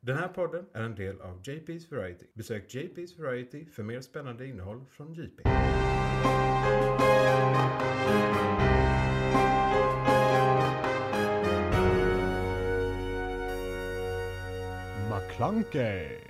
Den här podden är en del av JP's Variety. Besök JP's Variety för mer spännande innehåll från JP. McClunkey.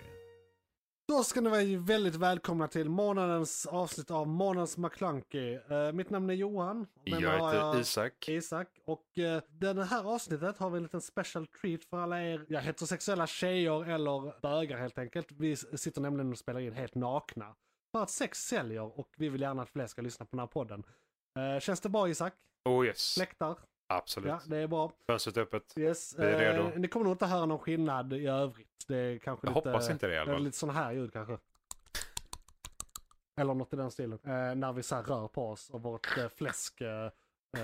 Då ska ni vara väldigt välkomna till månadens avsnitt av Månadens McClunkey. Eh, mitt namn är Johan. Och med mig Jag har heter Isak. Isak. Och eh, den här avsnittet har vi en liten special treat för alla er ja, heterosexuella tjejer eller bögar helt enkelt. Vi s- sitter nämligen och spelar in helt nakna. För att sex säljer och vi vill gärna att fler ska lyssna på den här podden. Eh, känns det bra Isak? Oh yes, Läktar? absolut. Ja, det är bra. Fönstret öppet. Yes. Vi är eh, redo. ni kommer nog inte höra någon skillnad i övrigt. Det är kanske Jag lite... hoppas inte det i alla Eller fall. lite sån här ljud kanske. Eller något i den stilen. Eh, när vi så här rör på oss och vårt eh, fläsk eh,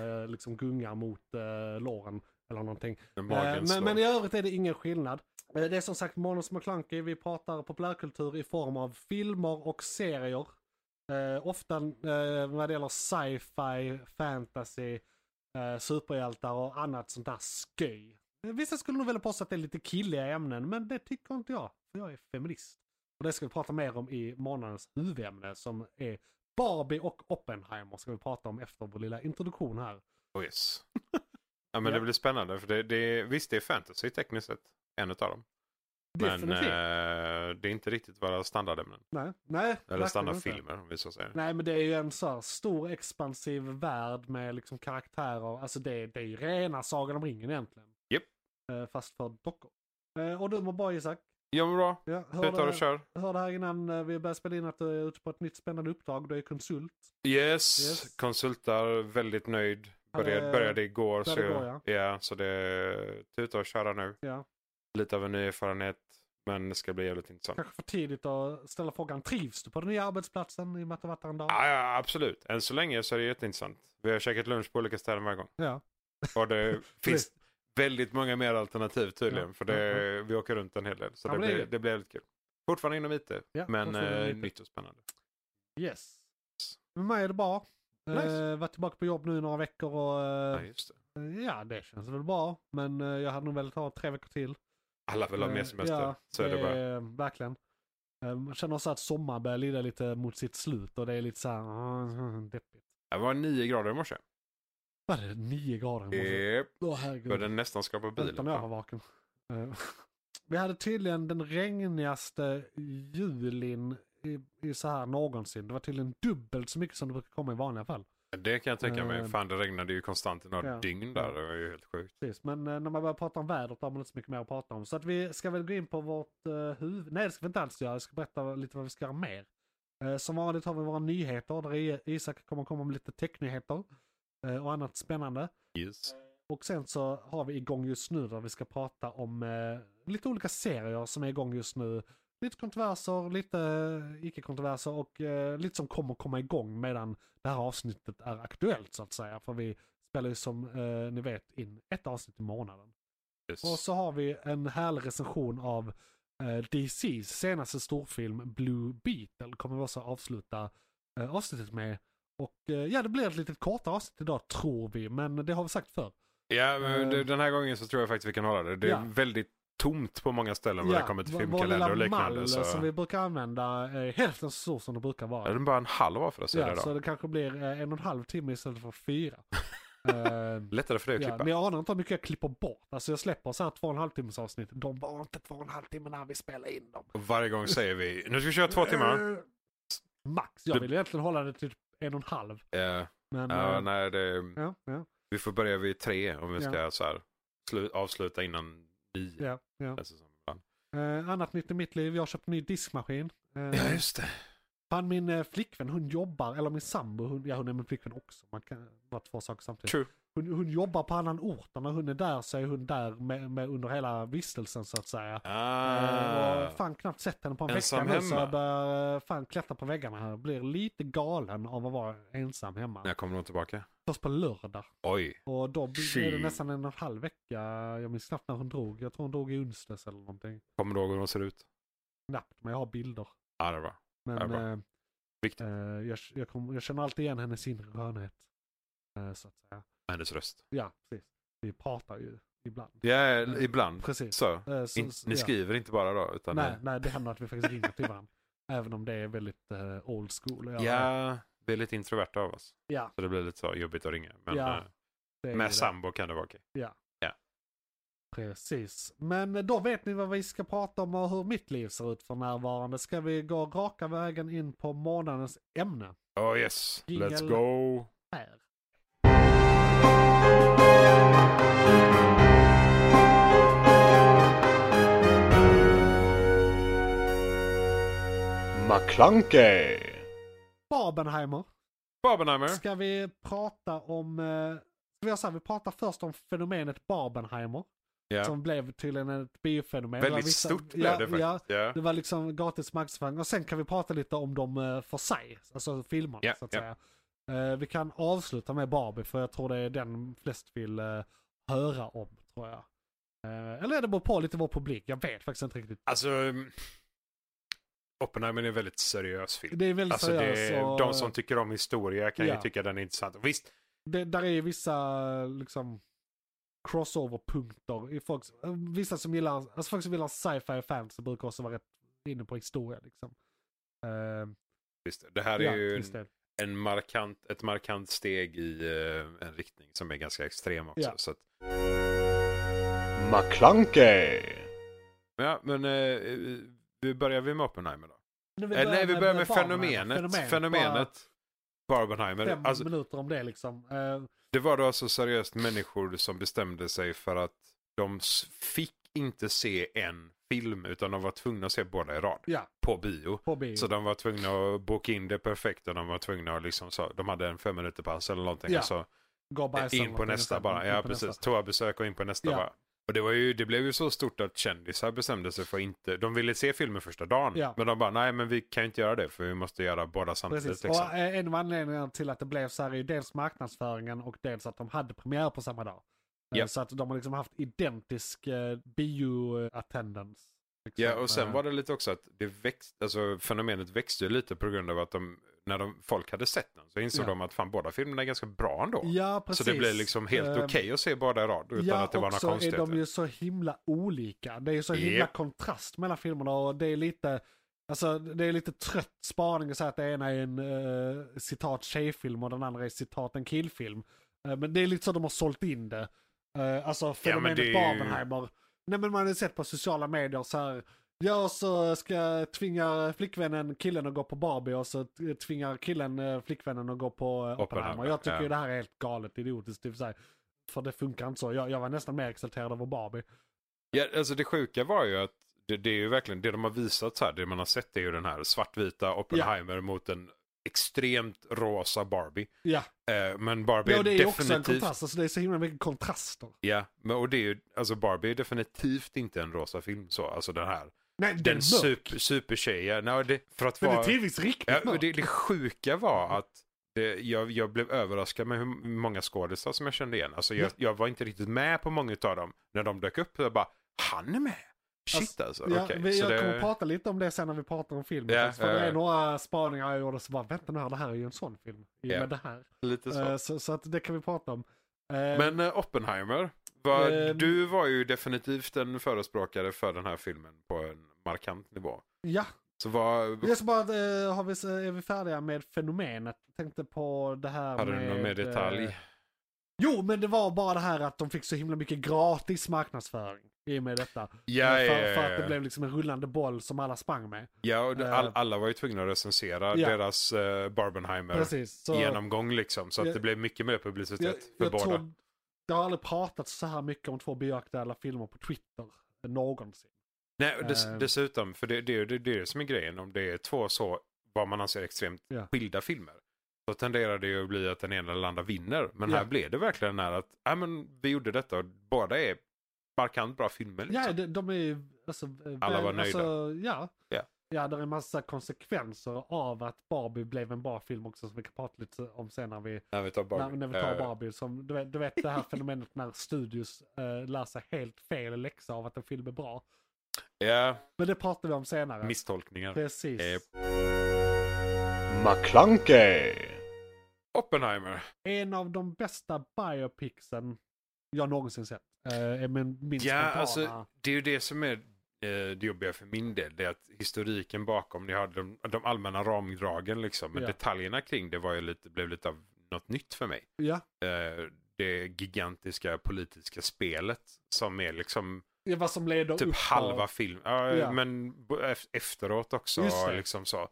eh, liksom gungar mot eh, låren. Eller någonting. Men Eh, magen men, men i slår. övrigt är det ingen skillnad. Eh, det är som sagt Måns McClunky. Vi pratar populärkultur i form av filmer och serier. Eh, ofta eh, vad det gäller sci-fi, fantasy, eh, superhjältar och annat sånt där sköj. Eh, Vissa skulle nog vilja påstå att det är lite killiga ämnen, men det tycker inte jag. För jag är feminist. Och det ska vi prata mer om i månadens huvudämne som är Barbie och Oppenheimer ska vi prata om efter vår lilla introduktion här. Oh yes. Ja men Ja. det blir spännande för det, det, visst det är fantasy tekniskt sett. En utav dem. Men Definitivt. eh, det är inte riktigt våra standardämnen. nej, nej, Eller verkligen inte. standardfilmer om vi så säger. Nej men det är ju en så här stor expansiv värld med liksom karaktärer. Alltså det, det är ju rena Sagan om ringen egentligen. Japp. Eh, Fast för dockor. Eh, Och du mår bra Isak. Ja men bra. Ja, Tutar och hörde, kör. hörde här innan eh, vi började spela in att du är ute på ett nytt spännande uppdrag. Du är konsult. Yes. Yes. Konsultar, väldigt nöjd. Han är- Började, började igår. Så, började jag- igår, ja, så det tutar och köra nu. Ja. Lite av en ny erfarenhet. Men det ska bli jävligt intressant. Kanske för tidigt att ställa frågan trivs du på den nya arbetsplatsen i och med att du varit där en dag? Ja, ja, absolut. Än så länge så är det jätteintressant. Vi har käkat lunch på olika ställen varje gång. Ja. Och det finns väldigt många mer alternativ tydligen. Ja, För det, vi åker runt en hel del. Så Ja, det, men det är blir, ju- det blir väldigt kul. Fortfarande inom IT. Ja, men fortfarande inom eh, IT. nytt och spännande. Yes. Med mig är det bra. Nice. Eh, varit tillbaka på jobb nu i några veckor och eh, Ja, just det. ja det känns väl bra. Men eh, jag hade nog velat ha tre veckor till. Alla vill ha Eh, mer semester. Ja, så är det, bara. är- Verkligen. Eh, Man känner också att sommaren börjar lida lite mot sitt slut och det är lite så här mm, deppigt. Det var nio grader i morse. Var det nio grader i morse? Japp. Åh herregud. Började nästan skapa Utan bilen. jag var vaken. Eh, Vi hade tydligen den regnigaste julin i, i så här någonsin. Det var tydligen dubbelt så mycket som det brukar komma i vanliga fall. Det kan jag tänka mig. Eh. Fan det regnade ju konstant i några Ja. dygn där. Det var ju helt sjukt. Precis, men eh, när man börjar prata om vädret då har man inte så mycket mer att prata om. Så att vi ska väl gå in på vårt eh, huvud... Nej, det ska vi inte alls göra. Jag ska berätta lite vad vi ska göra mer. Eh, som vanligt har vi våra nyheter där I- Isak kommer komma med lite technyheter eh, och annat spännande. Yes. Och sen så har vi igång just nu där vi ska prata om eh, lite olika serier som är igång just nu. Lite kontroverser, lite eh, icke-kontroverser och eh, lite som kommer komma igång medan det här avsnittet är aktuellt så att säga. För vi spelar ju som eh, ni vet in ett avsnitt i månaden. Yes. Och så har vi en härlig recension av eh, DCs senaste storfilm Blue Beetle. Kommer vi också avsluta eh, avsnittet med. Och eh, ja, det blir ett litet kortare avsnitt idag tror vi, men det har vi sagt förr. Ja, men Eh. det- den här gången så tror jag faktiskt vi kan hålla det. Det är Ja. väldigt tomt på många ställen när det kommer till filmkalender och liknande. Så... som vi brukar använda är hälften så stor som det brukar Ja, vara. den är bara en halv av för oss Ja, idag. så det kanske blir eh, en och en halv timme istället för fyra. Eh, Lättare för dig att Ja, klippa. men jag anar inte hur mycket jag klipper bort. Alltså jag släpper så här två och en halv timmes avsnitt. De var inte två och en halv timme när vi spelade in dem. Och Varje gång säger vi nu ska vi köra två timmar. Eh, Max, jag Det- vill egentligen hålla det till typ en och en halv. Ja, Men, ja, eh, nej, det, ja, ja, vi får börja vid tre om vi Ja. ska så här, slu, avsluta innan nio. Alltså ja, ja. känns det som ibland. Eh, annat nytt i mitt liv, jag har köpt en ny diskmaskin. Eh, Ja, just det. Fan min eh, flickvän, hon jobbar, eller min sambo, hon, ja hon är min flickvän också. Man kan vara två saker samtidigt. True. Hon, hon jobbar på annan ort och när hon är där så är hon där med, med under hela vistelsen så att säga. Eh, Ah, och fan knappt sett henne på en Ensam vecka nu så hemma. jag börjar eh, fan klättra på väggarna här. Blir lite galen av att vara ensam hemma. när kommer de tillbaka? Först på lördag. Oj, Och då blir det Shit. nästan en och en halv vecka. Jag minns knappt när hon drog. Jag tror hon drog i onsdags eller någonting. kommer du ihåg hur de ser ut? Knappt, men jag har bilder. Ja, det är bra. Ja, Men bra. eh, Viktigt. eh, jag, jag, kommer- jag känner alltid igen hennes inre skönhet. Eh, så att säga. Hennes röst. Ja, precis. Vi pratar ju ibland. Ja, ibland. Precis. Så. Eh, så- In, så- ni ja. skriver inte bara då? Utan Nej, nej, det händer att vi faktiskt ringer till varandra. Även om det är väldigt eh, old school. ja. Jag- ja, vi är lite introverta av oss. Ja, Så det blir lite så jobbigt att ringa. Men Ja, eh, det är ju med det. sambo kan det vara okej. Precis. Men då vet ni vad vi ska prata om och hur mitt liv ser ut för närvarande. Ska vi gå raka vägen in på månadens ämne? Oh yes, Jingle. let's go! Här. McClunkey! Barbenheimer. Barbenheimer. Ska vi prata om... eh, Ska vi göra så här, vi pratar först om fenomenet Barbenheimer. Ja. Som blev tydligen ett biofenomen. Det var Väldigt vissa- stort blev ja, det faktiskt. Ja, Ja. det var liksom gratis marknadsföring. Och sen kan vi prata lite om dem eh, för sig. Alltså filmerna Ja, så att ja. säga. Eh, Vi kan avsluta med Barbie för jag tror det är den flest vill eh, höra om tror jag. Eh, Eller det beror på lite vår publik. Jag vet faktiskt inte riktigt. Alltså, mm, Oppenheimer är en väldigt seriös film. Det är väldigt Alltså, det seriöst. är, och de som tycker om historia kan Ja. ju tycka den är intressant. Och Visst, det, där är ju vissa eh, liksom crossover-punkter. i folks- eh, Vissa som gillar, alltså folk som gillar sci-fi och fantasy brukar också vara rätt inne på historia liksom. Eh, visst det här är ja, ju just en, det. en markant, ett markant steg i eh, en riktning som är ganska extrem också. Ja. Så att... Ja, men eh, vi börjar vi med Oppenheimer då? Nu, Eh, nej, vi börjar med, Barbenheimer. fenomenet. Fenomen. Fenomenet. Bara Barbenheimer. alltså. Fem Alltså, minuter om det liksom. Eh, det var då alltså seriöst människor som bestämde sig för att de s- fick inte se en film utan de var tvungna att se båda i rad ja, på bio. på bio. Så de var tvungna att boka in det perfekt och de var tvungna att liksom så, de hade en fem minuter pass eller någonting. Ja. och så Gå och bajsa eller in på någonting nästa och sen bara. in Ja, på precis. nästa. Toabesök och in på nästa Ja. bara. Och det, var ju, det blev ju så stort att kändisar bestämde sig för att inte, de ville se filmen första dagen. Ja. Men de bara, nej men vi kan ju inte göra det för vi måste göra båda samtidigt. Precis. Liksom. Och eh, en av anledningarna till att det blev så här är ju dels marknadsföringen och dels att de hade premiär på samma dag. Eh, Ja. Så att de har liksom haft identisk eh, bio-attendance. Liksom. Ja, och sen Eh, var det lite också att det växt, alltså, fenomenet växte ju lite på grund av att de, när de, folk hade sett den så insåg Ja. de att fan båda filmerna är ganska bra ändå. Ja, precis. så det blev liksom helt Eh, okej att se båda i rad utan ja, att det var och några så är konstigheter. de ju så himla olika. Det är ju så himla Japp. kontrast mellan filmerna och det är lite, alltså det är lite trött spaning att säga att det ena är en eh, citat tjejfilm och den andra är citat en killfilm. Eh, men det är lite så de har sålt in det. Eh, alltså fenomenet det är ju- Barbenheimer. Nej men man har ju sett på sociala medier så här. Ja, och så ska jag tvinga flickvännen killen att gå på Barbie och så t- tvingar killen eh, flickvännen att gå på eh, Oppenheimer. Oppenheimer, Jag tycker ja. ju det här är helt galet idiotiskt. Typ så här. För det funkar inte så. Jag, jag var nästan mer exalterad över Barbie. Ja, alltså det sjuka var ju att det, det är ju verkligen det de har visat så här, det man har sett är ju den här svartvita Oppenheimer mot en extremt rosa Barbie. Ja, Eh, men Barbie ja och är det är ju också en definitivt... kontrast. Alltså det är så himla mycket kontraster. Ja, men, och det är ju, alltså Barbie är definitivt inte en rosa film så, alltså den här. Nej, den, den Den mörk. super, supertjejen, nej, det, för att Den vara... är tidvis riktigt Ja, men mörk. det, liksom- det sjuka var att det, jag, jag blev överraskad med hur många skådisar som jag kände igen. Alltså jag, jag var inte riktigt med på många av dem. När de dök upp, jag bara, han är med! Shit alltså. Ja, okej. vi, Så jag det- kommer prata lite om det sen när vi pratar om filmen. Ja, faktiskt, för det ja, är ja. några spaningar jag gjorde så bara, vänta nu här, det här är ju en sån film. I och Ja. med det här. Lite så. Eh, så, så att det kan vi prata om. Eh, Men eh, Oppenheimer, var, Ehm. du var ju definitivt en förespråkare för den här filmen på en markant nivå. ja, Så vad, jag ska bara, eh, har vi, är vi färdiga med fenomenet? Tänkte på det här hade med... du någon mer detalj? eh, Jo, men det var bara det här att de fick så himla mycket gratis marknadsföring i och med detta. ja, för, ja, ja, för att det ja. blev liksom en rullande boll som alla sprang med. ja och det- all, eh, alla var ju tvungna att recensera ja. deras eh, Barbenheimer-genomgång Precis. Så liksom. Så att Alltså, Jag- det blev mycket mer publicitet jag, för jag båda. tror, det har aldrig pratats så här mycket om två bioaktuella filmer på Twitter eh, någonsin. Nej, och dess, Ehm. dessutom, för det, det, är ju- det, det är det som är grejen, om det är två så, vad man anser extremt Ja. skilda filmer, så tenderar det ju att bli att den ena eller den andra vinner. Men Ja. här blev det verkligen den här att, ja men vi gjorde detta och båda är markant bra filmer. Liksom. Ja, de, de är ju... Alltså, eh, Alla var Alltså, ja. Ja. Ja, det är en massa konsekvenser av att Barbie blev en bra film också som vi kan prata lite om sen när vi När vi tar Barbie. När, när vi tar Eh, Barbie, som, du, vet, du vet det här fenomenet när studios eh, lär sig helt fel läxa av att en film är bra. Ja, Men det pratar vi om senare. misstolkningar. Precis. Japp. McClunkey! Oppenheimer. En av de bästa biopicsen jag någonsin sett. Eh, är min, min Ja, spontana. alltså det är ju det som är eh, det jobbiga för min del. Det är att historiken bakom, ni hade de, de allmänna ramdragen liksom. Men Ja. detaljerna kring det var ju lite, blev lite av något nytt för mig. Ja, Eh, det gigantiska politiska spelet som är liksom det är vad som leder typ upp halva filmen. Ja, Ja. Men bo- ef- efteråt också Just det. liksom så.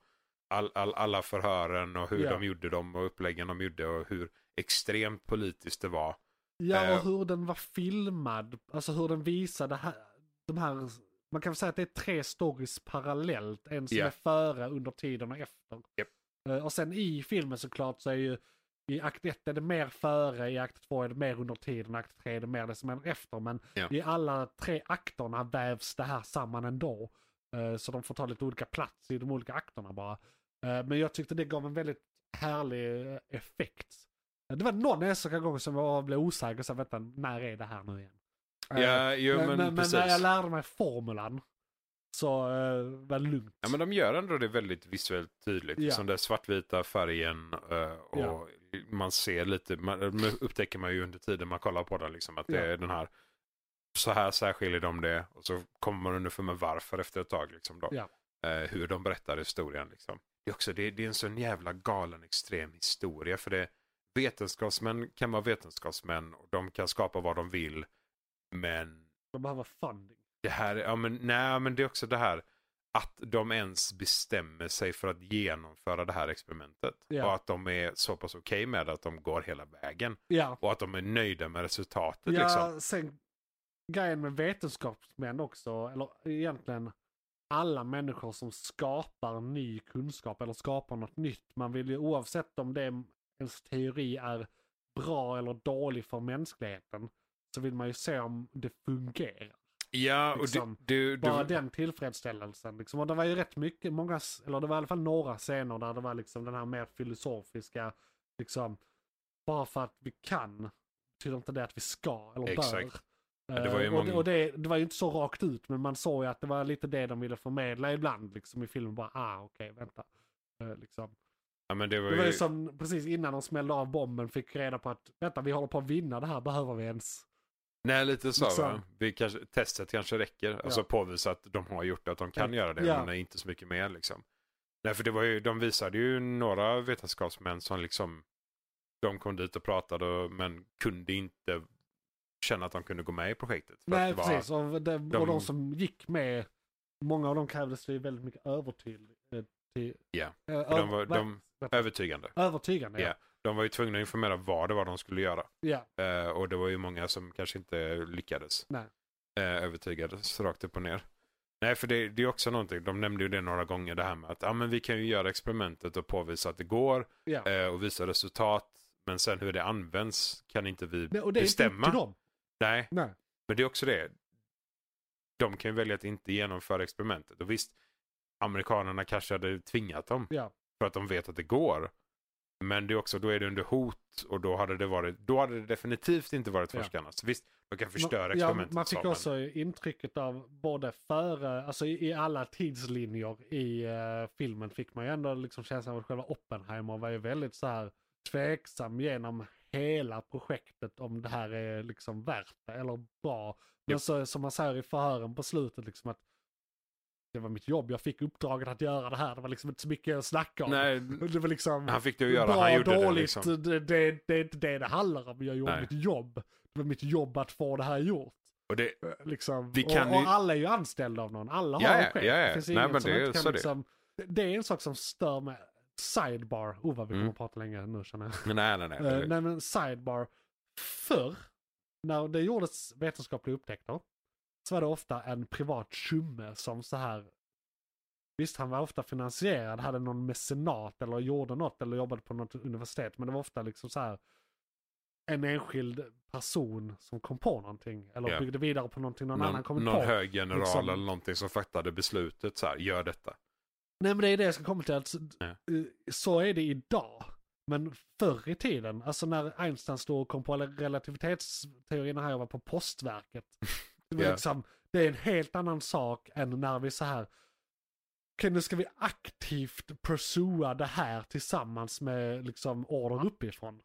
All, all, alla förhören och hur Ja. de gjorde dem och uppläggen de gjorde och hur extremt politiskt det var. Ja, och Eh. hur den var filmad. Alltså hur den visade här, de här... Man kan väl säga att det är tre stories parallellt. En som Ja. är före, under tiden och efter. Japp. Eh, Och sen i filmen såklart så är ju... I akt 1 är det mer före, i akt 2 är det mer under tiden, i akt 3 är det mer det som händer efter. Men Ja. i alla tre akterna vävs det här samman ändå. Eh, Så de får ta lite olika plats i de olika akterna bara. Eh, Men jag tyckte det gav en väldigt härlig eh, effekt. Det var någon enstaka gång som jag blev osäker, så vänta, när är det här nu igen? Eh, Ja, jo, men, men, men precis. när jag lärde mig formulan så eh, var det lugnt. Ja, men de gör ändå det väldigt visuellt tydligt. Ja. Som den svartvita färgen eh, och Ja. man ser lite, man, upptäcker man ju under tiden man kollar på den liksom att det Ja. är den här, så här särskiljer de det och så kommer man underfund med varför efter ett tag liksom då. Ja. Eh, hur de berättar historien liksom. Det är också, det, det är en sån jävla galen extrem historia för det vetenskapsmän kan vara vetenskapsmän och de kan skapa vad de vill men De behöver funding. det här, ja men nej men det är också det här att de ens bestämmer sig för att genomföra det här experimentet. Ja. Och att de är så pass okej med att de går hela vägen. Ja, Och att de är nöjda med resultatet ja liksom. sen grejen med vetenskapsmän också, eller egentligen alla människor som skapar ny kunskap eller skapar något nytt. Man vill ju oavsett om det är- ens teori är bra eller dålig för mänskligheten så vill man ju se om det fungerar. Ja, och liksom, du, du, du, Bara den tillfredsställelsen. Liksom. Och det var ju rätt mycket, många, s- eller det var i alla fall några scener där det var liksom den här mer filosofiska, liksom, bara för att vi kan, betyder inte det att vi ska eller Exakt. bör. Ja, det var ju Eh, och det, många- och det, det var ju inte så rakt ut, men man såg ju att det var lite det de ville förmedla ibland liksom, i filmen. Bara, ah, okej, vänta. Eh, liksom. ja, men det var Det var ju ju, som precis innan de smällde av bomben fick reda på att vänta, vi håller på att vinna det här, behöver vi ens? nej lite så liksom- va? Vi kanske, testet kanske räcker. Alltså påvisa att de har gjort det, att de kan göra det. Ja. Men det är inte så mycket mer liksom. Nej, för det var ju, de visade ju några vetenskapsmän som liksom, de kom dit och pratade och- men kunde inte känna att de kunde gå med i projektet. För Nej, att det var, precis. Och de, och de de- som gick med, många av dem krävdes ju väldigt mycket övertydlig. eh, till- Ja, eh, för de över- var- va- de- vänta. Övertygande. Övertygande, ja. De var ju tvungna att informera vad det var de skulle göra. ja. Eh, och det var ju många som kanske inte lyckades. Nej. Eh, övertygades rakt upp och ner. Nej, för det, det är också någonting. De nämnde ju det några gånger det här med att ah, men vi kan ju göra experimentet och påvisa att det går ja. eh, och visa resultat. Men sen hur det används kan inte vi Nej, och det är inte upp bestämma. till dem. Nej, Nej. men det är också det. De kan ju välja att inte genomföra experimentet. Och visst, amerikanerna kanske hade tvingat dem Ja. för att de vet att det går. Men det är också, då är det under hot och då hade det, varit, då hade det definitivt inte varit Ja. forskarna. Så visst, de kan förstöra ja, experimentet. man så, fick men- också intrycket av både före, alltså i, i alla tidslinjer i eh, filmen fick man ju ändå liksom känslan av att själva Oppenheimer var ju väldigt så här tveksam genom hela projektet om det här är liksom värt det eller bra. Men Ja. så, som man säger i förhören på slutet liksom att det var mitt jobb, jag fick uppdraget att göra det här, det var liksom inte så mycket att snacka om. Nej, Det var liksom... han fick det att göra. Bra, han gjorde dåligt, det liksom. det, det, det är inte det det handlar om. Jag gjorde Nej. mitt jobb. Det var mitt jobb att få det här gjort. Och det, Eh, Liksom. Vi kan och, och ju- alla är ju anställda av någon. Alla har Ja, en ja, chef. ja, ja. Det finns Nej, ingen men som det är inte kan så det. liksom... det. Det är en sak som stör mig. Sidebar. Oh vad vi kommer Mm. att prata länge nu känner jag. nej, nej, nej. Eh, nej men sidebar. Förr, när det gjordes vetenskapliga upptäckter, så var det ofta en privat tjumme som så här Visst, han var ofta finansierad, hade någon mecenat eller gjorde något eller jobbade på något universitet. Men det var ofta liksom så här en enskild person som kom på någonting. Eller Ja. byggde vidare på någonting någon, annan kommit någon på. någon hög general liksom. eller någonting som fattade beslutet så här, gör detta. Nej men det är det jag ska komma till. Alltså, d- Ja. eh, Så är det idag. Men förr i tiden, alltså när Einstein stod och kom på relativitetsteorin när jag var på postverket. Det, var Ja. liksom, det är en helt annan sak än när vi så här, okej nu ska vi aktivt pursua det här tillsammans med liksom order uppifrån.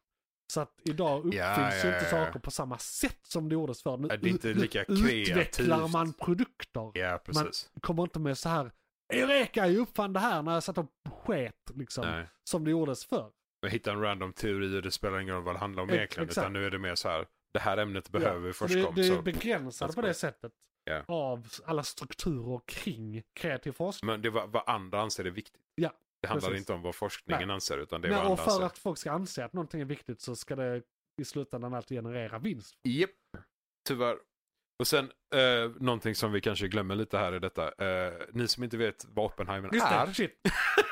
Så att idag uppfylls Ja, ju ja, inte ja, ja. saker på samma sätt som det gjordes förr. Nu Ja, det är inte ut- lika utvecklar kreativt. man produkter. Ja, precis. Kommer inte med så här Eureka, jag uppfann det här när jag satt och sket liksom. Nej. Som det gjordes förr. Man hittar en random teori och det spelar ingen roll vad det handlar om Ex- egentligen. exakt. Utan nu är det mer så här, det här ämnet behöver vi Ja, så först det, om. det är Så. begränsat That's på det great. sättet Ja. av alla strukturer kring kreativ forskning. Men det var vad andra anser är viktigt. Ja, det handlar precis. inte om vad forskningen anser utan Mm, det är Nej, vad och andra för anser. att folk ska anse att någonting är viktigt så ska det i slutändan alltid generera vinst. Japp, tyvärr. Och sen eh, någonting som vi kanske glömmer lite här i detta. Eh, ni som inte vet vad Oppenheimer Just är. det, shit.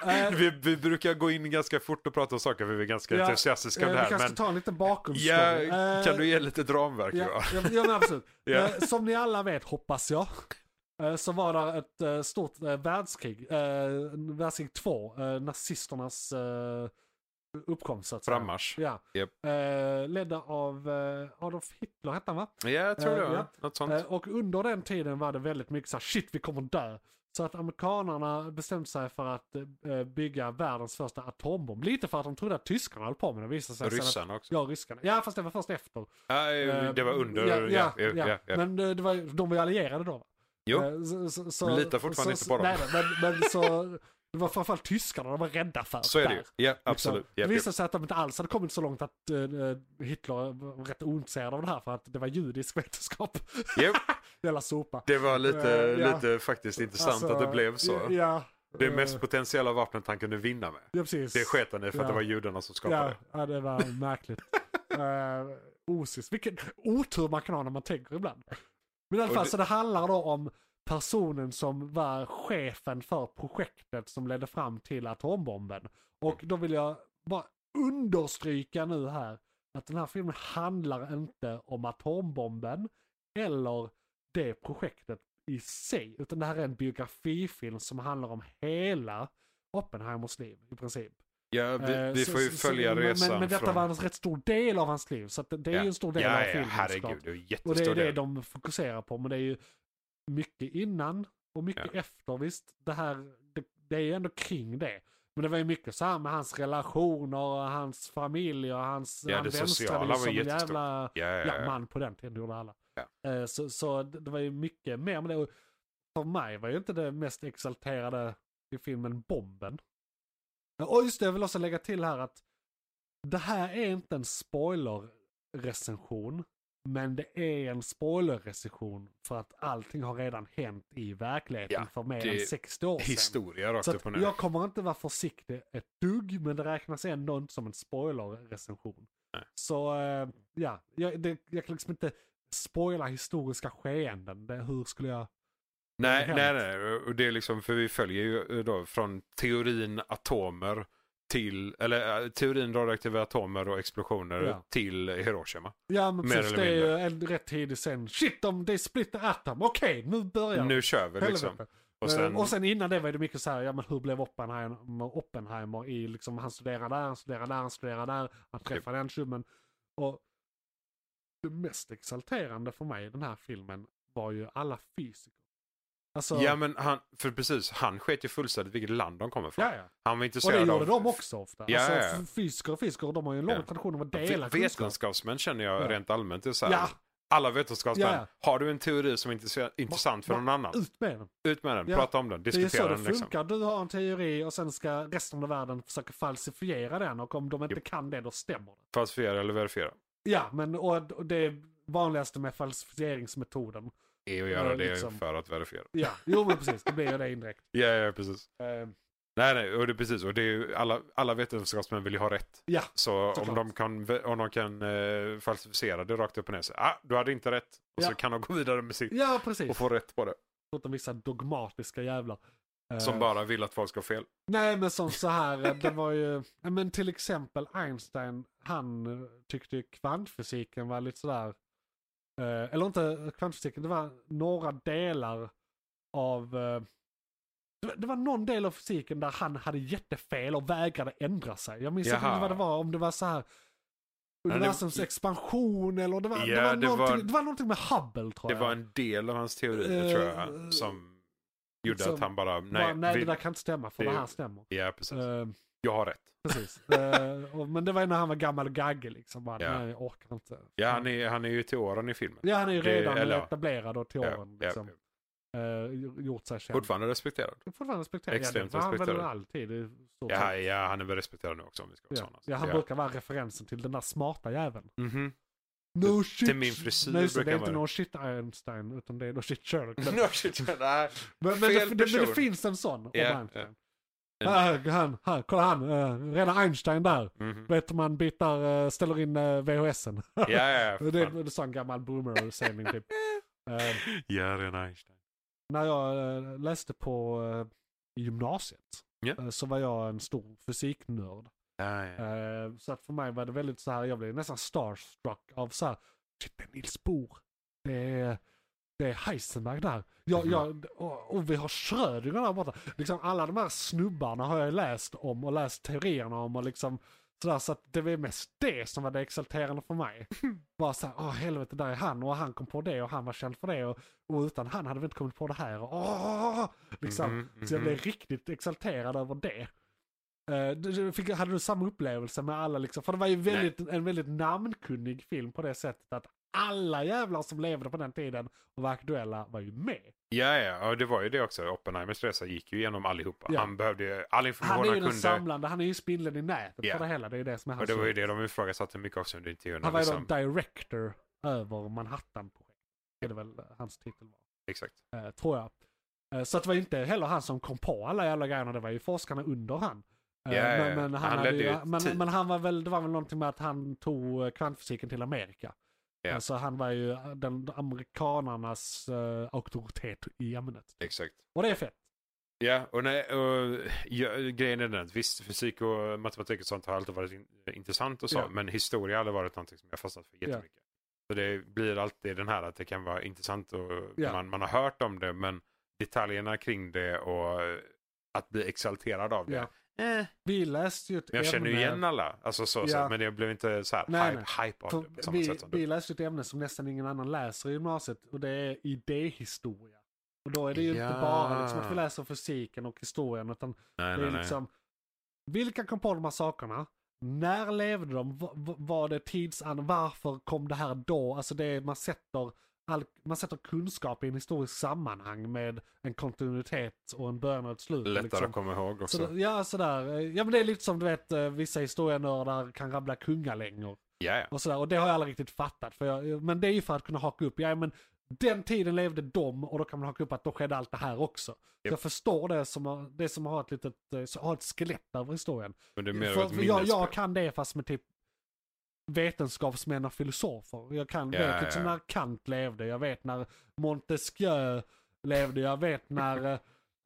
Eh, Vi, vi brukar gå in ganska fort och prata om saker för vi är ganska Ja, entusiastiska om det eh, vi här. kanske Men ska ta en liten bakgrundsstory. ja, Eh, kan du ge lite ramverk Johan? Ja, ja, ja men absolut. Ja. Eh, Som ni alla vet, hoppas jag, eh, så var det ett eh, stort eh, världskrig, eh, världskrig 2, eh, nazisternas eh, uppkomst så att säga. Frammarsch. Ja. Japp. Eh, Ledda av eh, Adolf Hitler hette han va? Ja, jag tror Eh, det. var ja. Något sånt. Eh, Och under den tiden var det väldigt mycket så här, shit vi kommer dö. Så att amerikanarna bestämde sig för att eh, bygga världens första atombomb. Lite för att de trodde att tyskarna höll på med det. visade sig sen att- Ryssarna också. Ja, ryskarna. Ja, fast det var först efter. Nej, det var under. Eh, Ja, ja, ja, ja, ja. Men eh, det var, de var ju allierade då. Jo. Eh, Så, så, så, Men lita fortfarande inte på dem. Nej, nej, men, men så, det var framförallt tyskarna de var rädda för. Så är det ju. där. Ja, Liksom. absolut. Det Japp, japp. visade sig att de inte alls hade kommit så långt att eh, Hitler var rätt ointresserad av det här för att det var judisk vetenskap. Japp. Jävla sopa. Det var lite, Eh, ja. lite faktiskt intressant Alltså, att det blev så. Ja, Det eh, mest potentiella vapnet han kunde vinna med. ja, precis. Det sket han i för att Ja. det var judarna som skapade ja, det. ja, det var märkligt. uh, osis. Vilken otur man kan ha när man tänker ibland. Men i alla Och fall, det- så det handlar då om personen som var chefen för projektet som ledde fram till atombomben. Och då vill jag bara understryka nu här att den här filmen handlar inte om atombomben eller det projektet i sig. Utan det här är en biografifilm som handlar om hela Oppenheimers liv i princip. Ja, vi, Eh, vi så- får ju så- så- följa men- resan Men, men detta från... var en rätt stor del av hans liv, så att det, det är ju en stor del ja, av ja, filmen herregud. såklart. Det är en Och det är jättestor det del. de fokuserar på, men det är ju mycket innan och mycket efter. Visst, det här, det, det är ju ändå kring det. Men det var ju mycket så här med hans relationer, och hans familj och hans... Ja, han det vänstrade sociala ju var som en jättestort. jävla Ja, ja, ja, ja. man på den tiden, det gjorde alla. Eh, Ja. Eh, Så, så det det var ju mycket mer med det. Och För mig var ju inte det mest exalterade i filmen bomben. Eh, Och just det, jag vill också lägga till här att det här är inte en spoilerrecension. Men det är en spoilerrecension för att allting har redan hänt i verkligheten Ja, för mer det än är 60 år sedan. Historia rakt Så upp och att ner. jag kommer inte vara försiktig ett dugg, men det räknas ändå inte som en spoilerrecension. Nej. Så eh, ja, jag, det, jag kan liksom inte spoila historiska skeenden. Det, hur skulle jag... Nej, hänt. nej, nej. Och det är liksom, för vi följer ju eh, då från teorin atomer till, eller eh, teorin radioaktiva atomer och explosioner Ja. till Hiroshima. Ja men Mer precis, eller det är ju en rätt tidig sen. Shit, de, det är split atom, okej nu börjar Nu kör vi Helvete. liksom. Och Och sen... sen- Eh, och sen innan det var det mycket så här, ja men hur blev Oppenheimer, Oppenheimer i liksom, han studerar där, han studerar där, han studerar där, han träffar Typ. den tjummen. Och det mest exalterande för mig i den här filmen var ju alla fysiker. Alltså, Ja men han, för precis, han sket ju fullständigt vilket land de kommer från. ja, ja. Han var Och intresserad det av... gjorde de också ofta. Ja, alltså, ja, ja. f- Fysiker och fysiker, de har ju en lång Ja. tradition av att Ve- dela kunskap. Vetenskapsmän känner jag Ja. rent allmänt. Det är så här, Ja. Alla vetenskapsmän, Ja, har du en teori som är intresse- intressant för va- någon annan, Ut med den. ut med den, Ja. prata om den, Det är ju så diskutera det den. funkar. Liksom. Du har en teori och sen ska resten av världen försöka falsifiera den och om de inte kan det då stämmer det. Falsifiera eller verifiera. Ja, men och, och det vanligaste med falsifieringsmetoden. Är E att Ja, göra det liksom. för att verifiera. Ja, jo men precis, det blir ju det indirekt. Ja, ja precis. Eh, Nej, nej, och det är precis. Och det är ju, alla, alla vetenskapsmän vill ju ha rätt. ja, Så om Såklart. de kan, ve- om de kan eh, falsificera det rakt upp och ner, så ah, du hade inte rätt. Och Ja. så kan de gå vidare med sitt ja precis. och få rätt på det. Förutom vissa dogmatiska jävlar. Eh, Som bara vill att folk ska ha fel. Nej men som så här, eh, det var ju, ja, men till exempel Einstein, han eh, tyckte ju kvantfysiken var lite sådär, eh, eller inte kvantfysiken, det var några delar av, eh, det var- det var någon del av fysiken där han hade jättefel och vägrade ändra sig. Jag minns inte Jaha. vad det var, om det var så här universums expansion eller det var, det, Ja, var det var- någonting, det var någonting med Hubble tror Det jag. var en del av hans teorier Eh, tror jag som gjorde liksom, att han bara, nej, nej, nej vi, det där kan inte stämma för det- det här stämmer. ja precis, Eh, jag har rätt. precis. Eh, och, men det var ju när han var gammal gagge liksom. Bara, Ja. Nej, jag orkar inte. Ja, han är, han är ju till åren i filmen. Ja, han är ju det- redan eller ja. etablerad och till Ja, åren. ja. Liksom. Eh, gjort sig känd. Fortfarande respekterad. Fortfarande respekterad. Extremt ja, det var han väl respekterad. alltid. i stort Ja, sett. ja, han är väl respekterad nu också om vi ska vara ja. sådana. ja, han Ja. brukar vara referensen till den där smarta jäveln. Mhm. No shit. min frisyr Nej, just det, det är brukar inte vara- no shit Einstein, utan det är no shit Sherlock. Men, No shit, nej. men, men, det, fel men det person. finns en sån. Ja, om Einstein. Här, han, här, kolla han, eh, redan Einstein där. Mhm. Vet du, man bitar, eh, ställer in eh, VHSen. Ja, ja, ja. för det är fan. en sån gammal boomer-sägning typ. Eh, Ja, det är en Einstein. när jag eh, läste på eh, i gymnasiet Ja. eh, så var jag en stor fysiknörd. Ja, ja. Eh, så att för mig var det väldigt så här, jag blev nästan starstruck av så här, shit det är Niels Bohr, det är, det är Heisenberg där, jag, jag, och, och vi har Schrödinger där borta. Liksom alla de här snubbarna har jag läst om och läst teorierna om och liksom sådär, så att det var mest det som var det exalterande för mig. Bara såhär, åh helvete där är han och han kom på det och han var känd för det och, och utan han hade vi inte kommit på det här och åh! Liksom. Mhm, Så jag blev mhm. riktigt exalterad över det. Eh, du- du fick, hade du samma upplevelse med alla liksom? För det var ju väldigt, en väldigt namnkunnig film på det sättet att alla jävlar som levde på den tiden och var aktuella var ju med. Ja, ja, ja, det var ju det också. Oppenheimers resa gick ju igenom allihopa. Ja. Han behövde ju all Han information är han, ju den kunde. samlande, han är ju spindeln i nätet Ja. för det hela. Det är ju det som är Och hans det var ju roll. det de ifrågasatte mycket också under intervjuerna. Alltså- Han var ju liksom. då director över Manhattan-projektet. Det är väl hans titel var. Exakt. eh, tror jag. Eh, Så att det var inte heller han som kom på alla jävla grejerna, det var ju forskarna under han. Eh, Ja, ja, ja. men, men, han, Han hade ledde ju, ju typ. ett men, team. men han var väl, det var väl någonting med att han tog eh, kvantfysiken till Amerika. Ja. Alltså han var ju den amerikanarnas uh, auktoritet i ämnet. Exakt. Och det är fett. Ja, och, nej, och ja, grejen är den att visst, fysik och matematik och sånt har alltid varit in, intressant och så, Ja. men historia har aldrig varit någonting som jag fastnat för Ja. jättemycket. Så det blir alltid den här att det kan vara intressant och Ja. man, man har hört om det, men detaljerna kring det och att bli exalterad av det. Ja. Eh, Vi läste ju ett men jag känner ju ämne- igen alla, alltså så, så, Ja. men jag blev inte så här Nej, hype, hype av det på För samma vi, sätt som vi du. läste ett ämne som nästan ingen annan läser i gymnasiet och det är idéhistoria. Och då är det ju inte Ja. bara liksom att vi läser fysiken och historien utan Nej, det nej, är nej. liksom, vilka kom på de här sakerna? När levde de? V- v- var det tidsan? Varför kom det här då? Alltså det är, man sätter, all, man sätter kunskap i en historisk sammanhang med en kontinuitet och en början och ett slut. Lättare liksom. att komma ihåg också. Så, ja, sådär. Ja, men det är lite som du vet, eh, vissa historienördar kan rabbla kungalängor Ja, ja. och sådär. Och det har jag aldrig riktigt fattat. För jag, men det är ju för att kunna haka upp, ja men den tiden levde de och då kan man haka upp att då skedde allt det här också. Så Japp. jag förstår det som, har- det som har ett litet, eh, så- har ett skelett över historien. Men det är mer av För, ett för jag, minnesspel. jag kan det fast med typ vetenskapsmän och filosofer. Jag kan, Ja, vet ja, liksom ja. när Kant levde, jag vet när Montesquieu levde, jag vet när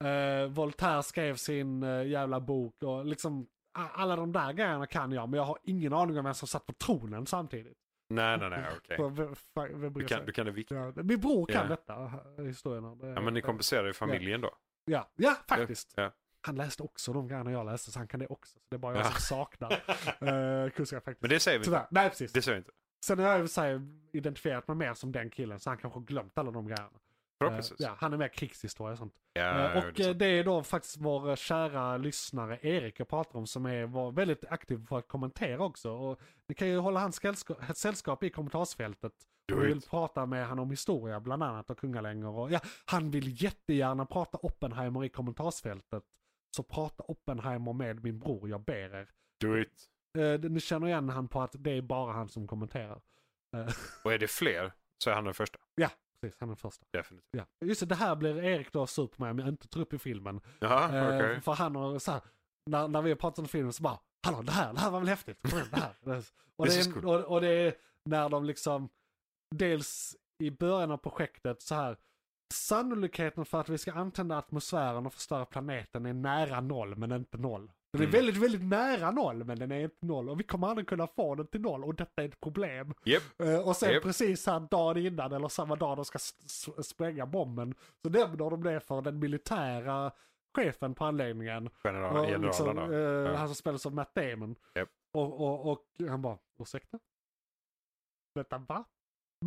eh, eh, Voltaire skrev sin eh, jävla bok och liksom a- alla de där grejerna kan jag men jag har ingen aning om vem som satt på tronen samtidigt. Nej, nej, nej, okej. För vem- fan, vem bryr Du kan, du sig? kan det viktigt. Ja, Min bror kan Ja. detta, eh, historien. Ja, men ni kompenserar ju familjen då. Ja, ja faktiskt. Ja. Han läste också de grejerna jag läste, så han kan det också. Så det är bara jag Ja. som saknar eh, kunskap faktiskt. Men det säger vi inte. Tyvärr. Nej, precis. Det säger vi inte. Sen har jag i och för sig identifierat mig mer som den killen, så han kanske har glömt alla de grejerna. Eh, Förhoppningsvis. ja, han är mer krigshistoria och sånt. Ja, Eh, jo, och det är eh, sant. det är då faktiskt vår eh, kära lyssnare Erik jag pratar om som är, var väldigt aktiv för att kommentera också. Och ni kan ju hålla hans sällska- sällskap i kommentarsfältet. Do Vi it. vill prata med han om historia bland annat och kungalängor. Och, ja, han vill jättegärna prata Oppenheimer i kommentarsfältet. Så prata Oppenheimer med min bror, jag ber er. Do it. Eh, ni känner igen han på att det är bara han som kommenterar. Eh, Och är det fler så är han den första. precis, han är den första. Definitivt. Ja. Just det, det här blir Erik då sur på mig om jag inte tar upp i filmen. Jaha, Eh, okej. För han har så här, när, när vi har pratat om filmen så bara, hallå det här, det här var väl häftigt, kom igen, det här. och, det This is är, cool. och, och det är när de liksom, dels i början av projektet så här, sannolikheten för att vi ska antända atmosfären och förstöra planeten är nära noll men inte noll. Den är Mm. väldigt, väldigt nära noll men den är inte noll och vi kommer aldrig kunna få den till noll och detta är ett problem. Japp. Eh, Och sen Japp. precis här dagen innan eller samma dag de ska s- s- spränga bomben så nämner de det för den militära chefen på anläggningen. General, Och generalen liksom, då. eh, Ja. Han som spelas av Matt Damon. Japp. Och, och, och han bara, ursäkta? Vänta, va?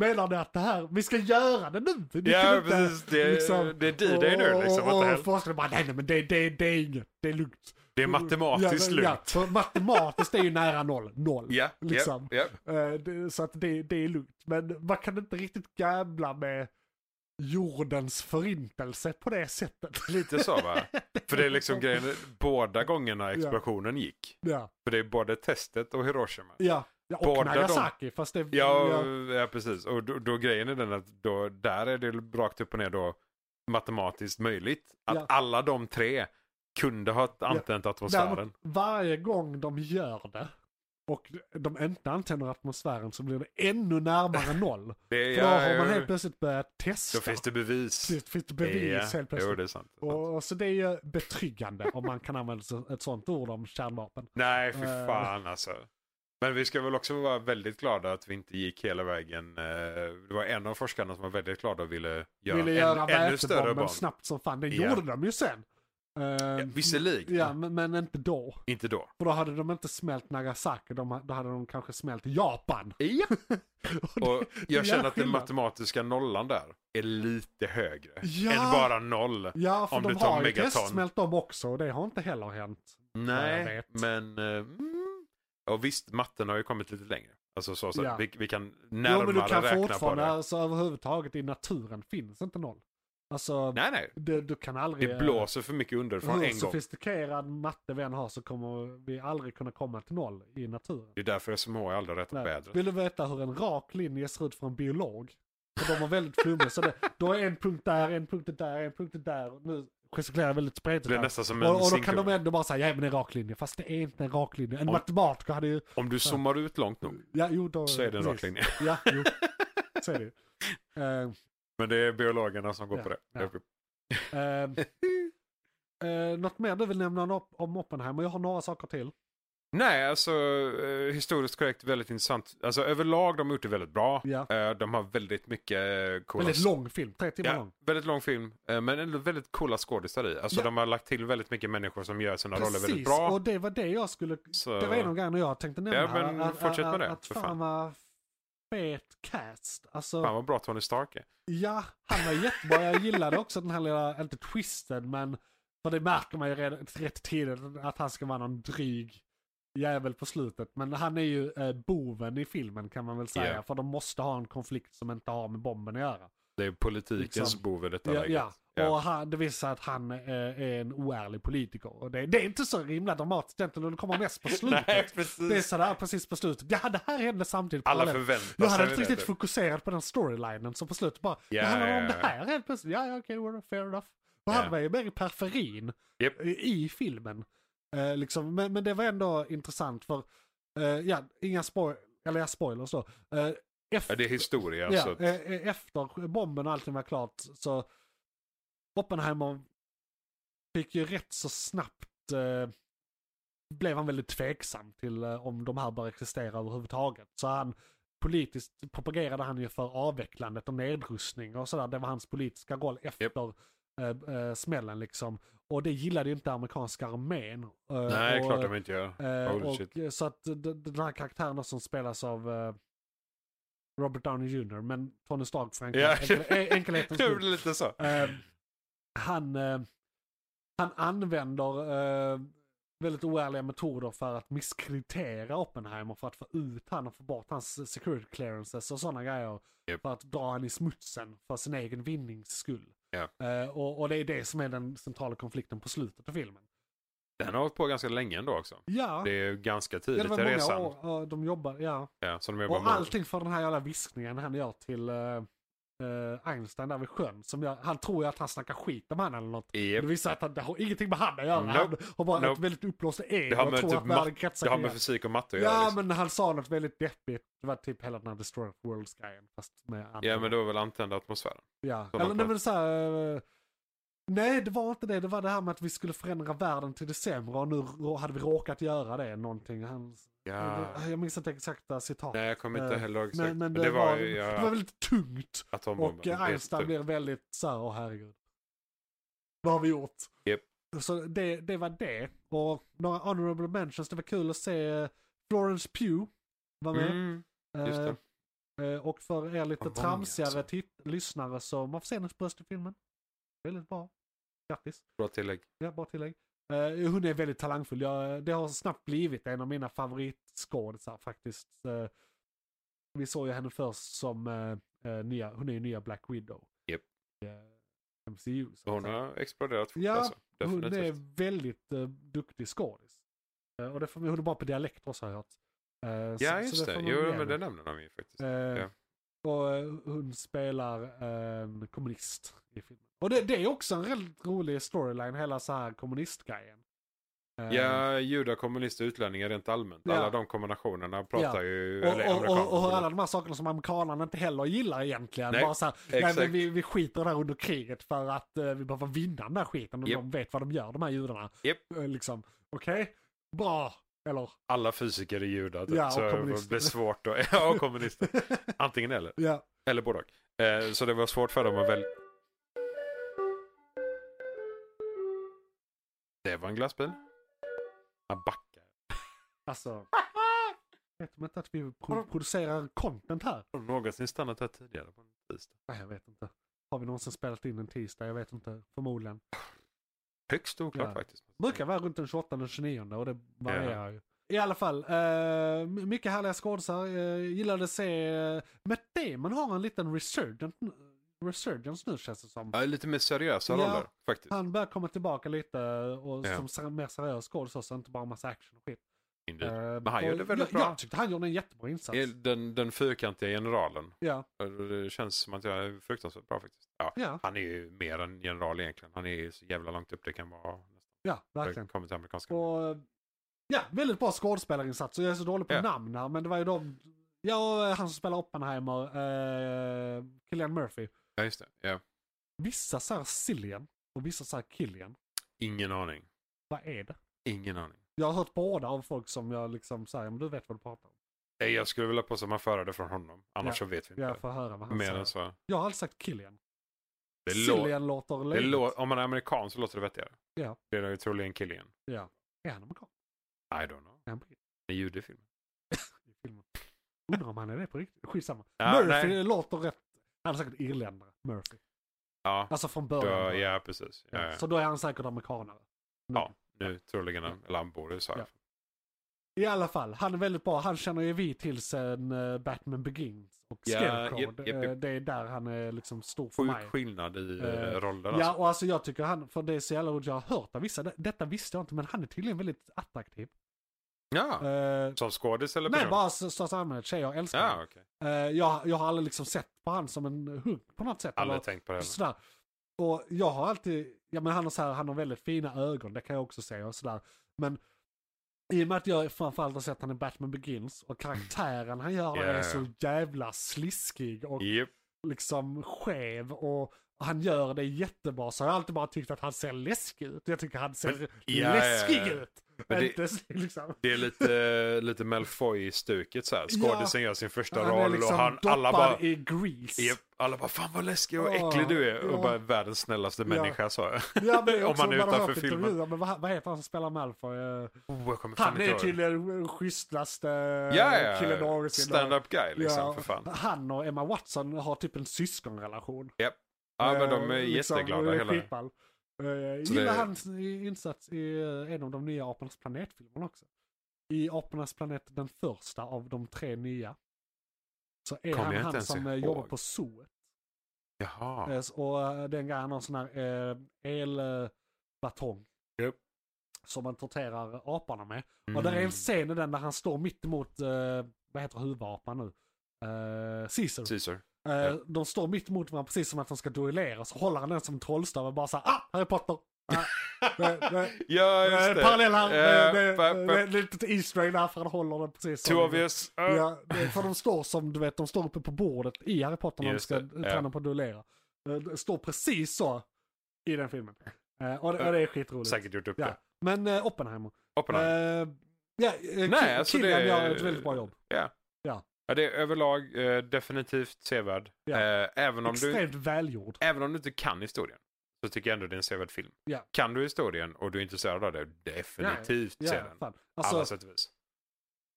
Menar ni att det här, vi ska göra det nu? Ni kan ja, inte- precis. Det, liksom- det är D-Day nu liksom. What Och, the och, hell? och forskarna bara, nej, nej men det, det, det är inget, det är lugnt. Det är matematiskt ja, ja, lugnt. för matematiskt är ju nära noll. Noll. Ja, liksom. ja, ja. Eh, det- Så att det, det är lugnt. Men man kan inte riktigt gambla med jordens förintelse på det sättet. Lite så va? För det är liksom grejen, båda gångerna explosionen gick. Ja, För det är både testet och Hiroshima. ja. ja och Båda de- Nagasaki. Fast det... Ja, ja precis. Och då, då grejen är den att då, där är det rakt upp och ner då matematiskt möjligt. Att Ja. alla de tre kunde ha antänt atmosfären. Däremot, varje gång de gör det och de inte antänder atmosfären så blir det ännu närmare noll. Det, För då har man ja, helt plötsligt börjat testa. då finns det bevis. Det finns det bevis Ja, helt Jo, plötsligt. det är sant. Det är sant. och, och så det är ju betryggande om man kan använda så- ett sånt ord om kärnvapen. Nej, för Eh. fan alltså. Men vi ska väl också vara väldigt glada att vi inte gick hela vägen. eh, Det var en av forskarna som var väldigt glad och ville göra Ville en göra ännu större vätebomben bomb. snabbt som fan. Det Ja. gjorde de ju sen. Eh, Ja, Visserligen, ja, men, men inte då. inte då. För då hade de inte smält Nagasaki, de, då hade de kanske smält Japan. det- Och det är jag känner att den skillnad. matematiska nollan där är lite högre Ja. än bara noll. Ja, för Om de du tar har ju megaton. testsmält dem också och det har inte heller hänt. jag Nej, vet. men... eh, Mm. Och visst, matten har ju kommit lite längre. Alltså så, så Ja. vi, vi kan Jo, närmare men du kan räkna på fortfarande, det. alltså överhuvudtaget i naturen finns inte noll. Alltså, Nej, nej. du, du kan aldrig... eh, Det blåser för mycket underifrån Hur en gång. sofistikerad matte vi än har så kommer vi aldrig kunna komma till noll i naturen. Det är därför SMH aldrig rättat Nej. vädret. Vill du veta hur en rak linje ser ut för en biolog? För de var väldigt flummiga. så det, då är en punkt där, en punkt där, en punkt där. Och nu gestikulerar jag väldigt Det spretigt blir här. nästan som en Och, och då kan zinkgubbe. de ändå bara säga, ja men det är en rak linje. Fast det är inte en rak linje. En Om- matematiker hade ju... Om du zoomar ut långt nog Ja, jo, då, så är det en precis. rak linje. Ja, jo. Så är det ju. Eh, Men det är biologerna som går Ja, på det. ja. ehm, eh, något mer du vill nämna om, om Oppenheimer? Jag har några saker till. Nej, alltså eh, historiskt korrekt, väldigt intressant. Alltså överlag, de har gjort det väldigt bra. Ja. Eh, de har väldigt mycket eh, coola... Väldigt lång film, tre timmar Ja, lång. väldigt lång film, eh, men ändå väldigt coola skådisar i. Alltså Ja. de har lagt till väldigt mycket människor som gör sina roller väldigt Precis, bra. och det var det jag skulle... Så... Det var en av grejerna jag tänkte nämna. Ja, men att, fortsätt med att, det, Att för fan, fan. vad fet cast. Alltså, Fan vad bra Tony Stark är. ja, han var jättebra. Jag gillade också den här lilla, inte twisten, men... För det märker man ju redan rätt tidigt att han ska vara någon dryg jävel på slutet. Men han är ju eh, boven i filmen kan man väl säga. Ja. För de måste ha en konflikt som inte har med bomben att göra. Det är politikens Liksom. bov i detta Ja, läget. ja. Ja. och han, det visar sig att han eh, är en oärlig politiker. Och det, det är inte så himla dramatiskt egentligen, och det kommer mest på slutet. Nej, Det är precis. sådär precis på slutet. Ja, det här hände samtidigt. Alla parallellt. förväntar sig Jag hade inte det. riktigt fokuserat på den storylinen som på slutet bara, Ja, det handlar ja, om ja. det här helt plötsligt. Ja, ja, okej, okay, fair enough. Och Ja. han var ju mer i periferin Japp. eh, i filmen. Eh, liksom. men, men det var ändå intressant för, eh, ja, inga spoil eller ja, spoilers då. Eh, Ja, det är historia. så att- Ja, eh, eh, efter bomben och allting var klart så Oppenheimer fick ju rätt så snabbt eh, blev han väldigt tveksam till eh, om de här bör existera överhuvudtaget. Så han politiskt propagerade han ju för avvecklandet och nedrustning och sådär. Det var hans politiska roll efter eh, eh, smällen liksom. Och det gillade ju inte amerikanska armén. Eh, Nej, och, klart de inte gör. Eh, Holy och, shit. eh, så att d- d- den här karaktären då som spelas av eh, Robert Downey Jr. men Tony Stark för enkel, Ja. enkel, eh, enkelhetens Det är skull. lite så. Eh, han, eh, han använder eh, väldigt oärliga metoder för att misskreditera Oppenheimer för att få ut han och få bort hans security clearances och sådana grejer. Japp. För att dra han i smutsen för sin egen vinnings skull. Ja. Eh, och, och det är det som är den centrala konflikten på slutet av filmen. Den har hållit på ganska länge ändå också. Ja, Det är ju ganska ja, tidigt det i var många resan. år ja, de jobbade, ja. Ja, som de jobbar Och med. allting för den här jävla viskningen han gör till eh, eh, Einstein där vid sjön. Som jag, han tror ju att han snackar skit om han eller något. Japp. Det visar att han, det har ingenting med han att göra. Nope. Han har bara ett Nope. väldigt uppblåst ego Det har och med, tror typ att världen mat- kretsar det har kring med det. fysik och matte att göra. Ja, Liksom. men han sa något väldigt deppigt. Det var typ hela den här Destroy of Worlds-grejen. Fast med Ja, andra- men då väl antända atmosfären. Ja, Sådana eller nej plan. men såhär... Nej, det var inte det. Det var det här med att vi skulle förändra världen till det sämre och nu rå- hade vi råkat göra det någonting. Han, Ja. Eh, Jag minns inte exakta citat. Nej, jag kommer inte Eh, heller ihåg exakt. Men, men det, det var, var ju det var ja, väldigt tungt. atombomben. Och Det är typ. eh, Einstein jättetungt. blir väldigt så här, åh herregud. Vad har vi gjort? Japp. Så det, det var det. Och några honorable mentions, det var kul att se eh, Florence Pugh var med. Mm, just det. Eh, eh, Och för er lite Vad många, tramsigare alltså. titt- lyssnare så man får se hennes bröst i filmen. Väldigt bra. Grattis. Bra tillägg. Ja, bra tillägg. Eh, hon är väldigt talangfull. Jag, det har snabbt blivit en av mina favoritskådisar faktiskt. Eh, vi såg ju henne först som eh, eh, nya, hon är ju nya Black Widow. Japp. I, eh, MCU. så att Hon säga. har exploderat fort Ja, alltså. Hon Definitivt. är väldigt eh, duktig skådis. Eh, och det får, hon är bra på dialekter också har jag hört. Eh, så- Ja, så just det. får man Jo, ge men henne. det nämner de ju faktiskt. Eh, Och eh, hon spelar en kommunist i filmen. Och det, det är också en väldigt rolig storyline, hela så här kommunistgrejen. Eh, Ja, judar, kommunister, utlänningar rent allmänt. Ja. Alla de kombinationerna pratar Ja. ju... Och, och, amerikaner. och, och alla de här sakerna som amerikanerna inte heller gillar egentligen. Nej, bara så här, nej, men exakt. vi, vi skiter i det här under kriget för att eh, vi behöver vinna den där skiten. Och Japp. de vet vad de gör, de här judarna. Japp. Eh, liksom, okej, bra. Eller, Alla fysiker är judar. typ. Ja, och så det kommunister. blir svårt att... Ja, och kommunister. Antingen eller. ja. Eller både och. eh, Så det var svårt för dem att välja... Det var en glassbil. Han backar. Alltså, vet de inte att vi pro- producerar content här? Har de någonsin stannat här tidigare på en tisdag? Nej, jag vet inte. Har vi någonsin spelat in en tisdag? Jag vet inte. Förmodligen. Högst oklart Ja. faktiskt. Brukar vara runt den 28 den 29 och det varierar Ja. ju. I alla fall, eh, mycket härliga skådisar. Eh, gillade att se... Eh, Matt Damon har en liten resurgent, resurgence nu känns det som. Ja, lite mer seriösa Ja. roller faktiskt. Han börjar komma tillbaka lite och Ja. som ser- mer seriös skådis också, inte bara massa action och skit. Indeed. Eh, Men han och gjorde väldigt jag, bra. Jag tyckte han gjorde en jättebra insats. Den, den fyrkantiga generalen. Ja, Det känns som att jag är fruktansvärt bra faktiskt. Ja, ja, han är ju mer än general egentligen. Han är ju så jävla långt upp det kan vara. ja, verkligen. Verkligen. Kommer till amerikanska. Och, ja, väldigt bra skådespelarinsats. Jag är så dålig på Ja. namn här, men det var ju de... Ja, han som spelar Oppenheimer, eh, Killian Murphy. Ja, just det. Ja. Vissa säger Cillian och vissa säger Killian. Ingen aning. Vad är det? Ingen aning. Jag har hört båda av folk som jag liksom säger, men du vet vad du pratar om. Nej, jag skulle vilja påstå att man förde från honom. Annars Ja. alltså. så vet vi inte. Jag får höra vad han mer säger. än så. Jag har alltid sagt Killian. Det lå- Cillian låter det löjligt. lå- om man är amerikan så låter det vettigare. Ja. Det är ju troligen Killian. Ja. Är han amerikan? I don't know. Är han britt Det är jude i filmen. i filmen? Undrar om han är det på riktigt? Skitsamma. Ja, Murphy nej. låter rätt. Han är säkert irländare, Murphy. Ja, Alltså från då, början. bara. ja precis. Ja, Ja, ja. Så då är han säkert amerikanare. Eh. ja nu troligen. Eller han bor i USA. Mm. Ja. I alla fall, han är väldigt bra. Han känner ju vi till sen eh, Batman Begins och Ja, Scarecrow. japp, japp, Eh, japp. Det är där han är liksom stor för mig. Sjuk skillnad i Eh, uh, rollerna. Ja, och alltså jag tycker han, för det är så jävla roligt, jag har hört av vissa, det- detta visste jag inte, men han är tydligen väldigt attraktiv. ja. Eh, Som skådis eller nej, person? bara så- största allmänhet, tjejer älskar honom. Ja, okej. Eh, jag, jag har aldrig liksom sett på han som en hunk på något sätt. eller- Aldrig tänkt på det heller. Sådär. Och jag har alltid, ja men han har, så här, han har väldigt fina ögon, det kan jag också säga och sådär. Men i och med att jag framförallt har sett han i Batman Begins och karaktären han gör Ja. är så jävla sliskig och Japp. liksom skev och han gör det jättebra så har jag alltid bara tyckt att han ser läskig ut. Jag tycker han ser Men- ja, ja, ja. läskig ut. Men det- Inte s- liksom. Det är lite, eh, lite Malfoy-stuket så här. Skådisen gör sin första Han är roll liksom och han, doppad alla bara... i grease. Japp, alla bara fan vad läskig och Ja, äcklig du är. Och ja. bara världens snällaste människa Oh, sa jag. Ja, men Om också, man är man har utanför hört filmen. intervjuer, Men vad, vad heter han som spelar Malfoy? Eh, Oh, jag kommer fan Han inte är eh, ihåg. tydligen den schysstaste ja, killen ja. någonsin. Stand-up guy liksom Ja, för fan. Han och Emma Watson har typ en syskonrelation. Ja men de är Eh, liksom, jätteglada det är hela skitball. Eh, Så gillar det- hans i- insats i eh, en av de nya Apornas planet-filmerna också. I Apornas planet, den första av de tre nya. Så är Kommer jag han inte han ens som eh, ihåg. jobbar på zoo. Jaha. Eh, s- Och eh, den grejen har en sån här eh, elbatong. Japp. Som man torterar aporna med. Och Mm. där är en scen i den där han står mitt emot, eh, vad heter huvudapan nu? Eh, Caesar. Caesar. Eh, ja. De står mitt emot varandra precis som att de ska duellera. Så håller han den som en trollstav och bara såhär, ah, Harry Potter! Ah, det- det- Ja det är just en det. Parallell här, Eh, det- det- pa- det pa- det är ett litet Easter egg där för han håller den precis Too som- obvious. Ah. Ja, det- för de står som du vet, de står uppe på bordet i Harry Potter när de Just ska det, ja. träna på att duellera. Eh, det Står precis så i den filmen. Eh, Och det, och det är skitroligt. Säkert gjort upp Ja. det. Men eh, Oppenheimer. Oppenheimer. Eh, ja, eh, Nej, Nej, alltså Killian det- gör ett väldigt bra jobb. Ja, det är överlag eh, definitivt sevärd. Ja. Eh, även om du Extremt välgjord. Även om du inte kan historien så tycker jag ändå det är en sevärd film. Ja. Kan du historien och du är intresserad av det, definitivt Ja, se den. fan. Alla Alltså, sätt och vis.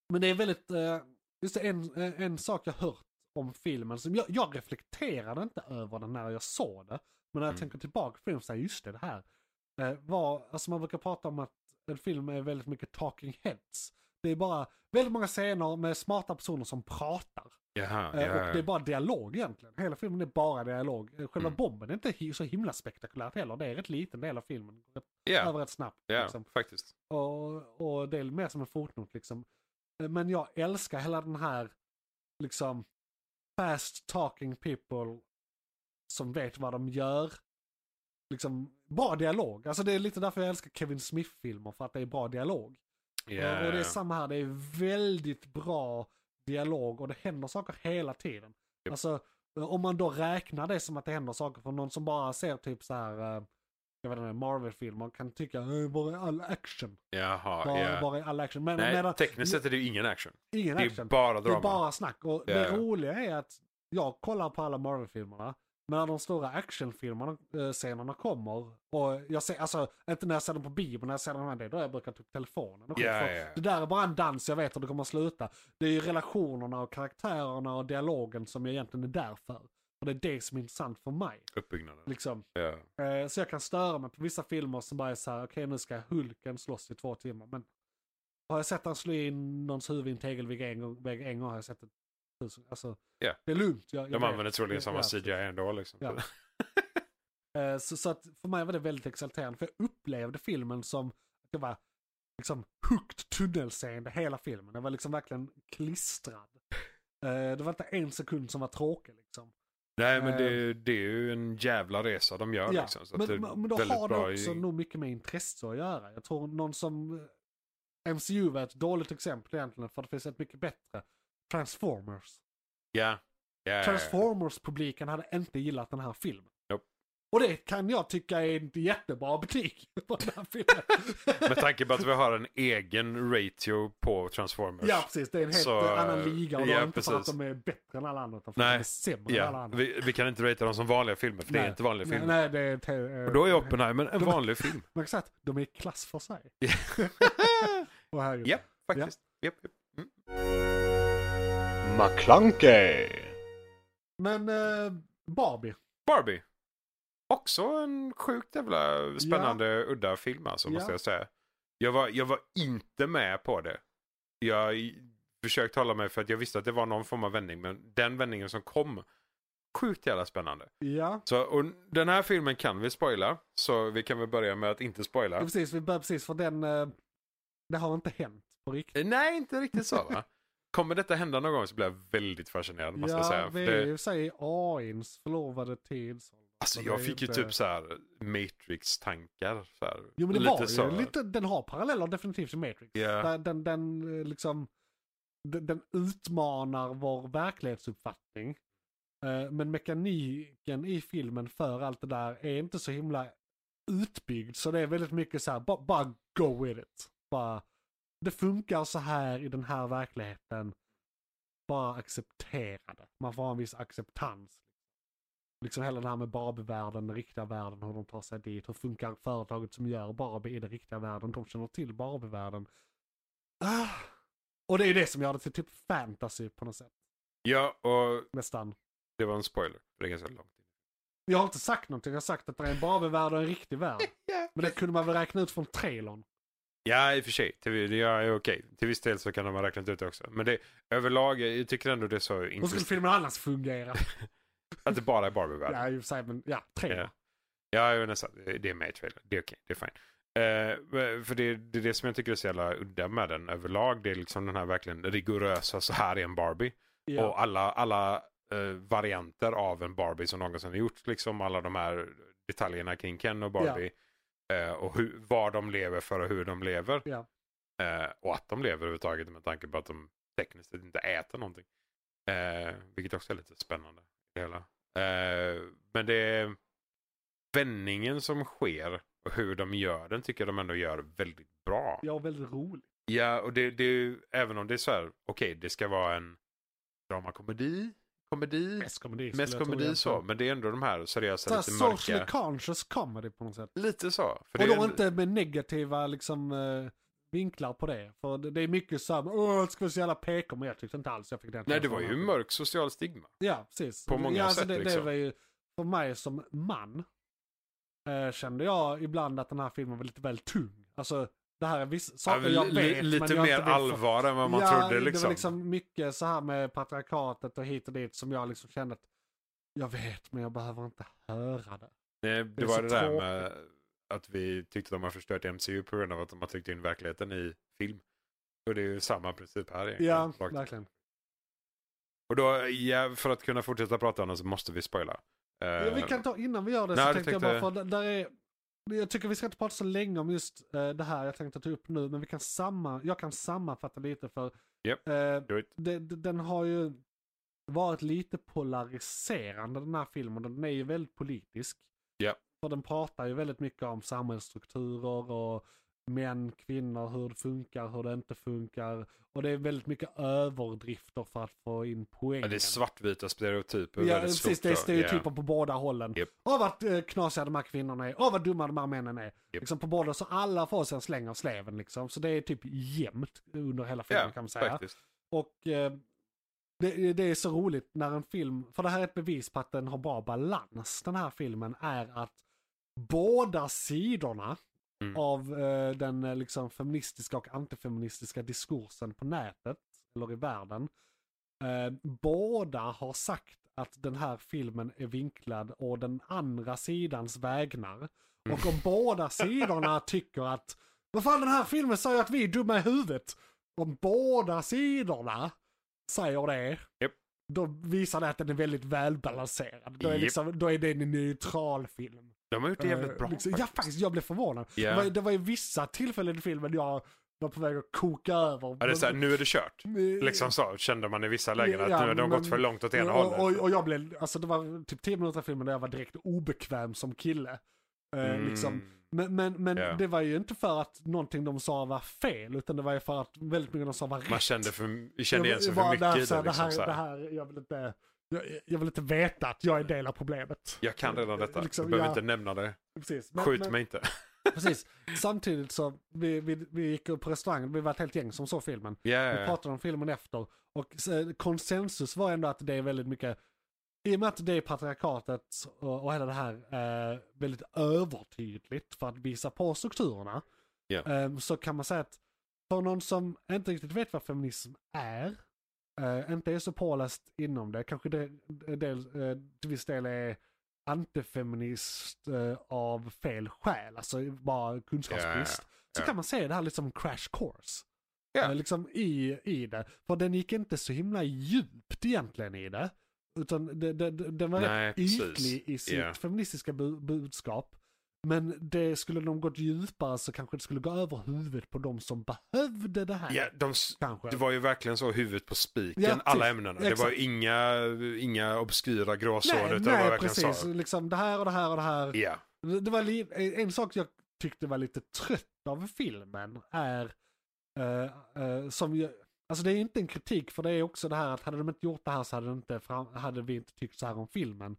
men det är väldigt, eh, just det, en, eh, en sak jag hört om filmen, som jag, jag reflekterade inte över den när jag såg det. Men när jag Mm. tänker tillbaka på filmen så här, just det, det här. eh, var, alltså man brukar prata om att en film är väldigt mycket talking heads. Det är bara väldigt många scener med smarta personer som pratar. Jaha, Eh, ja, Och det är bara dialog egentligen. Hela filmen är bara dialog. Eh, Själva Mm. bomben är inte hi- så himla spektakulärt heller. Det är rätt liten del av filmen. Rätt- ja, Över rätt snabbt. ja, Liksom. faktiskt. Och, och det är mer som en fotnot liksom. Eh, Men jag älskar hela den här liksom fast talking people som vet vad de gör. Liksom bra dialog. Alltså det är lite därför jag älskar Kevin Smith-filmer för att det är bra dialog. Och, och det är samma här, det är väldigt bra dialog och det händer saker hela tiden. Japp. Alltså om man då räknar det som att det händer saker för någon som bara ser typ så här eh, jag vet inte, Marvel-filmer kan tycka, "Eh, var är all action? Jaha, Var, ja. var är all action? Men Nej, medan, tekniskt sett är det ju ingen action. ingen Det är action. bara Det drama. är bara snack. Och Ja, ja. det roliga är att jag kollar på alla Marvel-filmerna. Men när de stora actionfilmerna, eh, scenerna kommer. Och jag ser, alltså inte när jag ser dem på bio, men när jag ser dem här, det är då jag brukar ta upp telefonen. Och skit. Ja, För ja, ja. Det där är bara en dans jag vet hur det kommer att sluta. Det är ju relationerna och karaktärerna och dialogen som jag egentligen är där för. Och det är det som är intressant för mig. Uppbyggnaden. Liksom. Ja. Eh, Så jag kan störa mig på vissa filmer som bara är så här, okej nu ska Hulken slåss i två timmar. Men har jag sett han slå in någons huvud i en tegelvägg en gång, vägg en gång har jag sett det tusen. Alltså, Ja. det är lugnt. Jag, jag De vet. använder troligen Ja, samma ja, CGI ändå. Liksom. Ja. Eh, Så, så att för mig var det väldigt exalterande. För jag upplevde filmen som, att jag var liksom hooked tunnelseende hela filmen. Jag var liksom verkligen klistrad. Eh, Det var inte en sekund som var tråkig liksom. Nej, men det, det är ju en jävla resa de gör. Ehm. Ja, Liksom, så att men, det är men men då väldigt har bra det i- också nog mycket med intresse att göra. Jag tror någon som... eh, MCU var ett dåligt exempel egentligen för det finns ett mycket bättre. Transformers. Ja. ja. Transformers-publiken hade inte gillat den här filmen. Japp. Och det kan jag tycka är en jättebra betyg på den här filmen. Med tanke på att vi har en egen ratio på Transformers. ja, precis. Det är en helt Så, eh, annan liga och ja, det är inte för att precis. de är bättre än alla andra utan för Nej, att de är sämre än alla Ja, andra. vi, vi kan inte ratea dem som vanliga filmer, för det är Nej. inte vanliga Nej, filmer. nej, det är... te- Och då är Oppenheimer en De- vanlig film. Man kan säga att de är i klass för sig. Ja. och här är ju- Japp, faktiskt. Japp, japp. McClunkey! Men eh, Barbie. Barbie. Också en sjukt jävla spännande, udda film alltså, måste Ja. jag säga. Jag var, jag var inte med på det. Jag i- försökte hålla mig för att jag visste att det var någon form av vändning, men den vändningen som kom, sjukt jävla spännande. Ja. Så, och den här filmen kan vi spoila, så vi kan väl börja med att inte ja, spoila. precis. Vi börjar precis för den... Eh, det har inte hänt på riktigt. Eh, Nej, inte riktigt så va? Kommer detta hända någon gång så blir jag väldigt fascinerad, måste jag Ja, säga. För vi det- är ju sig AIns förlovade tidsålder. Alltså Så jag det är fick ju inte- typ så här Matrix-tankar. Så här. Jo men det lite var ju så. lite, den har paralleller definitivt till Matrix. Ja. Där Den, den eh, liksom, den, den utmanar vår verklighetsuppfattning. Eh, Men mekaniken i filmen för allt det där är inte så himla utbyggd. Så det är väldigt mycket så här, bara, bara go with it. Bara, det funkar så här i den här verkligheten. Bara acceptera det. Man får ha en viss acceptans. Liksom hela det här med Barbie-världen, den riktiga världen, hur de tar sig dit, hur funkar företaget som gör Barbie i den riktiga världen, de känner till Barbie-världen. Ah. Och det är ju det som gör det till typ fantasy på något sätt, Ja, och nästan. det var en spoiler. Det är ganska långt. Jag har inte sagt någonting, jag har sagt att det är en Barbie-värld och en riktig värld. Men det kunde man väl räkna ut från trailern. Ja, i och för sig. Till, det är okej. Till viss del så kan de ha räknat ut det också. Men det, överlag, jag tycker ändå det är så Hur skulle intressant filmen annars fungera? att det bara är Barbie-världen. ja, i och för sig, men ja, trailer. Ja. Ja, jag är nästan. Det är med i trailern. Det är okej. Det är fine. Eh, för det, det är det som jag tycker är så jävla udda med den överlag. Det är liksom den här verkligen rigorösa, så här är en Barbie. Ja. Och alla, alla eh, varianter av en Barbie som någonsin har gjorts. Liksom alla de här detaljerna kring Ken och Barbie. Eh, och hur, vad de lever för och hur de lever. Ja. Eh, och att de lever överhuvudtaget med tanke på att de tekniskt sett inte äter någonting. Eh, vilket också är lite spännande. i Det hela. Eh, men det är vändningen som sker och hur de gör den tycker jag de ändå gör väldigt bra. ja, väldigt roligt. Ja, och det, det är ju, även om det är så här, okej, det ska vara en dramakomedi, komedi, Mest komedi. skulle mest jag alltså. tro komedi så, egentligen. men det är ändå de här seriösa, Så här lite mörka. socially conscious comedy på något sätt. Lite så. För och det då är en- inte med negativa liksom, eh, vinklar på det. För det, det är mycket så här, åh, det ska vara så jävla PK, men jag tyckte inte alls jag fick den. Nej, det känslan. var ju mörk social stigma. Ja, precis. på många ja, alltså sätt, det, det liksom. var ju, för mig som man, eh, kände jag ibland att den här filmen var lite väl tung. Alltså, det här är vissa saker Ja, jag li- vet, men lite jag mer inte vill få- allvar än vad man ja, trodde det liksom. var liksom mycket så här med patriarkatet och hit och dit som jag liksom kände att jag vet, men jag behöver inte höra det. Nej, det, är var så det där med att vi tyckte de har förstört MCU på grund av att de har tryckt in verkligheten i film. Och det är ju samma princip här egentligen. Ja, rakt. verkligen. Och då, ja, för att kunna fortsätta prata om den så måste vi spoila. Eh, Ja, vi kan ta, innan vi gör det nej, så det tänkte jag bara, tänkte- för d- där är, jag tycker vi ska inte prata så länge om just eh, det här jag tänkte ta upp nu, men vi kan samma, jag kan sammanfatta lite för Japp. eh, Do it. det, det- den har ju varit lite polariserande den här filmen. Den är ju väldigt politisk. Ja. För den pratar ju väldigt mycket om samhällsstrukturer och män, kvinnor, hur det funkar, hur det inte funkar. Och det är väldigt mycket överdrifter för att få in poängen. Ja, det är svartvita stereotyper. Ja, väldigt precis. stort Det är då. stereotyper Ja. på båda hållen. Japp. Åh vad eh, knasiga de här kvinnorna är. Åh vad dumma de här männen är. Liksom på båda, så alla får sig en släng av sleven liksom. Så det är typ jämnt under hela filmen Ja, kan man säga. faktiskt. Och eh, det, det är så roligt när en film, för det här är ett bevis på att den har bra balans, den här filmen, är att båda sidorna Mm. av eh, den eh, liksom feministiska och antifeministiska diskursen på nätet, eller i världen, eh, båda har sagt att den här filmen är vinklad och den andra sidans Mm. vägnar. Och om båda sidorna tycker att, vad fan den här filmen säger att vi är dumma i huvudet. Om båda sidorna säger det, Japp. då visar det att den är väldigt välbalanserad. Då är, Japp. liksom, då är det en neutral film. De har gjort det jävligt Eh, bra liksom, Ja, faktiskt. faktiskt. Jag blev förvånad. Ja. Det, var, det var ju vissa tillfällen i filmen jag var på väg att koka över. Ja, det är så här, nu är det kört. Men- Liksom så kände man i vissa lägen att Eh, Ja, nu har de men- gått för långt åt ena och, hållet. och, och jag blev, alltså det var typ 10 minuter i filmen där jag var direkt obekväm som kille. Eh, Mm. liksom. Men, men, men Ja. det var ju inte för att någonting de sa var fel, utan det var ju för att väldigt mycket de sa var rätt. Man kände, för, kände igen sig Jag var för mycket där, i så det. Liksom, här, det, så här, det här. här, jag vill inte, jag, jag vill inte veta att jag är del av problemet. Jag kan redan detta, Liksom, du behöver ja. inte nämna det. Precis. Men- Skjut men- mig inte. Precis. Samtidigt så, vi, vi, vi gick upp på restaurangen, vi var ett helt gäng som såg filmen. Ja, ja, Vi ja. pratade om filmen efter. Och eh, konsensus var ändå att det är väldigt mycket, i och med att det är patriarkatet och, och hela det här eh, väldigt övertydligt för att visa på strukturerna. Ja. Eh, så kan man säga att för någon som inte riktigt vet vad feminism är, eh, inte är så påläst inom det, kanske det, del, eh, till viss del är antifeminist eh, av fel skäl, alltså bara kunskapsbrist. Ja, Så ja. kan man se det här liksom crash course. Ja. Eh, Liksom i, i det. För den gick inte så himla djupt egentligen i det. Utan det, det, det, den var Nej, rätt precis. ytlig i sitt Ja. feministiska bu- budskap. Men det skulle de gått djupare så kanske det skulle gå över huvudet på de som behövde det här. Ja, de, s- Kanske. det var ju verkligen så huvudet på spiken, Ja, precis. alla ämnena. Det var Exakt. ju inga, inga obskyra gråzoner. nej, utan det var nej verkligen precis. så. Liksom det här och det här och det här. Ja, Det det var li- en sak jag tyckte var lite trött av filmen är eh, eh, som jag, alltså det är inte en kritik för det är också det här att hade de inte gjort det här så hade, det inte fram, hade vi inte tyckt så här om filmen.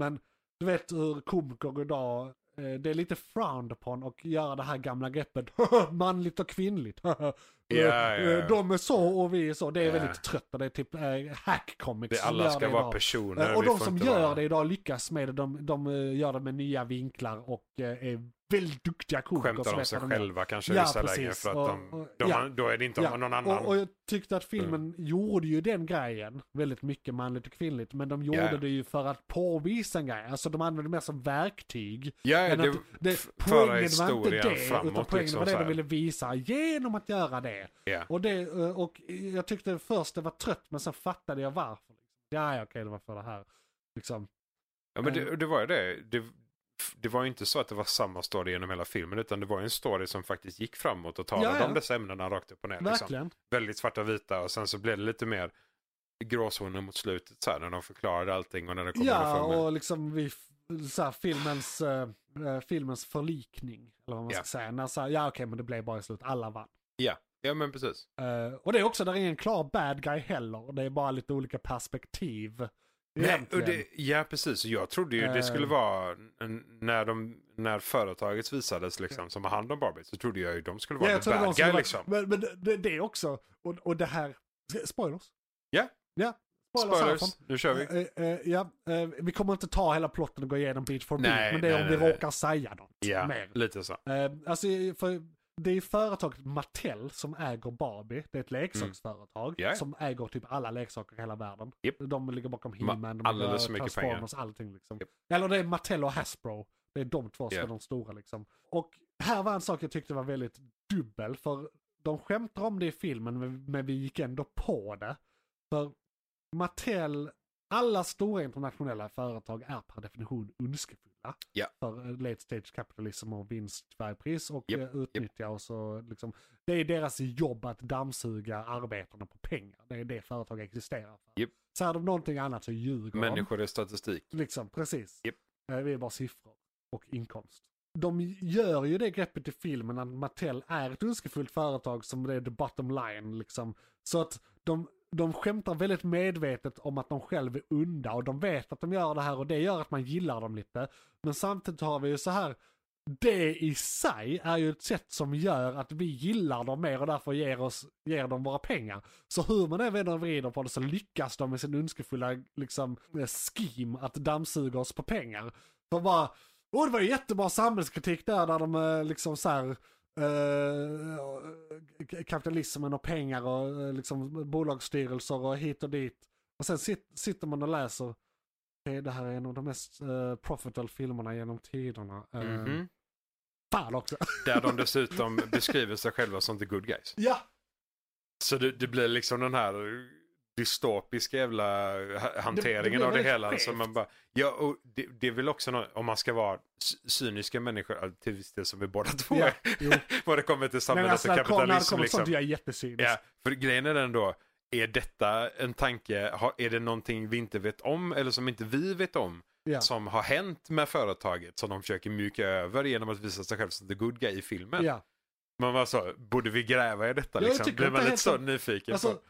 Men du vet hur komiker idag, eh, det är lite frowned upon och göra det här gamla greppet manligt och kvinnligt. Eh, ja, ja. eh, De är så och vi är så, det är Ja. väldigt trött och det är typ eh, hack det, comics som alla gör ska det vara idag. personer. Eh, och vi de får som inte gör vara- det idag lyckas med det. De, de eh, gör det med nya vinklar och eh, är väldigt duktiga komiker. Skämtar som om vet sig vad de gör. själva kanske i Ja, vissa precis. lägen. För att Och- de, och- de, ja. Då är det inte Ja. någon annan. Mm. Och, och jag tyckte att filmen gjorde ju den grejen väldigt mycket manligt och kvinnligt. Men de gjorde Ja. det ju för att påvisa en grej. Alltså de använde det mer som verktyg. ja, än det, att det, f- föra poängen var inte historien det, utan framåt. poängen liksom, var det så de här. ville visa genom att göra det. Ja. Och, det, eh, och jag tyckte först det var trött men sen fattade jag varför. Ja, ja, okej, det var för det här. Liksom. Ja, men Eh. det, det var ju det. det. Det var ju inte så att det var samma story genom hela filmen utan det var ju en story som faktiskt gick framåt och talade Ja, ja. om dessa ämnena rakt upp och ner. Liksom. Verkligen. Väldigt svarta och vita och sen så blev det lite mer gråzoner mot slutet så här när de förklarade allting och när det kom Ja, underfund med- och liksom vi, f- så här, filmens, eh, eh, filmens förlikning. Eller vad man Ja. ska säga. När, så här, ja, okej, men det blev bara i slut. Alla vann. ja. ja, men precis. Eh, och det är också, där är ingen klar bad guy heller. Det är bara lite olika perspektiv. Nej, och egentligen. det, ja, precis. Jag trodde ju Eh. det skulle vara n- när, de, när företaget visades liksom, som har hand om Barbie så trodde jag ju de skulle vara Ja, ja, jag tror det var bad de som guy var- liksom. Men, men det, det är också, och, och det här, spoilers. Ja. Ja, spoilers, Spoilers, härifrån. nu kör vi. Eh, eh, ja, eh, vi kommer inte ta hela plotten och gå igenom bit för bit, Nej, men det är nej, om nej, vi nej. råkar säga något Ja, mer. lite så. Eh, alltså, för det är företaget Mattel som äger Barbie. Det är ett leksaksföretag Mm. Ja, ja. som äger typ alla leksaker i hela världen. Japp. De ligger bakom Ma- He-Man, de alldeles ligger så mycket Transformers, allting liksom. Japp. Eller det är Mattel och Hasbro. Det är de två som Ja. är de stora liksom. Och här var en sak jag tyckte var väldigt dubbel, för de skämtar om det i filmen, men- men vi gick ändå på det. För Mattel, alla stora internationella företag är per definition ondskefulla. Ja. För eh, late stage capitalism och vinst till varje pris och Japp, eh, utnyttja och så liksom. Det är deras jobb att dammsuga arbetarna på pengar. Det är det företag existerar för. Japp. Säger de någonting annat så ljuger de. Människor är statistik. Liksom, precis. Japp. Eh, Det är bara siffror och inkomst. De gör ju det greppet i filmen att Mattel är ett ondskefullt företag som det är the bottom line liksom. Så att de, de skämtar väldigt medvetet om att de själv är onda och de vet att de gör det här och det gör att man gillar dem lite. Men samtidigt har vi ju så här, det i sig är ju ett sätt som gör att vi gillar dem mer och därför ger, oss, ger dem våra pengar. Så hur man än vänder och vrider på det så lyckas de med sin ondskefulla liksom, eh, scheme att dammsuga oss på pengar. De bara, åh det var ju jättebra samhällskritik där, där de eh, liksom så här eh, k- kapitalismen och pengar och eh, liksom bolagsstyrelser och hit och dit. Och sen sit, sitter man och läser, "Okej, det här är en av de mest eh, profitable filmerna genom tiderna. Eh, Mhm. Fan också. Där de dessutom beskriver sig själva som the good guys. ja, Så det, det blir liksom den här dystopiska jävla ha- hanteringen blir av det väldigt hela. Så skevt. man bara, ja, och det, det är väl också något, om man ska vara cy- cyniska människor, ja, till viss del som vi båda två Ja, är, jo. vad det kommer till men samhället alltså och när det kommer- när det kapitalism. kommer Liksom. sånt jag är jättesynisk. Ja, för grejen är den då, är detta en tanke, har, är det någonting vi inte vet om eller som inte vi vet om Ja. som har hänt med företaget som de försöker mjuka över genom att visa sig själv som the good guy i filmen? Ja. Man bara så, borde vi gräva i detta? Ja, jag Liksom? tycker Blir inte man lite helt så som- nyfiken? Alltså, på?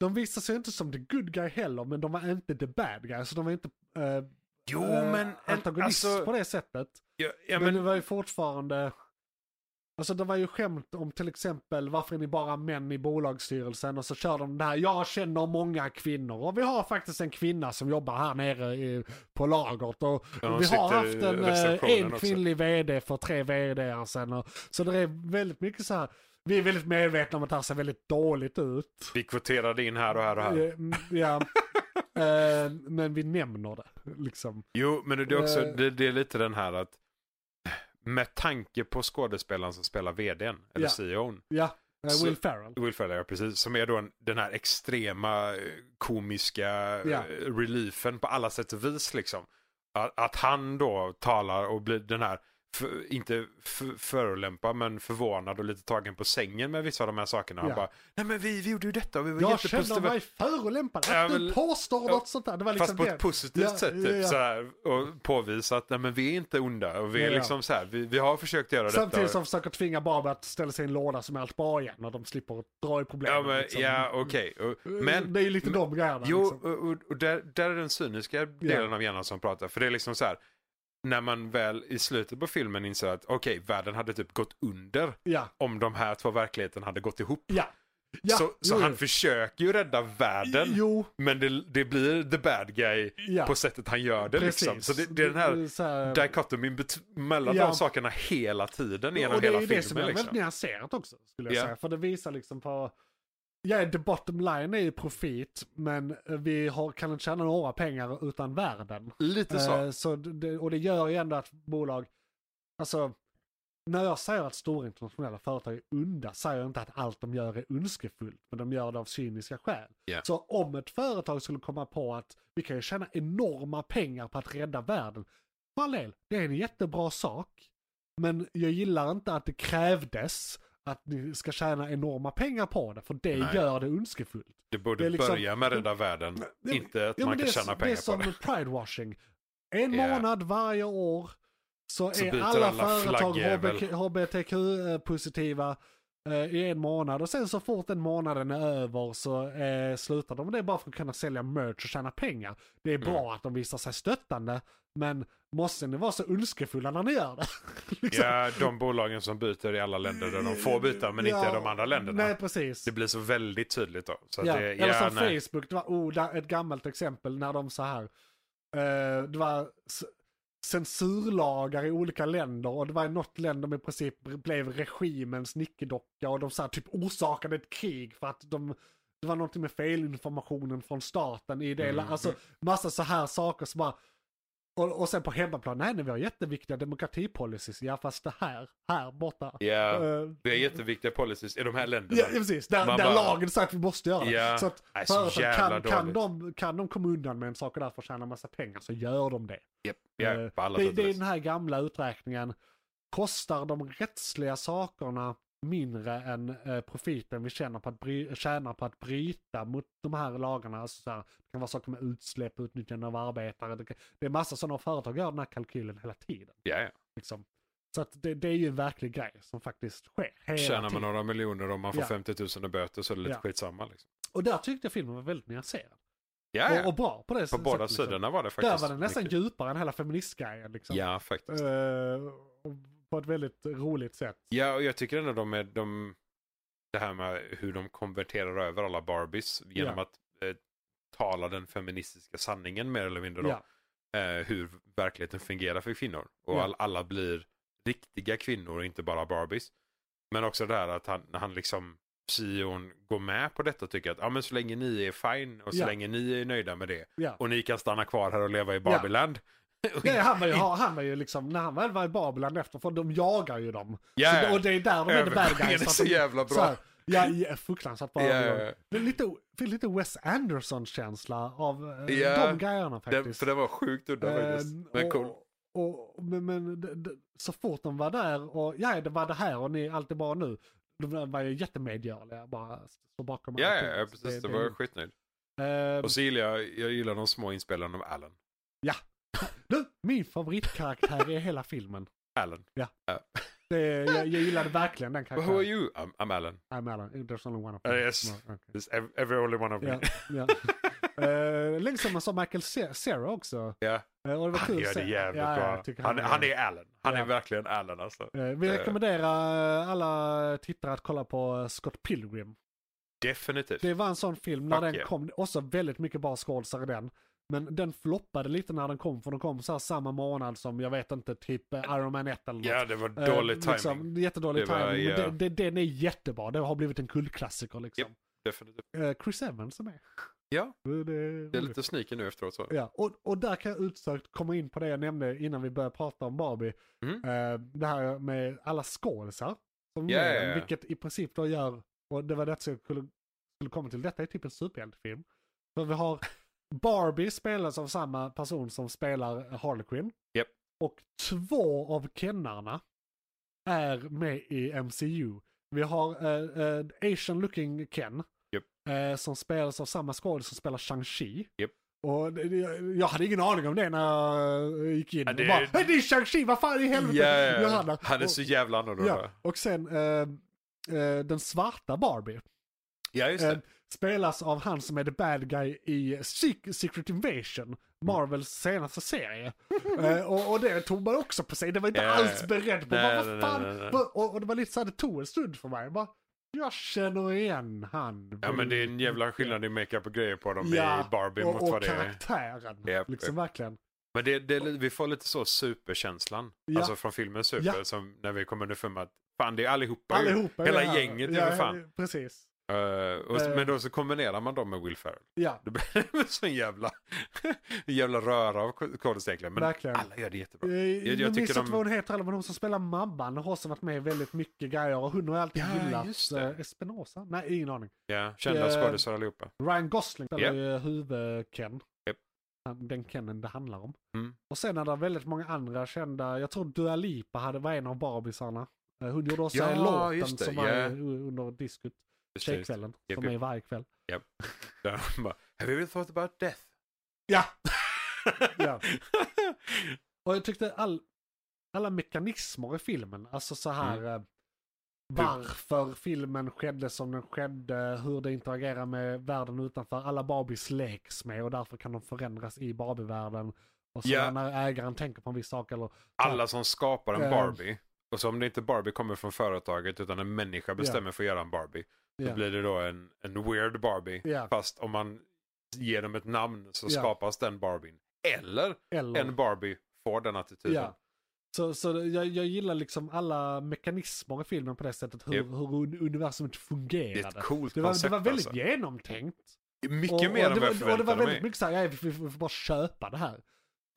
de visade sig inte som the good guy heller, men de var inte the bad guy, så de var inte eh, Jo, eh, men... en- antagonist alltså, på det sättet. ja, ja, men, men, det var ju fortfarande... Alltså det var ju skämt om till exempel varför är ni bara män i bolagsstyrelsen och så kör de det här, jag känner många kvinnor och vi har faktiskt en kvinna som jobbar här nere i, på lagret och Ja, hon vi har sitter i haft en, eh, receptionen en också. kvinnlig vd för tre vd sen och, så det är väldigt mycket så här, vi är väldigt medvetna om att det här ser väldigt dåligt ut. Vi kvoterade in här och här och här. Eh, mm, Ja, Eh, men vi nämner det liksom. Jo, men det är, också, Eh. det, det är lite den här att med tanke på skådespelaren som spelar vdn, eller E Ja. CEOn, Ja, eh, Så- Will Ferrell. Will Ferrell, ja, precis, som är då en, den här extrema eh, komiska Ja. yeah. reliefen på alla sätt och vis liksom. Att, att han då talar och blir den här, för, inte för, förolämpa men förvånad och lite tagen på sängen med vissa av de här sakerna. Ja. Han bara, nej men vi, vi gjorde ju detta och vi var Jag känner jättepositiva. mig förolämpad Ja, att du väl- påstår ja, något sånt där. Det var liksom Fast på det. ett positivt Ja, sätt typ, ja, ja. Så här, och påvisa att nej, men vi är inte onda och vi är Ja, ja. liksom så här, vi, vi har försökt göra detta. Samtidigt som försöker tvinga Barbie att ställa sig i en låda som är allt bra igen när de slipper dra i problemen. Ja, men, liksom. Eh, ja okej. Och- Men det är ju lite men- de grejerna. Jo, liksom. och, och- och där, där är den cyniska delen av hjärnan som pratar. För det är liksom så här, när man väl i slutet på filmen inser att okej, världen hade typ gått under Ja, om de här två verkligheterna hade gått ihop. ja. ja. så så jo, han jo. försöker ju rädda världen, Jo, men det, det blir the bad guy ja. på sättet han gör det precis. liksom. Så det, det är den här är så här- dikotomin bet- mellan Ja. de sakerna hela tiden genom Och det är hela ju det som filmen. är Liksom. väldigt nyanserat också, skulle jag Ja. säga. För det visar liksom på... Ja, the bottom line är ju profit, men vi har, kan inte tjäna några pengar utan världen. Lite så. Eh, Så det, och det gör ju ändå att bolag, alltså när jag säger att stora internationella företag är onda säger jag inte att allt de gör är ondskefullt, men de gör det av cyniska skäl. Ja. Så om ett företag skulle komma på att vi kan ju tjäna enorma pengar på att rädda världen, Parallel, det är en jättebra sak, men jag gillar inte att det krävdes att ni ska tjäna enorma pengar på det, för det Nej. gör det ondskefullt. det borde det är liksom- börja med rädda världen, Ja, inte att ja, man men kan det är- tjäna pengar Det är som på det. pridewashing. En Ja. månad varje år så, Så är byter alla alla företag flaggjävel. HBTQ-positiva eh, i en månad och sen så fort den månaden är över så eh, slutar de med det bara för att kunna sälja merch och tjäna pengar. Det är Mm. bra att de visar sig stöttande men måste ni vara så ondskefulla när ni gör det? Liksom. Ja, de bolagen som byter i alla länder där de får byta men inte Ja, i de andra länderna. Nej precis. Det blir så väldigt tydligt då. Så att Ja. det, Eller ja, som nej. Facebook, det var oh, där, ett gammalt exempel när de så här, eh, det var c- censurlagar i olika länder och det var i något land de i princip blev regimens nickedocka och de så här, typ orsakade ett krig för att de det var någonting med felinformationen från staten i det, Mm. alltså massa så här saker som bara och, och sen på hemmaplan, nej, nej vi har jätteviktiga demokratipolicies, ja fast det här, här borta. Ja, Eh, det är jätteviktiga policies i de här länderna. Ja, ja precis. Där, Man där bara- lagen säger att vi måste göra det. Ja. Så att Nej, så företag jävla kan, kan, dåligt. de, kan de komma undan med en sak och därför tjäna massa pengar så gör de det. Ja, Eh, på alla det, sätt det och är vis. den här gamla uträkningen. Kostar de rättsliga sakerna mindre än eh, profiten vi tjänar på, att bry, tjänar på att bryta mot de här lagarna? Alltså så här, det kan vara saker med utsläpp, utnyttjande av arbetare. Det, kan, det är massa sådana företag gör den här kalkylen hela tiden. Ja, ja. Liksom. Så att det, det är ju en verklig grej som faktiskt sker hela Tjänar tiden. man några miljoner om man får Ja. 50 000 i böter så är det lite Ja. skitsamma. Liksom. Och där tyckte jag filmen var väldigt nyanserad. Ja, ja. Och, och bra på det på sättet, båda liksom. sidorna var det faktiskt. Där var den nästan mycket. djupare än hela feministgrejen. Liksom. Ja, faktiskt. Eh, och på ett väldigt roligt sätt. Ja, och jag tycker ändå de är de... Det här med hur de konverterar över alla Barbies genom Ja. att eh, tala den feministiska sanningen mer eller mindre då. Ja. Eh, hur verkligheten fungerar för kvinnor. Och Ja. all, alla blir riktiga kvinnor och inte bara Barbies. Men också det här att han, när han liksom Sion går med på detta och tycker att ah, men så länge ni är fine och så Ja. länge ni är nöjda med det Ja. och ni kan stanna kvar här och leva i Barbieland. Nej, han, var ju, han var ju liksom, när han väl var i Babylon efter, för de jagar ju dem. Ja, Så, och det är där de är the bad Övergången guys. är att så de- jävla så bra. här, ja, ja, fruktansvärt bra. Ja, övergång. ja, ja. Det är lite, fick lite Wes Anderson-känsla av eh, Ja. de grejerna faktiskt. Den, för den var sjukt udda faktiskt. Ehm, Men och, cool. Och, men men d- d- så fort de var där och ja, det var det här och ni allt är bra nu. De var ju jättemedgörliga, bara står bakom Ja, allting. ja, ja, Så precis. Det är var jag lugnt. skitnöjd. Ehm, Och så gillar jag, jag gillar de små inspelarna av Alan. du, min favoritkaraktär i hela filmen. Alan. Det, jag, jag gillade verkligen den But who are karaktären. you? I'm, I'm Alan. I'm Alan, there's only one of Ah, them. yes. No, okay. This ev- every only one of me. Ja, ja. Eh, Lite som man sa Michael Se- Cera också. Ja. Eh, Och det var Han kul gör att se. det jävligt Ja, ja, bra. jag tycker han, han är Alan. Han Ja. är verkligen Alan alltså. Eh, Vi rekommenderar eh, alla tittare att kolla på eh, Scott Pilgrim. Definitivt. Det var en sån film när Fuck den yeah. kom, också väldigt mycket bra skådisar i den. Men den floppade lite när den kom, för den kom så här samma månad som, jag vet inte, typ eh, Iron Man 1 eller något. Ja, det var Eh, dålig timing. Liksom, jättedålig Det var, timing. ja. Men det, det, den är jättebra, det har blivit en kultklassiker liksom. Definitivt. Eh, Chris Evans är med. Ja. Det, det är Det är roligt. lite sneaky nu efteråt så. Ja, och, och där kan jag utsökt komma in på det jag nämnde innan vi började prata om Barbie. Mm. Eh, det här med alla skådisar. Som Ja, yeah, ja, ja. Vilket i princip då gör, och det var det som jag skulle, skulle komma till, detta är typ en superhjältefilm. För vi har Barbie spelas av samma person som spelar Harley Quinn. Japp. Och två av kennarna är med i MCU. Vi har eh, eh, Asian looking Ken. Japp. eh, som spelas av samma skådis som spelar Shang-Chi. Japp. Och det- det- jag hade ingen aning om det när jag eh, gick in. Ja, och det- bara, "Hej, det är Shang-Chi, vad fan i helvete Ja, gör ja. där?" Han är Och- så jävla Ja, annorlunda. och sen eh, eh, den svarta Barbie Ja, just eh, det. spelas av han som är the bad guy i Sec- Secret Invasion, Marvels senaste serie. eh, och, och det tog man också på sig, det var inte Ja. alls beredd på. Nej, Bara, nej, vad nej, fan? nej, nej. Vad- Och, och det var lite så här, det tog en stund för mig. Bara, jag känner igen han. Ja, men det är en jävla skillnad i makeup och grejer på dem i Barbie och, mot och vad det är. karaktären. Japp, Liksom verkligen. Men det, det, är li- vi får lite så superkänslan. Ja. Alltså från filmen Super. Ja. Som när vi kommer underfund med att fan det är allihopa, ju. Allihopa. är Hela det här. gänget är ja, för fan. Precis. Eh, och, Eh. Men då så kombinerar man dem med Will Ferrell. Ja, Det blir så en jävla, en jävla röra av kodis egentligen. Men Verkligen. alla gör det jättebra. Eh, jag jag tycker minns inte de- vad hon heter, eller men hon som spelar Mabban har också varit med i väldigt mycket grejer och hon har jag alltid Ja, gillat. just det. Eh, Espinosa? Nej, ingen aning. Ja, kända Eh. skådisar allihopa. Ryan Gosling spelar Japp. ju eh, huvud-Ken. Japp. Han- Den Kenen det handlar om. Mm. Och sen är det väldigt många andra kända, jag tror Dua Lipa hade, var en av Barbisarna. Eh, Hon gjorde också Ja, en låten just det, som ja. var u- under diskot, Just det, just det. tjejkvällen, Japp, som japp. är varje kväll. Där de bara, Have you ever thought about death? Ja! Ja. Mm. Och jag tyckte all, alla mekanismer i filmen, alltså så här, eh, varför filmen skedde som den skedde, hur det interagerar med världen utanför. Alla Barbies leks med och därför kan de förändras i Barbie-världen. Och sen Ja. när ägaren tänker på en viss sak eller... Alla som skapar Eh. en Barbie, och så om det inte Barbie kommer från företaget utan en människa bestämmer för att göra en Barbie, då Ja. blir det då en, en weird Barbie. Ja. Fast om man ger dem ett namn så Ja. skapas den Barbien. Eller Eller... en Barbie får den attityden. Ja. Så, så det- jag, jag gillar liksom alla mekanismer i filmen på det sättet. Hur, Japp. hur un- universumet Det är ett fungerade. coolt Det var, koncept det var väldigt alltså. genomtänkt. Mycket och, mer och det än vad jag var, och det var förväntade väldigt mig. mycket såhär, ja, vi, vi, vi får bara köpa det här.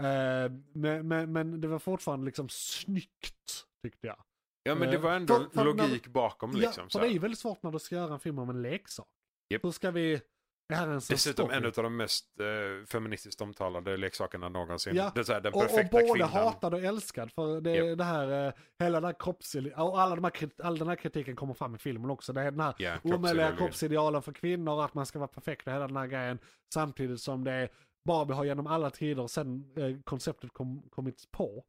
Eh, men, men, men det var fortfarande liksom snyggt, tyckte jag. Ja men det Eh, var ändå för- för när- logik bakom Mm, liksom. ja, så för här. det är ju väldigt svårt när du ska göra en film om en leksak. Japp. Hur ska vi... Det här är en sån Dessutom story. en av de mest eh, feministiskt omtalade leksakerna någonsin. Ja. Det är så här, den Och, och perfekta både kvinnan. hatad och älskad för det, det här, eh, hela den här kroppsidealen, och alla de här, krit- all den här kritiken kommer fram i filmen också. Det är den här Ja, omöjliga kroppsideologin. kroppsidealen för kvinnor, att man ska vara perfekt och hela den här grejen. Samtidigt som det är, Barbie har genom alla tider sen eh, konceptet kom, kommit på,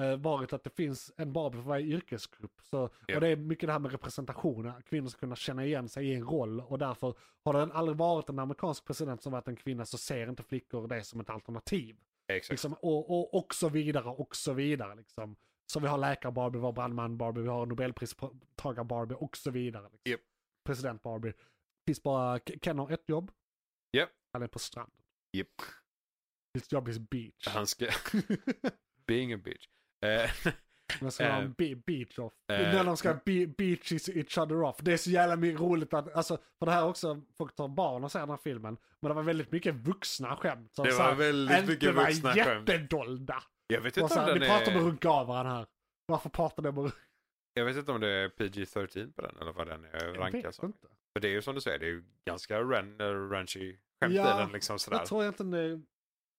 eh, varit att det finns en Barbie för varje yrkesgrupp. Så, Ja. Och det är mycket det här med representation, att kvinnor ska kunna känna igen sig i en roll. Och därför har det aldrig varit en amerikansk president som varit en kvinna så ser inte flickor det som ett alternativ. Exakt. Liksom, och, och, och så vidare, och så vidare. Liksom. Så vi har läkar-Barbie, vi har brandman-Barbie, vi har nobelpristagare-Barbie och så vidare. Liksom. Japp. President-Barbie. Finns bara, K- Ken har ett jobb. Japp. Han är på stranden. Japp. His jobb is beach. Han ska... Being a bitch. Eh, Men så har han Eh. be- beach off. Eh. När de ska be- beach is each other off. Det är så jävla mycket roligt att, alltså, för det här är också, folk tar barn och ser den här filmen. Men det var väldigt mycket vuxna skämt. Som det så här var väldigt Alltså, inte mycket var vuxna skämt. jättedolda. Jag vet Och inte så om här, den ni pratar om att är... runka av varandra här. Varför pratar ni om att Jag vet inte om det är PG-13 på den eller vad den är Jag rankad vet som. inte. För det är ju som du säger, det är ju ganska ran, eh, ranchy skämt Ja, i den liksom sådär. Jag tror egentligen det...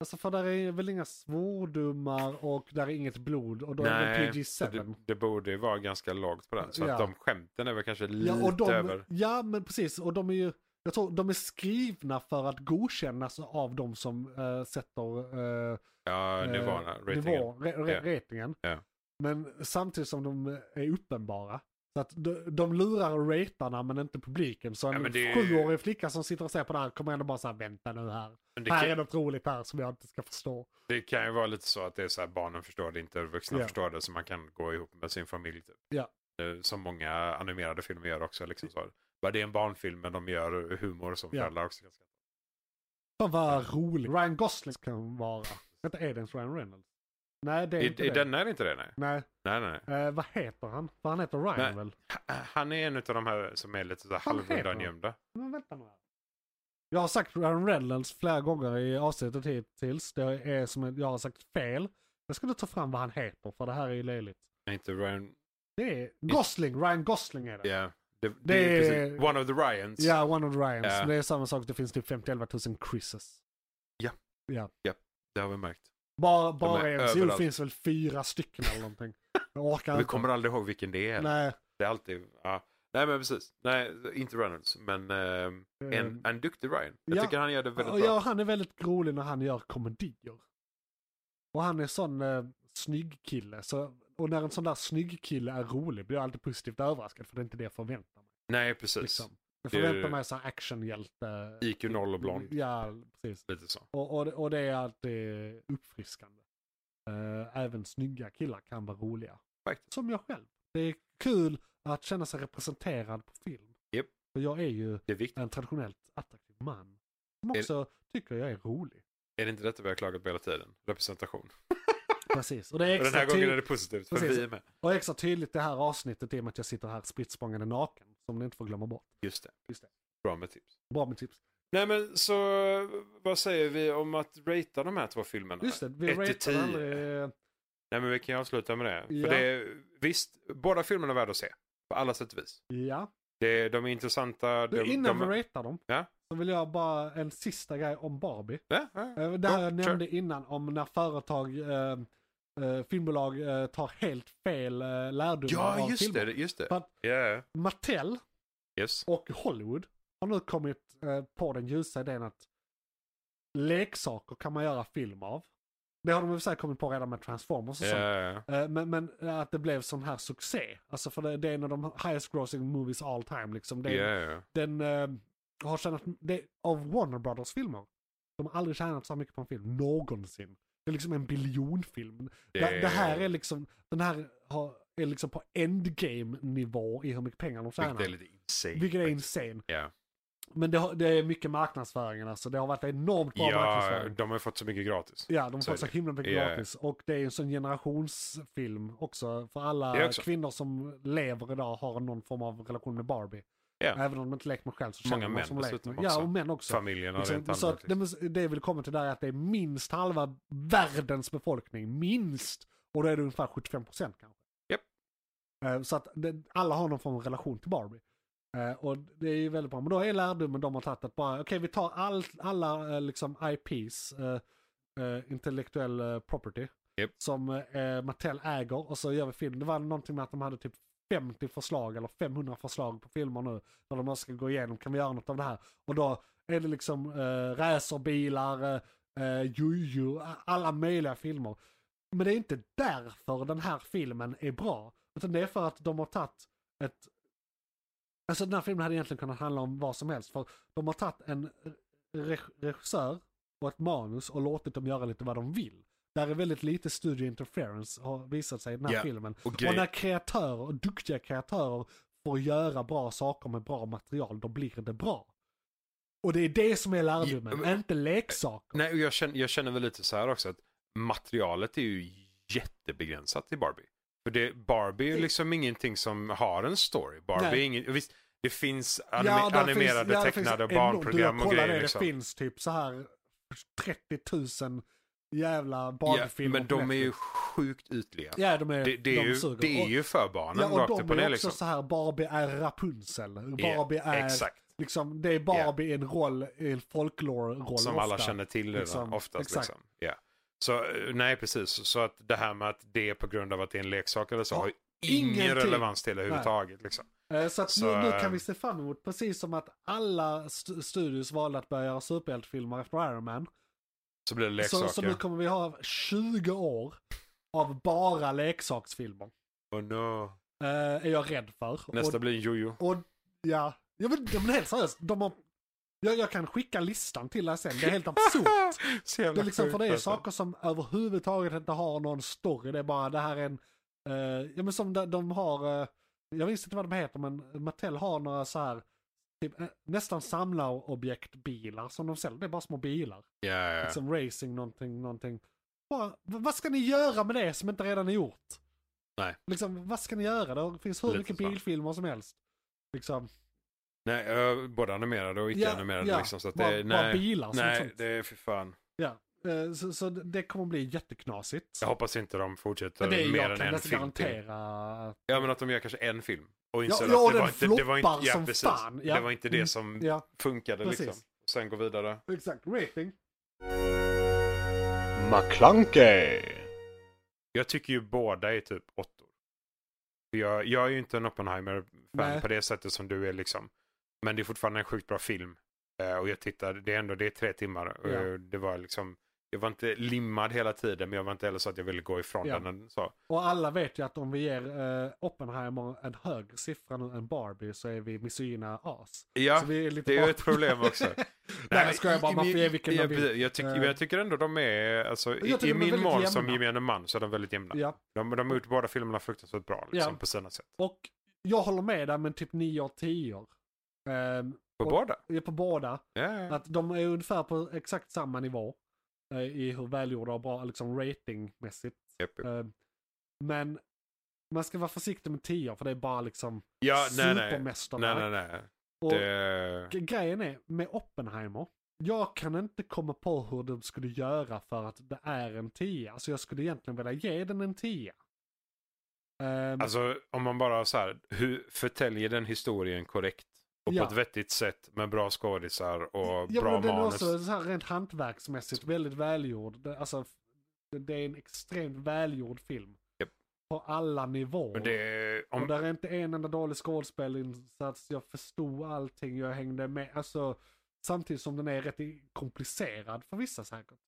Alltså för där är väl inga svordomar och där är inget blod och då är det så typ det, PG-7. det borde ju vara ganska lågt på den. Så Ja. att de skämten är väl kanske lite Ja, och de, över. ja, men precis. Och de är ju... Jag tror de är skrivna för att godkännas av de som eh, sätter eh, Ja, eh, nivåerna, ratingen. nivå, re, re, ratingen. Ja. Men samtidigt som de är uppenbara. Så att de, de lurar ratarna men inte publiken. Så en Ja, men det är ju- sjuårig flicka som sitter och ser på det här kommer ändå bara säga vänta nu här. Men det här kan- är något roligt här som jag inte ska förstå. Det kan ju vara lite så att det är så här barnen förstår det inte, vuxna Ja. förstår det så man kan gå ihop med sin familj. Typ. Ja. Eh, Som många animerade filmer gör också. Liksom så. Bara det är en barnfilm men de gör humor som Ja. föräldrar också. kan skratta. Fan vad rolig. Ryan Gosling kan vara. Vänta, är det ens Ryan Reynolds? Nej, det är inte I, I det. denna är det inte det nej. Nej, nej, nej, nej. eh, vad heter han? För han heter Ryan Nej. väl? Ha- Han är en av de här som är lite så här Vad heter han? halvundangömda. Men vänta nu här. Jag har sagt Ryan Reynolds flera gånger i avsnittet hittills. Det är som att jag har sagt fel. Jag ska nu ta fram vad han heter för det här är ju löjligt. Nej, Inte Ryan. Det är Gosling, Ryan Gosling är det. Ja, Det, det, Det är är- precis. One of the Ryans. Ja, One of the Ryans. Ja. Det är samma sak, det finns typ 50-11 000 Chrises. Ja. ja. Det har vi märkt. Bara, bara är en, så det överallt. finns väl fyra stycken eller någonting. Jag orkar Vi inte. kommer aldrig ihåg vilken det är. Nej, Det är alltid... Ja. Nej men precis. Nej, inte Reynolds. Men ehm, en, en duktig Ryan. Jag ja. tycker han gör det väldigt och bra. ja, han är väldigt rolig när han gör komedier. Och han är sån eh, snygg kille. Så, och när en sån där snygg kille är rolig blir jag alltid positivt överraskad för det är inte det jag förväntar mig. Nej precis. Liksom. Jag Det är- förväntar mig så här actionhjälte. IQ noll och blond. Ja, precis. Lite så. Och, och, det- och det är alltid uppfriskande. Eh, även snygga killar kan vara roliga. Faktiskt. Som jag själv. Det är kul att känna sig representerad på film. Japp. För jag är ju Det är viktigt. en traditionellt attraktiv man. Som Är- också tycker jag är rolig. Är det inte detta vi har klagat på hela tiden? Representation. Precis. Och det är Och den extra, här gången ty- är det positivt för Precis. vi är med. och extra tydligt det här avsnittet i och med att jag sitter här spritt språngande naken. Som ni inte får glömma bort. Just det. Just det. Bra med tips. Bra med tips. Nej men så vad säger vi om att ratea de här två filmerna? Just det, vi Ett till ratear tio. aldrig... Nej men vi kan ju avsluta med det. Ja. För det är, visst, båda filmerna är värda att se. På alla sätt och vis. Ja. Det, är- de är intressanta. Du, De, innan de, vi ratear dem. Ja. Så vill jag bara en sista grej om Barbie. ja, ja. Eh, Det här Ja, jag kör. nämnde innan om när företag, eh, eh, filmbolag eh, tar helt fel eh, lärdomar ja av just filmer. det. Just det. För att- Ja, ja. Mattel yes. och Hollywood har nu kommit eh, på den ljusa idén att leksaker kan man göra film av. Det har de väl säkert kommit på redan med Transformers och sånt. Eh, Eh, Men, men att det blev sån här succé. Alltså för det, det är en av de highest grossing movies all time. Liksom. Det, ja, ja. Den eh, har tjänat, det, av Warner Brothers filmer. De har aldrig tjänat så här mycket på en film någonsin. Det är liksom en biljonfilm. Det, det här är liksom, den här har, är liksom på endgame nivå i hur mycket pengar de tjänar. Vilket är lite insane. Vilket är faktiskt. insane. Ja. Men det, har, det är mycket marknadsföringen alltså. Det har varit enormt bra Ja, marknadsföring. de har fått så mycket gratis. Ja, de Så får är så det. himla mycket Ja. gratis. Och det är ju en sån generationsfilm också. För Det alla är också. kvinnor som lever idag har någon form av relation med Barbie. Ja. Även om de inte lekt med själv så Många känner de män som lekt dessutom med. Ja, också. och män också. Familjen har Liksom, rent så allmänt. att, det, liksom. men det jag vill komma till där är att det är minst halva världens befolkning. Minst! Och då är det ungefär 75% kanske. Japp. Eh, Så att det, alla har någon form av relation till Barbie. Eh, Och det är ju väldigt bra. Men då är lärdomen de har tagit att bara, okej vi tar all, alla eh, liksom IPs, eh, eh, intellektuell eh, property, Japp. som eh, Mattel äger och så gör vi film. Det var någonting med att de hade typ 50 förslag eller 500 förslag på filmer nu. Där de bara ska gå igenom, kan vi göra något av det här? Och då är det liksom eh, racerbilar, eh, eh, jojo, alla möjliga filmer. Men det är inte därför den här filmen är bra. Utan det är för att de har tagit ett... Alltså den här filmen hade egentligen kunnat handla om vad som helst. För de har tagit en re- regissör och ett manus och låtit dem göra lite vad de vill. Där är väldigt lite studio interference har visat sig i den här Ja. filmen. Och Och när grejen, kreatörer, och duktiga kreatörer, får göra bra saker med bra material, då blir det bra. Och det är det som är lärdomen, Ja, men- inte leksaker. nej, och jag, känner, jag känner väl lite så här också att materialet är ju jättebegränsat i Barbie. För det, Barbie är ju liksom ingenting som har en story. Barbie Nej. är ingen, och visst, det finns anime, där animerade, finns- ja, det finns tecknade och enormt. barnprogram Du, jag och kollar grejer. Det, liksom. det finns typ så här 30 000 jävla ja, barnfilmer men på de är ju Netflix. sjukt ytliga. Ja, de är, det, det, de är ju, suger. det är Och- ju för barnen Ja, rakt och upp de och är ner också liksom. så här, Barbie är Rapunzel. Barbie Ja, är, Exakt, liksom, det är Barbie i en roll, i en folklore-roll som alla ofta. känner till redan, liksom. oftast. Exakt. Liksom. Ja. Så eh, nej, precis. Så att det här med att det är på grund av att det är en leksak eller så Ja, har ju ingen ingenting. relevans till det överhuvudtaget. Liksom. Eh, Så att Så, nu, nu kan ehm, vi se fram emot, precis som att alla st- studios valde att börja göra superhjältefilmer efter Iron Man. Så blir det leksaker. Så, så nu kommer vi ha 20 år av bara leksaksfilmer. Oh no. Eh, är jag rädd för. Nästa och, blir en jojo. och ja, ja men, ja, men helt seriöst, de har, jag, jag kan skicka listan till dig sen, det är helt absurt. Så jävla Det är liksom, sjukt, för det är alltså. saker som överhuvudtaget inte har någon story. Det är bara det här är en... eh, ja men som de, de har... eh, jag visste inte vad de heter men Mattel har några så här... Typ, eh, nästan samlarobjektbilar som de säljer. Det är bara små bilar. Ja, ja, ja. Liksom racing någonting, någonting. Bara, v- vad ska ni göra med det som inte redan är gjort? Nej. Liksom, vad ska ni göra? Det finns hur Lite mycket så. bilfilmer som helst. Liksom, Nej, ö, både animerade och icke-animerade. ja, liksom, så att det, bara, bara nej, bilar. som nej sånt. det är för fan. Ja. Eh, Så, så det kommer bli jätteknasigt. Jag hoppas inte de fortsätter Men det är mer jag än kan en nästan film till. garantera. att- Ja men att de gör kanske en film. Och Ja, inser ja, att det den var, inte, det var inte, floppar ja, som precis. fan, ja. Det var inte Mm, det som Ja, funkade precis. liksom. Sen gå vidare. exakt. Rating. McClunkey. Jag tycker ju båda är typ åttor. För Jag, jag är ju inte en Oppenheimer-fan Nej. på det sättet som du är liksom. Men det är fortfarande en sjukt bra film. Eh, och jag tittar, det är ändå det är tre timmar. Och Ja. jag- det var liksom, jag var inte limmad hela tiden men jag var inte heller så att jag ville gå ifrån Ja. den. Så. Och alla vet ju att om vi ger eh, Oppenheimer en högre siffra nu än Barbie så är vi misogyna as. Ja, så vi är lite det är ju bara- ett problem också. Nej, men jag skojar bara. i- Man får i- ge vilken man jag, vill. jag, tycker, Eh. jag tycker ändå de är, alltså, Jag i, tycker i de är min väldigt mål som jämna. gemene man så är de väldigt jämna. Ja. De, de har gjort båda filmerna fruktansvärt bra liksom, Ja. på sina sätt. Och jag håller med där men typ 9 av 10 år. Ehm, På Och- båda. jag är på båda. Ja, ja. Att de är ungefär på exakt samma nivå. eh, I hur välgjorda och bra, liksom ratingmässigt. Japp, japp. Eh, men man ska vara försiktig med 10 för det är bara liksom ja nej, nej. supermästerverk. Nej, nej, nej. Och Det... G- Grejen är med Oppenheimer. Jag kan inte komma på hur de skulle göra för att det är en 10. Alltså jag skulle egentligen vilja ge den en 10. Ehm, Alltså om man bara så här, hur förtäljer den historien korrekt? Och Ja. på ett vettigt sätt med bra skådisar och ja, bra men den är manus. också så här rent hantverksmässigt väldigt välgjord. Det- Alltså, det- det är en extremt välgjord film. Japp. På alla nivåer. Men det, Och om, där är inte en enda dålig skådespelinsats. Jag förstod allting, jag hängde med. Alltså, samtidigt som den är rätt i- komplicerad för vissa säkert.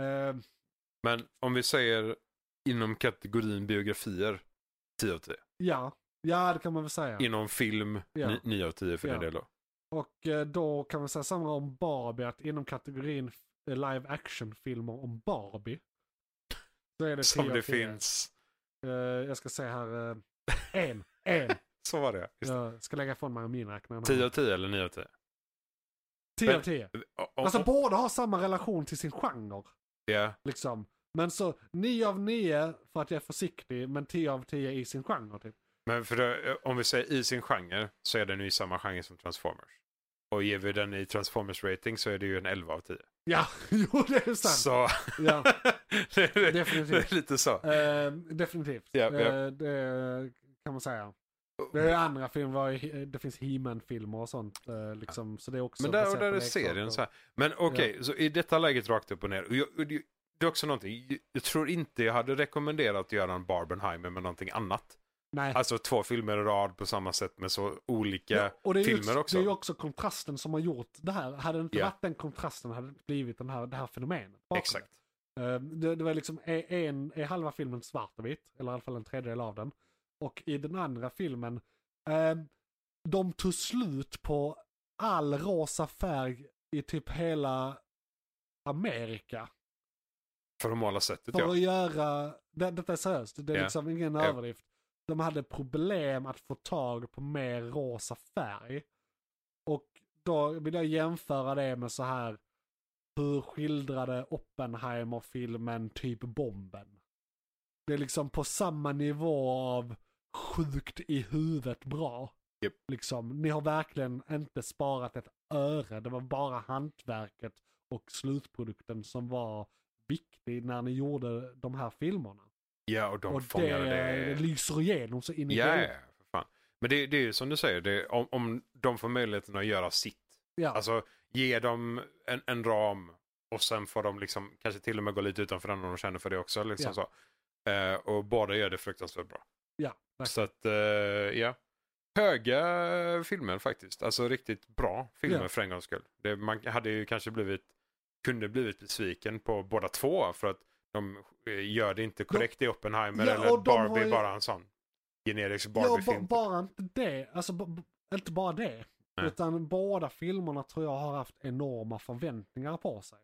Eh, Men om vi säger inom kategorin biografier, 10 av 10. Ja, ja det kan man väl säga. Inom film, Ja. 9 av 10 för Ja. den delen. då. Och eh, då kan man säga samma om Barbie, att inom kategorin f- eh, live action-filmer om Barbie. Så är det 10 Som av det 10. finns. Eh, jag ska säga här, eh, en, en. Så var det. Just det. Jag ska lägga ifrån mig min räknare. 10 av 10 eller 9 av 10? 10 av men- 10. Ja, om- Alltså om- båda har samma relation till sin genre. ja, Liksom. Men så 9 av 9 för att jag är försiktig, men 10 av 10 i sin genre. Typ. men för det, om vi säger i sin genre så är den ju i samma genre som Transformers. Och ger vi den i Transformers rating så är det ju en 11 av 10. Ja, jo det är sant. Så Ja, det, det, Definitivt. det är lite så. eh, definitivt. Ja, Eh, det kan man säga. Det är andra filmer, var ju- det finns He-Man-filmer och sånt. Eh, liksom, så det är också Men där, och baserat där på är leksaker. serien så här. Men okej, så i detta läget rakt upp och ner. Och jag, och det, det är också någonting, jag tror inte jag hade rekommenderat att göra en Barbenheimer med någonting annat. Nej. Alltså två filmer i rad på samma sätt med så olika Ja, och det är ju filmer också, också. Det är ju också kontrasten som har gjort det här. Hade det inte Ja. varit den kontrasten hade det inte blivit den här, det här fenomenet. bakom Exakt. det. Eh, Det, det var liksom är en, är halva filmen svart och vitt, eller i alla fall en tredjedel av den. Och i den andra filmen, eh, de tog slut på all rosa färg i typ hela Amerika. För att måla sättet För ja. att göra, det, detta är seriöst, det är Ja. liksom ingen Ja. överdrift. De hade problem att få tag på mer rosa färg. Och då vill jag jämföra det med så här, hur skildrade Oppenheimer-filmen typ bomben? Det är liksom på samma nivå av sjukt i huvudet bra. Japp. Liksom, ni har verkligen inte sparat ett öre. Det var bara hantverket och slutprodukten som var viktig när ni gjorde de här filmerna. Ja, och de och fångade det, det. lyser igenom så in i Ja, ja, helvete. för fan. Men det, det är ju som du säger, det, om, om de får möjligheten att göra sitt. Ja. Alltså ge dem en, en ram och sen får de liksom kanske till och med gå lite utanför den om de känner för det också. Liksom så. Eh, och båda gör det fruktansvärt bra. Ja, verkligen. Så att, eh, ja. Höga filmer faktiskt. Alltså riktigt bra filmer Ja. för en gångs skull. Det, man hade ju kanske blivit, kunde blivit besviken på båda två för att de eh, gör det inte korrekt i Oppenheimer Ja, eller och de har Barbie, ju- bara en sån generisk Ja, Barbie-film. ba- bara inte det. Alltså, ba- ba- inte bara det. Nej. Utan båda filmerna tror jag har haft enorma förväntningar på sig.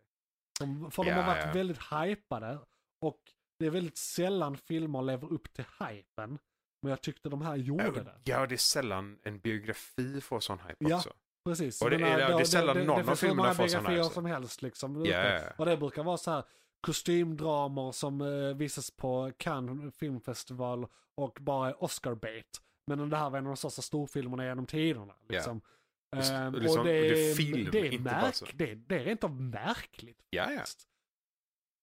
De, för de Ja, har varit ja. väldigt hypade. Och det är väldigt sällan filmer lever upp till hypen. Men jag tyckte de här gjorde det. Ja, det är sällan en biografi får sån hype Ja. också. Precis. Och det Jag är- menar, det är sällan någon av finns hur filmerna många får såna här biografier också. som helst liksom. Ja, ja, ja. Och det brukar vara så här kostymdramer som eh, visas på Cannes filmfestival och bara är Oscar-bait. Men det här var en av de största storfilmerna genom tiderna. Liksom. Och s- Ehm, och liksom, det är film, det, är inte bara så. märk, det, det är rent av märkligt. Ja, ja. faktiskt.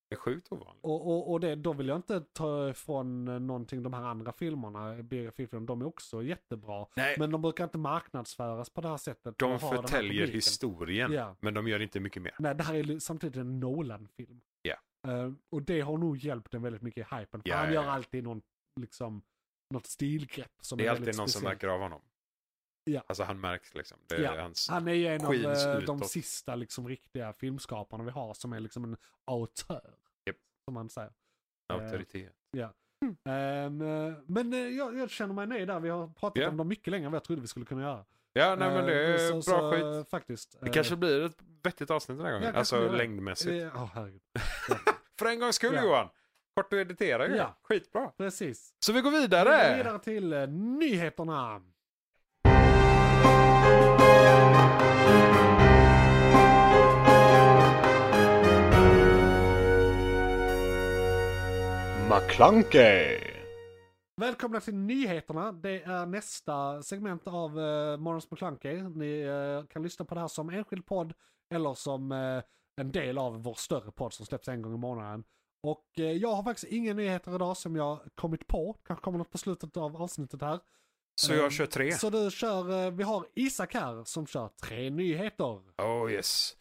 Det är sjukt ovanligt. Och, och, och det, då vill jag inte ta ifrån eh, någonting de här andra filmerna, biografifilmerna, de är också jättebra. Nej, Men de brukar inte marknadsföras på det här sättet. de och ha den här förtäljer publiken. historien, Ja. men de gör inte mycket mer. Nej, det här är li- samtidigt en Nolan-film. Ja. Eh, och det har nog hjälpt den väldigt mycket i hypen. För Ja, han ja, gör ja. alltid någon, liksom, något stilgrepp som Det är är alltid väldigt någon som speciellt. märker av honom. Ja. Alltså han märks liksom. Det är Ja. hans... Han är ju en av skins eh, de utåt. sista liksom, riktiga filmskaparna vi har som är liksom en autör. Japp. Som man säger. Auktoritet. Ehm, eh, men eh, jag, jag känner mig nöjd där. Vi har pratat Ja. om dem mycket längre än vad jag trodde vi skulle kunna göra. Ja, nej men det Eh, är så- bra så, eh, skit. Faktiskt. Det kanske blir ett vettigt avsnitt den här gången. kanske blir alltså det. längdmässigt. eh, Ja, herregud. För en gångs skull Ja. Johan. Kort du editerar ju. Ja. Skitbra. Precis. Så vi går Vi går vidare. vidare till eh, nyheterna. McClunkey. Välkomna till nyheterna. Det är nästa segment av uh, Morgons McClunky. Ni eh, kan lyssna på det här som enskild podd eller som eh, en del av vår större podd som släpps en gång i månaden. Och eh, jag har faktiskt inga nyheter idag som jag kommit på. Kanske kommer något på slutet av avsnittet här. Så jag Ehm, kör tre. Så du kör, eh, vi har Isak här som kör tre nyheter. Oh yes.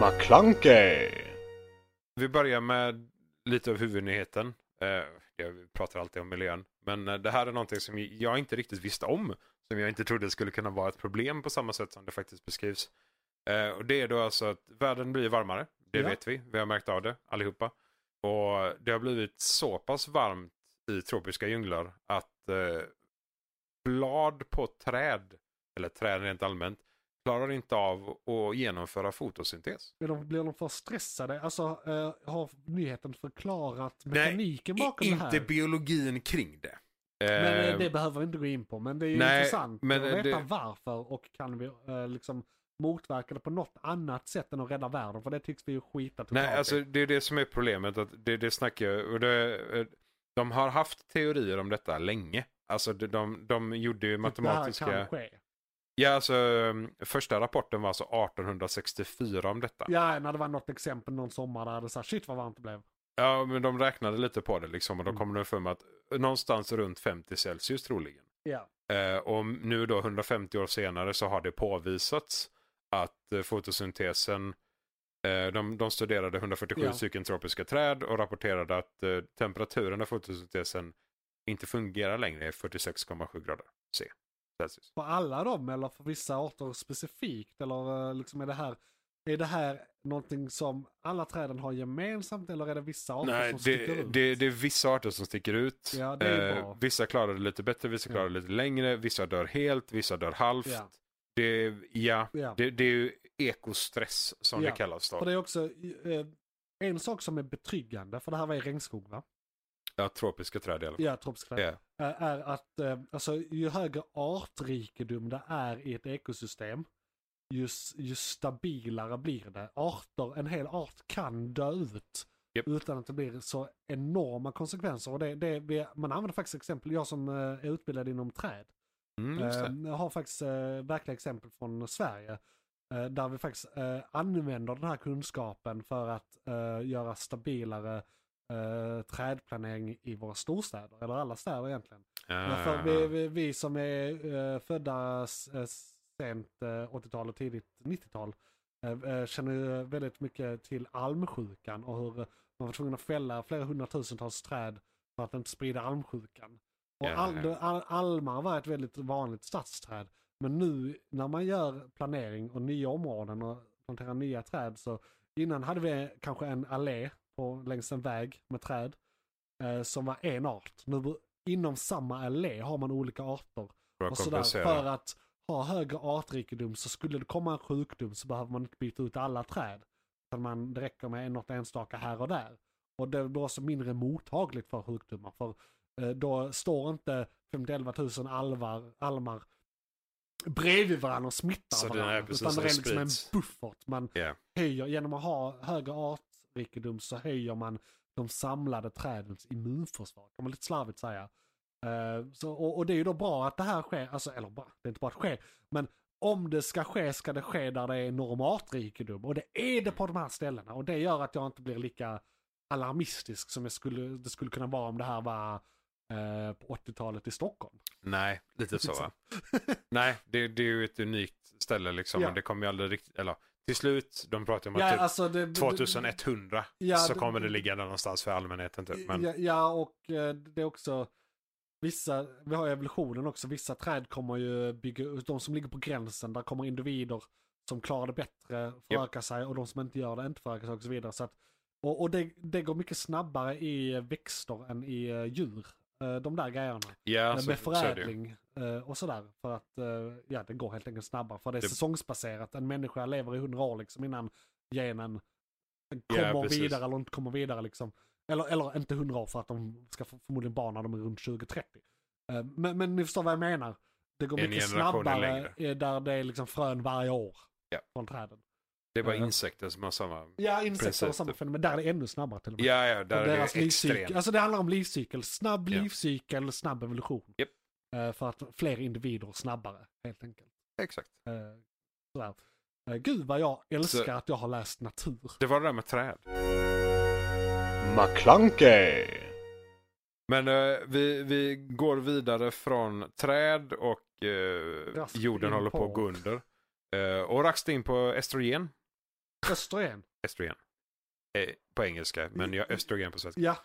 McClunkey. Vi börjar med lite av huvudnyheten. Eh, Jag pratar alltid om miljön. Men eh, det här är någonting som jag inte riktigt visste om. Som jag inte trodde skulle kunna vara ett problem på samma sätt som det faktiskt beskrivs. Eh, Och det är då alltså att världen blir varmare. Det Ja. vet vi. Vi har märkt av det allihopa. Och det har blivit så pass varmt i tropiska djunglar att eh, blad på träd, eller träd rent allmänt, klarar inte av att genomföra fotosyntes. Blir de, blir de för stressade? Alltså, eh, har nyheten förklarat Nej, mekaniken I- bakom det inte här? biologin kring det. men eh, Eh, det behöver vi inte gå in på. Men det är ju nej, intressant men, att eh, veta det- varför och kan vi eh, liksom motverka det på något annat sätt än att rädda världen. För det tycks vi ju skita totalt Nej, i. alltså det är det som är problemet. Att det, det snackar jag, och det, eh, De har haft teorier om detta länge. Alltså de, de, de gjorde ju matematiska... Det här kan ske. Ja, alltså um, första rapporten var alltså 1864 om detta. Ja. Ja, när det var något exempel någon sommar där det sa shit vad varmt det blev. men de räknade lite på det liksom och då Mm. kom de fram att någonstans runt 50 Celsius troligen. Ja. Eh, och nu då 150 år senare så har det påvisats att eh, fotosyntesen, eh, de, de studerade 147 Ja. stycken tropiska träd och rapporterade att eh, temperaturen av fotosyntesen inte fungerar längre i 46,7 grader C. Celsius. För alla dem eller för vissa arter specifikt? Eller eh, liksom är det här, är det här någonting som alla träden har gemensamt eller är det vissa arter Nej, som sticker det, ut? det, det är vissa arter som sticker ut. Eh, Ja, det är ju bra. vissa klarar det lite bättre, vissa klarar det lite längre, vissa dör helt, vissa dör halvt. Ja. Det, ja, Ja. det, det är ju ekostress som Ja, det kallas då. För det är också eh, en sak som är betryggande, för det här var i regnskog va? Ja, tropiska träd i alla fall. Ja, tropisk träd. Ja. Eh, Är att eh, alltså, ju högre artrikedom det är i ett ekosystem, ju, s- ju stabilare blir det. Arter, en hel art kan dö ut Japp. utan att det blir så enorma konsekvenser. Och det, det, vi, man använder faktiskt exempel, jag som eh, är utbildad inom träd, Mm, just det. Eh, Jag har faktiskt eh, verkliga exempel från Sverige. eh, Där vi faktiskt eh, använder den här kunskapen för att eh, göra stabilare eh, trädplanering i våra storstäder, eller alla städer egentligen. Eh, Men för Ah. vi, vi, vi som är eh, födda s- eh, sent eh, 80-tal och tidigt 90-tal eh, eh, känner ju väldigt mycket till almsjukan och hur eh, man var tvungen att fälla flera hundratusentals träd för att inte sprida almsjukan. Och Ja, al, ja. al, almar var ett väldigt vanligt stadsträd. Men nu när man gör planering och nya områden och planterar nya träd så innan hade vi kanske en allé på, längs en väg med träd eh, som var en art. Nu bo- inom samma allé har man olika arter. För Och att sådär, för kompensera. att ha högre artrikedom så skulle det komma en sjukdom så behöver man inte byta ut alla träd. Utan man, det räcker med något enstaka här och där. Och det blir också mindre mottagligt för sjukdomar. För eh, då står inte 511 000 alvar, almar bredvid varandra och smittar Så den är varandra. precis utan det som är liksom en sprids. buffert. Man Ja. höjer, genom att ha högre artrikedom så höjer man de samlade trädens immunförsvar. Kan man lite slarvigt säga. Eh, så, och, och det är ju då bra att det här sker, alltså, eller bra, det är inte bara att det sker, men om det ska ske ska det ske där det är enorm artrikedom. Och det är det på de här ställena. Och det gör att jag inte blir lika alarmistisk som jag skulle, det skulle kunna vara om det här var eh, på 80-talet i Stockholm. Nej, lite så va? Liksom. Nej, det, det är ju ett unikt ställe liksom. Ja. Men det kommer ju aldrig riktigt, eller till slut, de pratar ju om att Ja, typ alltså det, 2100 Ja, så det- kommer det ligga där någonstans för allmänheten typ. Men, Ja, ja, och eh, det är också vissa, vi har ju evolutionen också, vissa träd kommer ju bygga, de som ligger på gränsen, där kommer individer som klarar det bättre föröka sig och de som inte gör det inte föröka sig och så vidare. Så att, och och det, det går mycket snabbare i växter än i eh, djur, eh, de där grejerna. ja, Eh, så, med Alltså, så är det ju. förädling eh, och sådär. För att eh, ja, det går helt enkelt snabbare. För det är Det- säsongsbaserat. En människa lever i hundra år liksom innan genen Ja, kommer precis. vidare eller inte kommer vidare. Liksom. Eller, eller inte hundra år för att de ska få- förmodligen barn när de är runt 20-30. Eh, men, men ni förstår vad jag menar. Det går En mycket generation är snabbare längre. eh, där det är liksom frön varje år. Ja. Från träden. Det är bara Ja. insekter som har samma... Ja, insekter och Precis. samma fenomen. Där är det ännu snabbare till och med. Ja, ja, där Och är deras det extremt. livscykel. Alltså det handlar om livscykel. Snabb Ja. livscykel, snabb evolution. Japp. Eh, för att fler individer snabbare, helt enkelt. Exakt. Eh, sådär. Eh, gud vad jag älskar Så- att jag har läst natur. Det var det där med träd. McClunkey! Men eh, vi, vi går vidare från träd och eh, Raskt jorden in håller på på- att gå under. Eh, och raskt in på östrogen. Östrogen. Östrogen. Eh, på engelska, men jag östrogen på svenska. Ja,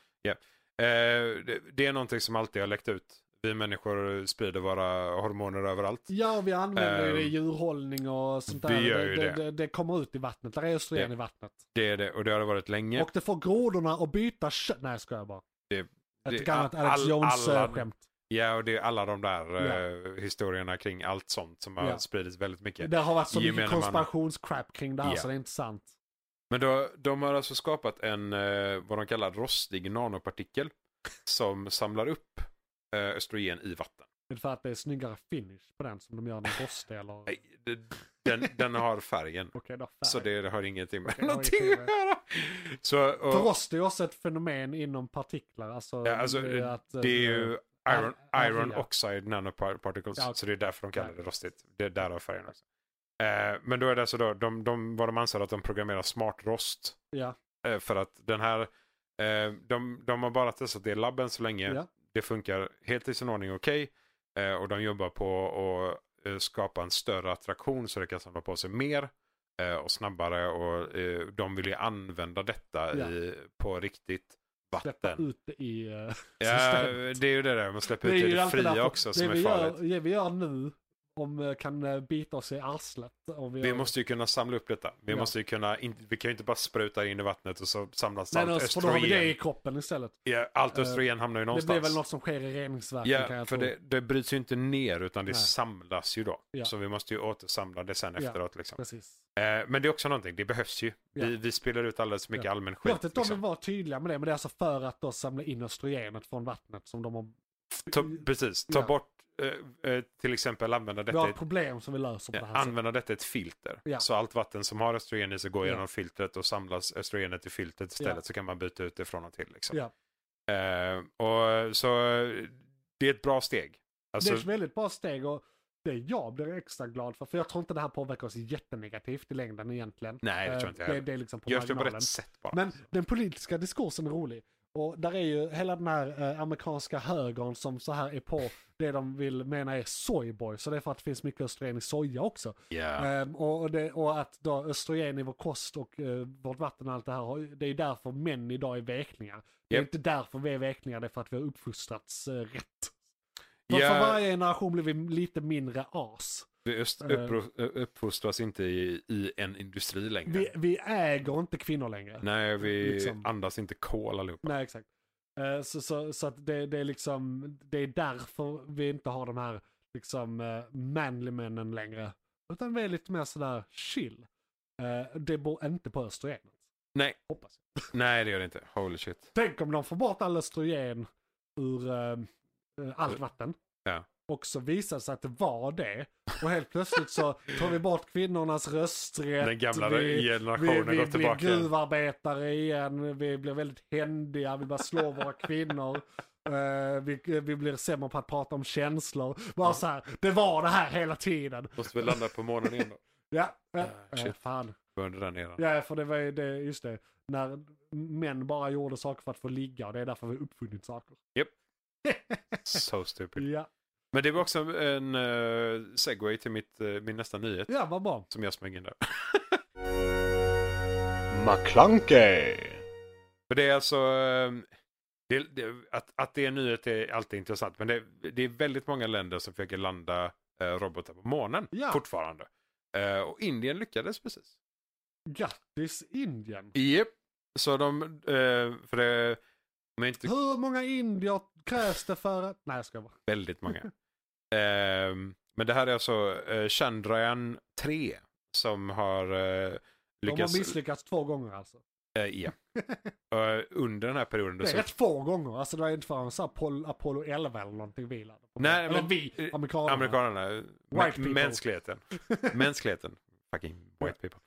Eh, det, det är någonting som alltid har läckt ut vi människor sprider våra hormoner överallt. Ja, vi använder ju det i Ehm, djurhållning och sånt där. vi gör ju det, det. det, det kommer ut i vattnet. Där är östrogen Det- i vattnet. Det är det och det har det varit länge. Och det får grodorna att byta kött. Nej, jag skojar bara. Det- Ett det- gammalt all- Alex eh, alla- Jones-skämt. Ja, och det är alla de där Ja. eh, historierna kring allt sånt som har Ja. spridits väldigt mycket. Det har varit så mycket Gemene man. konspirationscrap kring det här Ja. så det är inte sant. Men då, de har alltså skapat en, eh, vad de kallar rostig nanopartikel som samlar upp eh, östrogen i vatten. Det är för att det är snyggare finish på den som de gör den rostiga eller... Okej, Nej, det- Den, den har färgen. då. Färg. Så det, har ingenting med Okej, det har någonting ingenting att göra. Så, och, För oss det är också ett fenomen inom partiklar. Alltså, ja, alltså, det är att, eh, det är ju iron, ar- iron arga. oxide nanoparticles. Ja, okej. Så det är därför de kallar det Ja. rostigt. Det är därav färgen också. Eh, men då är det alltså då, de, de, vad de anser att de programmerar smart rost. Ja. Eh, för att den här, eh, de, de har bara testat det i labben så länge. Ja. Det funkar helt i sin ordning okej. Eh, och de jobbar på att eh, skapa en större attraktion så det kan samla på sig mer eh, och snabbare. Och eh, de vill ju använda detta Ja. i, på riktigt Släppa vatten. ut det i eh, Ja, systemet. det är ju det där. Man släpper Det är ut det i ju det alltid fria därför- också som det är vi farligt. Gör, det vi gör nu om, eh, kan eh, bita oss i arslet. Om vi, Vi gör- måste ju kunna samla upp detta. Vi, Ja. måste ju kunna, in- vi kan ju inte bara spruta in i vattnet och så samlas Nej, allt annars får då har vi det i östrogen. kroppen istället. Ja, allt Eh, östrogen hamnar ju någonstans. Det blir väl något som sker i reningsverken kan Ja, jag för tro. det, det bryts ju inte ner utan det Nej. samlas ju då. Ja. Så vi måste ju återsamla det sen Ja. efteråt. Liksom. Precis. Eh, men det är också någonting, det behövs ju. Ja. Vi, vi spelar ut alldeles för mycket Ja. allmän Jag skit. vet inte om de Liksom. var tydliga med det, men det är alltså för att då samla in östrogenet från vattnet som de har... Ta, precis, ta Ja. bort, eh, eh, till exempel använda Vi detta har i ett problem som vi löser på Ja, det här sättet. använda Eh, detta i ett filter. Ja. Så allt vatten som har östrogen i sig går Ja. genom filtret och samlas östrogenet i filtret istället Ja. så kan man byta ut det från och till. Liksom. Ja. Eh, och, så eh, det är ett bra steg. Det Alltså, är ett väldigt bra steg och det jag blir extra glad för, för jag tror inte det här påverkar oss jättenegativt i längden egentligen. Nej, det tror jag inte Eh, heller. det, det är liksom på görs det på marginalen. rätt sätt bara. Men den politiska diskursen är rolig. Och där är ju hela den här eh, amerikanska högern som så här är på det de vill mena är soyboy. Så det är för att det finns mycket östrogen i soja också. Ja. Ehm, och, och det, och att då östrogen i vår kost och eh, vårt vatten och allt det här, har- det är ju därför män idag är veklingar. Det är Japp. inte därför vi är veklingar, det är för att vi har uppfostrats eh, rätt. För, för Ja, varje generation blir vi lite mindre as. vi öst- Eh. uppro- eh, uppfostras inte i, i en industri längre. Vi, vi äger inte kvinnor längre. Nej, vi liksom- andas inte kol allihopa. Nej, exakt. Eh, Så, så, så att det, det är liksom, det är därför vi inte har de här liksom eh, manly männen längre. Utan vi är lite mer sådär chill. Eh, Det beror inte på östrogenet. Nej. Hoppas jag. Nej, det gör det inte. Holy shit. Tänk om de får bort all östrogen ur eh, eh, allt vatten. Ja. Och så visar det sig att det var det. Och helt plötsligt så tar vi bort kvinnornas rösträtt. Den gamla vi, vi, generationen vi går blir tillbaka. gruvarbetare igen, vi blir väldigt händiga, vi bara slår våra kvinnor. Eh, vi, vi blir sämre på att prata om känslor. Bara så här, det var det här hela tiden. Måste vi landa på månen igen då? Ja, eh, Ah, shit. eh, fan. Under den eran. Ja, för det var ju det, just det. När män bara gjorde saker för att få ligga och det är därför vi har uppfunnit saker. So stupid. Ja, Men det var också en eh, segway till mitt, eh, min nästa nyhet ja vad bra. som jag smög in där. McClunkey! För det är alltså... eh, det, det, att, att det är en nyhet är alltid intressant. Men det, det är väldigt många länder som försöker landa eh, robotar på månen Ja. fortfarande. Eh, och Indien lyckades precis. Grattis Indien. Japp. Så de... eh, för det... De är inte Hur många indier krävs det för att... Nej, jag ska bara. väldigt många. Ehm, men det här är alltså eh, Chandrayaan 3 som har eh, De lyckats... har misslyckats två gånger alltså. Eh, ja. Eh, under den här perioden. då Det är så- rätt få gånger. Alltså det är inte förrän så här Pol- Apollo 11 eller någonting vi laddade på. Nej, eller men- vi, eh, amerikanerna. Amerikanerna. White mä- people. mänskligheten. mänskligheten. Fucking white people.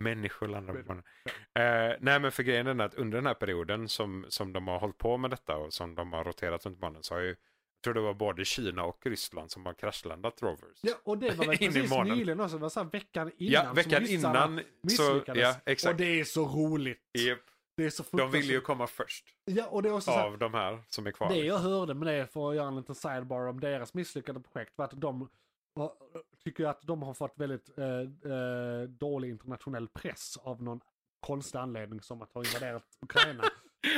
Människor landar på månen. Eh, nej men för grejen är den att under den här perioden som, som de har hållit på med detta och som de har roterat runt månen så har ju, jag tror det var både Kina och Ryssland som har kraschlandat Rovers. Ja, och det var väl In i precis månen. nyligen också. Det var så här veckan innan. Ja, som veckan ryssarna innan. Så, Misslyckades. ja, och exakt. det är så roligt. Japp. Det är så De fruktansvärt. vill ju komma först Ja, och det är också så här, av de här som är kvar. Det jag hörde med det, för att göra en liten sidebar om deras misslyckade projekt, var att de har- tycker att de har fått väldigt eh, eh, dålig internationell press av någon konstig anledning som att ha invaderat Ukraina.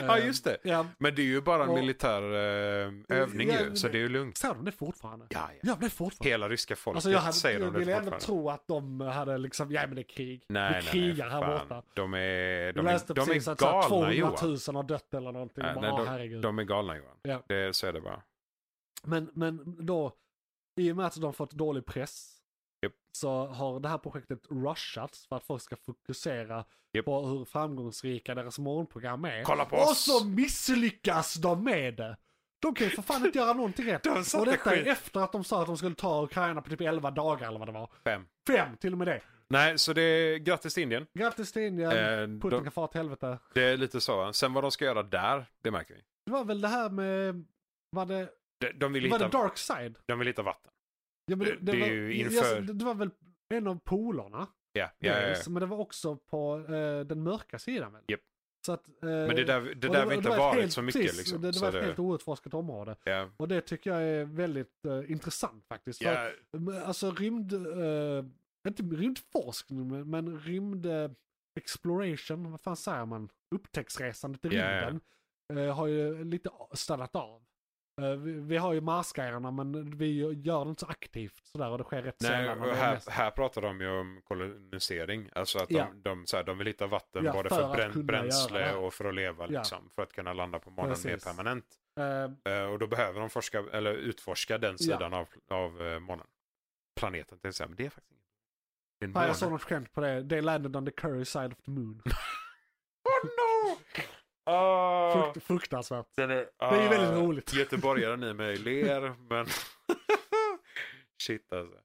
Ja, just det. Ja. Men det är ju bara en Och- militär eh, övning Ja, ju, så det- det är ju lugnt. Säger de det fortfarande? Ja, ja. Ja, det är fortfarande. Hela ryska folket Alltså jag, hade, säger jag de det ville ändå fortfarande. tro att de hade liksom, ja men det är krig. nej, nej, vi nej, för krigar här fan. borta. De är, De de läste är, de precis är att så här galna 200 Johan. 000 har dött eller någonting. Nej, bara, nej, "Ah, de, herregud. de är galna Johan. Ja. Det, så är det bara. Men, men då, i och med att de fått dålig press Japp. så har det här projektet rushats för att folk ska fokusera Japp. på hur framgångsrika deras morgonprogram är. Kolla på Och oss! så misslyckas de med det! De kan ju för fan inte göra någonting rätt. De satte Och detta är skit. efter att de sa att de skulle ta Ukraina på typ 11 dagar eller vad det var. Fem. Fem till och med det. Nej, så det är grattis till Indien. Grattis till Indien, Eh, Putin de- kan fara till helvete. Det är lite så. va? Sen vad de ska göra där, det märker vi. Det var väl det här med, var det, De, de, vill, var det hitta, dark side? de vill hitta vatten. Ja, men Det- Eh, det är ju ja, inför- alltså, det, det var väl en av polarna, Ja, ja, ja, ja. dels, men det var också på eh, den mörka sidan väl? Japp. Så att, eh, Men det där, det där vi inte har varit så mycket liksom. Det, det så var ett det- helt outforskat område. ja, Och det tycker jag är väldigt eh, intressant faktiskt. För ja, att, eh, alltså rymd, eh, inte rymdforskning, men, men rymd eh, exploration, vad fan säger man? Upptäcktsresandet i Ja, ja. rymden eh, har ju lite stannat av. Eh, vi, vi har ju marsgrejerna men vi gör det inte så aktivt sådär och det sker rätt Nej, sällan. och och det är här, mest- eh, här pratar de ju om kolonisering. Alltså att de, Ja. de, så här, de vill hitta vatten Ja, både för för, att brän, kunna göra det bränsle här. och för att leva. Ja. Liksom, För att kunna landa på månen mer Precis. permanent. eh, Eh, och då behöver de forska, eller utforska den sidan av, av eh, månen. Planeten till exempel. Det är faktiskt inget. Det är en nej, jag måne. såg något skämt på det. They landed on the curry side of the moon. Oh no! Ah, Frukt, fruktansvärt. den är, Det är ju väldigt ah, roligt. Göteborgaren i mig ler, men... Shit alltså.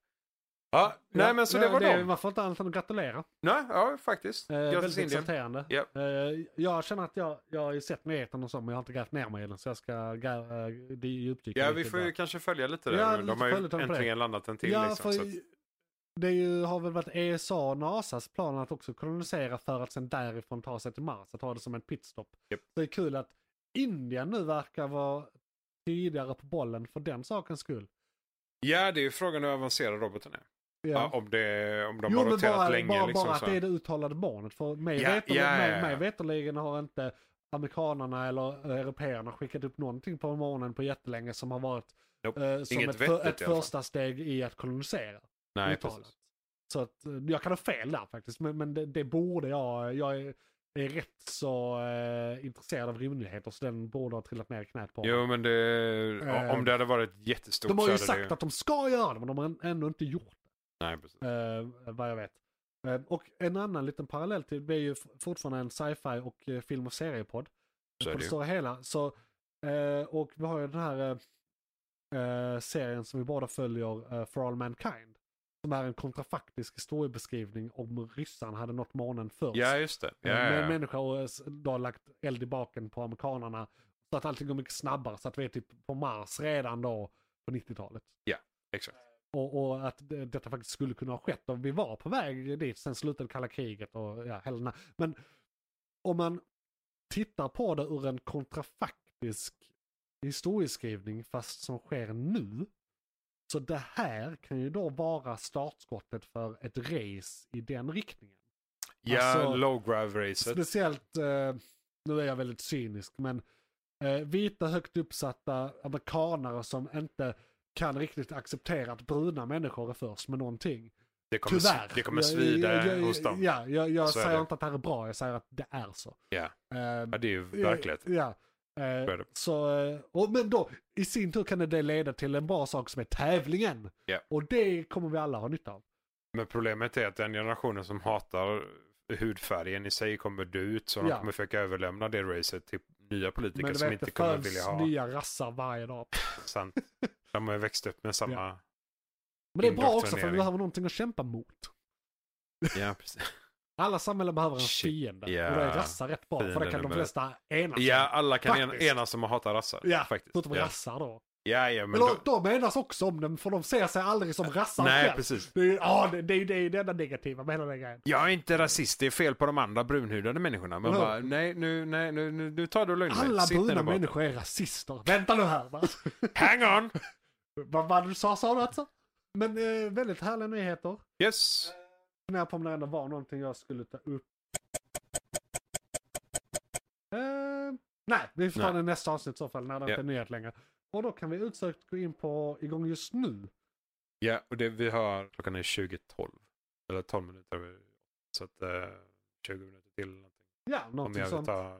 Ja, nej men så Ja, det var det, dem. Man får inte annat än att gratulera. Nej, ja faktiskt. Eh, Grattis väldigt Indien. exalterande. Ja. Eh, jag känner att jag, jag har ju sett nyheten och så, men jag har inte grävt ner mig i den, så jag ska gä- eh, det är djupdyka Ja, lite vi får ju där. kanske följa lite där. Ja, nu. lite de har ju följa dem på det. äntligen landat en till. Ja, liksom, så för att, det är ju, har väl varit ESA och NASAs plan att också kolonisera för att sen därifrån ta sig till Mars, att ha det som en pitstop. Japp. Det är kul att Indien nu verkar vara tidigare på bollen för den sakens skull. ja, det är ju frågan hur avancerad roboten är. Ja, om, det, om de jo, har men roterat bara, länge. bara, liksom, bara att så. det är det uttalade barnet. För mig, Ja, veterligen, ja, ja, mig, ja. mig veterligen har inte amerikanerna eller eh, européerna skickat upp någonting på morgonen på jättelänge som har varit Nope. eh, som Inget ett, för, vettigt ett i alla fall. första steg i att kolonisera. Nej, uttalat. precis. Så att, eh, jag kan ha fel där faktiskt, men, men det, det borde jag. Jag är, är rätt så eh, intresserad av rymdnyheter så den borde ha trillat ner i knät på Jo, men det, ja, om det hade varit jättestort Eh. De har ju så hade sagt det att de ska göra det, men de har än- ännu inte gjort Nej, precis. Eh, vad jag vet. Eh, och en annan liten parallell till, det är ju f- fortfarande en sci-fi och eh, film och seriepodd. Så är På det det ju. stora hela. Så, eh, och vi har ju den här eh, eh, serien som vi båda följer, eh, For All Mankind. Som är en kontrafaktisk historiebeskrivning om ryssan hade nått månen först. Ja, just det. Ja, Eh, ja, Med ja. människor och s- då har lagt eld i baken på amerikanerna. Så att allting går mycket snabbare, så att vi är typ på Mars redan då på 90-talet. Exakt. Och, och att det, detta faktiskt skulle kunna ha skett. Och vi var på väg dit, sen slutade kalla kriget och ja, hela den här. Men om man tittar på det ur en kontrafaktisk historieskrivning fast som sker nu. Så det här kan ju då vara startskottet för ett race i den riktningen. Ja, Alltså, low grav racet. Speciellt, eh, nu är jag väldigt cynisk, men eh, vita högt uppsatta amerikanare som inte kan riktigt acceptera att bruna människor är först med någonting. Det kommer, Tyvärr. det kommer svida jag, jag, jag, hos dem. Ja. Ja, jag, jag Så är säger det. inte att det här är bra, jag säger att det är så. Ja. Eh, det är ju verkligheten. Ja. Eh, Så är det. så, eh, och, men då, i sin tur kan det leda till en bra sak som är tävlingen. Ja. Och det kommer vi alla ha nytta av. Men problemet är att den generationen som hatar hudfärgen i sig kommer dö ut. Så Ja. de kommer försöka överlämna det racet till nya politiker Men du som vet, inte det kommer vilja föds ha. nya rassar varje dag. Sant. De har ju växt upp med samma... Men det är bra också för vi Indoktrinering. behöver någonting att kämpa mot. Ja, precis. Alla samhällen behöver en Shit, fiende. ja. Och då är rassar rätt bra, för det Fienden kan de nummer ett. flesta enas om. Ja, alla kan en, Faktiskt. enas om att hata rassar. ja faktiskt. förutom Ja. rassar då. Ja, ja, men Men då, då, de enas också om den, för de ser sig aldrig som rassar Nej, själv. precis. Det är ju ja, det, det, är ju- det, är ju det enda negativa med hela den grejen. Jag är inte rasist, det är fel på de andra brunhudade människorna. Men Eller hur? bara, nej, nu, nej, nu, nu, nu tar du och lugnar Alla Sitt ner bruna där bak. människor är rasister. Vänta nu här. Va? Hang on! vad vad du sa, sa du alltså? Men eh, väldigt härliga nyheter. Yes! Funderar på om det ändå var någonting jag skulle ta upp. Eh, Nej, vi får ta Nej. den i nästa avsnitt i så fall när det Ja. inte är nyhet längre. Och då kan vi utsökt gå in på igång just nu. Ja, och det vi har, klockan är 20.12. Eller 12 minuter över. Så att eh, 20 minuter till. eller någonting. Ja, Om jag någonting vill sånt. ta,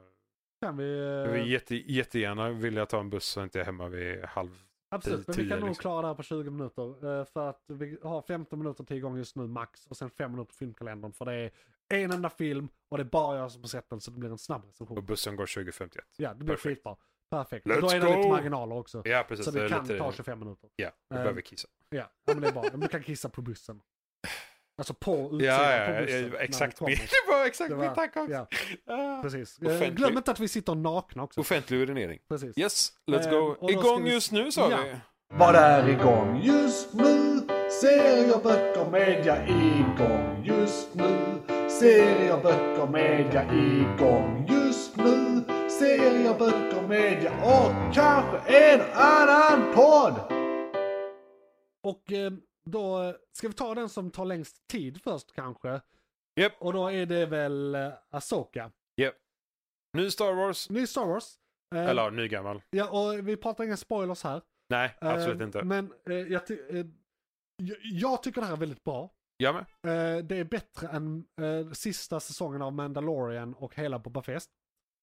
Kan vi, jag eh, vill jätte, jättegärna vill jag ta en buss så inte jag är hemma vid halv. absolut, men vi tio, kan nog liksom. klara det här på 20 minuter. eh, För att vi har 15 minuter till igång just nu max. Och sen 5 minuter på filmkalendern. För det är en enda film och det är bara jag som har sett den så det blir en snabb Och recension. bussen går 20.51. Ja, det blir perfekt. skitbra. Perfekt. Let's då är det lite go! marginaler också. Ja, precis. Så det vi är kan lite, ta 25 minuter. Ja, jag Ehm, behöver kissa. Ja, ja, men det är bra. Men Du kan kissa på bussen. Alltså på utsidan Ja, på ja, bussen. ja, när exakt. du min- kommer. Det var exakt Det min var- tanke också. ja. Ah. Precis. Eh, Offentlig. Glöm inte att vi sitter nakna också. Offentlig urinering. Precis. Yes, let's Ehm, go. och då ska Igång vi- just nu sa Ja. vi. Vad är igång just nu? Serier, böcker, media igång just nu. Serier, böcker, media igång just nu. Serier, böcker, media och kanske en annan podd. Och eh, då eh, ska vi ta den som tar längst tid först kanske. Japp. Och då är det väl eh, Ahsoka. Ny Star Wars. Ny Star Wars. Eh, Eller nygammal. Ja, och vi pratar inga spoilers här. Nej, Eh, absolut inte. Men eh, jag, ty- eh, jag, jag tycker det här är väldigt bra. Jag med. Eh, det är bättre än eh, sista säsongen av Mandalorian och hela Boba Fest.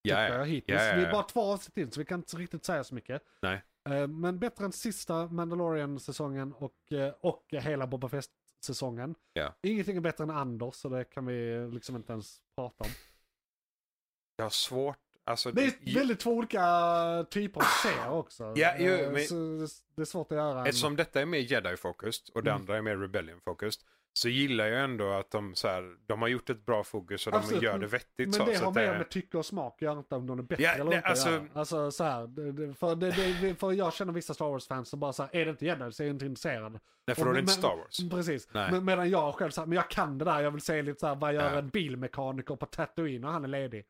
Ja, tycker jag ja. hittills. Ja, ja, Vi ja. är bara två avsnitt in så vi kan inte riktigt säga så mycket. Nej. Eh, Men bättre än sista Mandalorian-säsongen och, eh, och hela Boba Fest-säsongen. Ja. Ingenting är bättre än Anders så det kan vi liksom inte ens prata om. Jag har svårt. Alltså, Det är väldigt två olika typer av serier också. Ja, ju, Eh, men- så det- Det är svårt att göra. en- Eftersom detta är mer jedi-fokust och det Mm. andra är mer rebellion-fokust så gillar jag ändå att de, så här, de har gjort ett bra fokus och Absolut, de gör men- det vettigt. Alltså, Men så, det så har att det- mer med tycke och smak att göra, inte om någon är bättre Ja, eller nej, inte. alltså- Alltså, alltså så här, det- det- för, det, det, för jag känner vissa Star Wars-fans som bara så här, är det inte Jedi så är jag inte intresserad. Nej, för då är det Och- inte men- Mm. Star Wars. Precis. Nej. Men, medan jag själv säger, men jag kan det där, jag vill se lite så här, vad gör Ja. en bilmekaniker på Tatooine när han är ledig?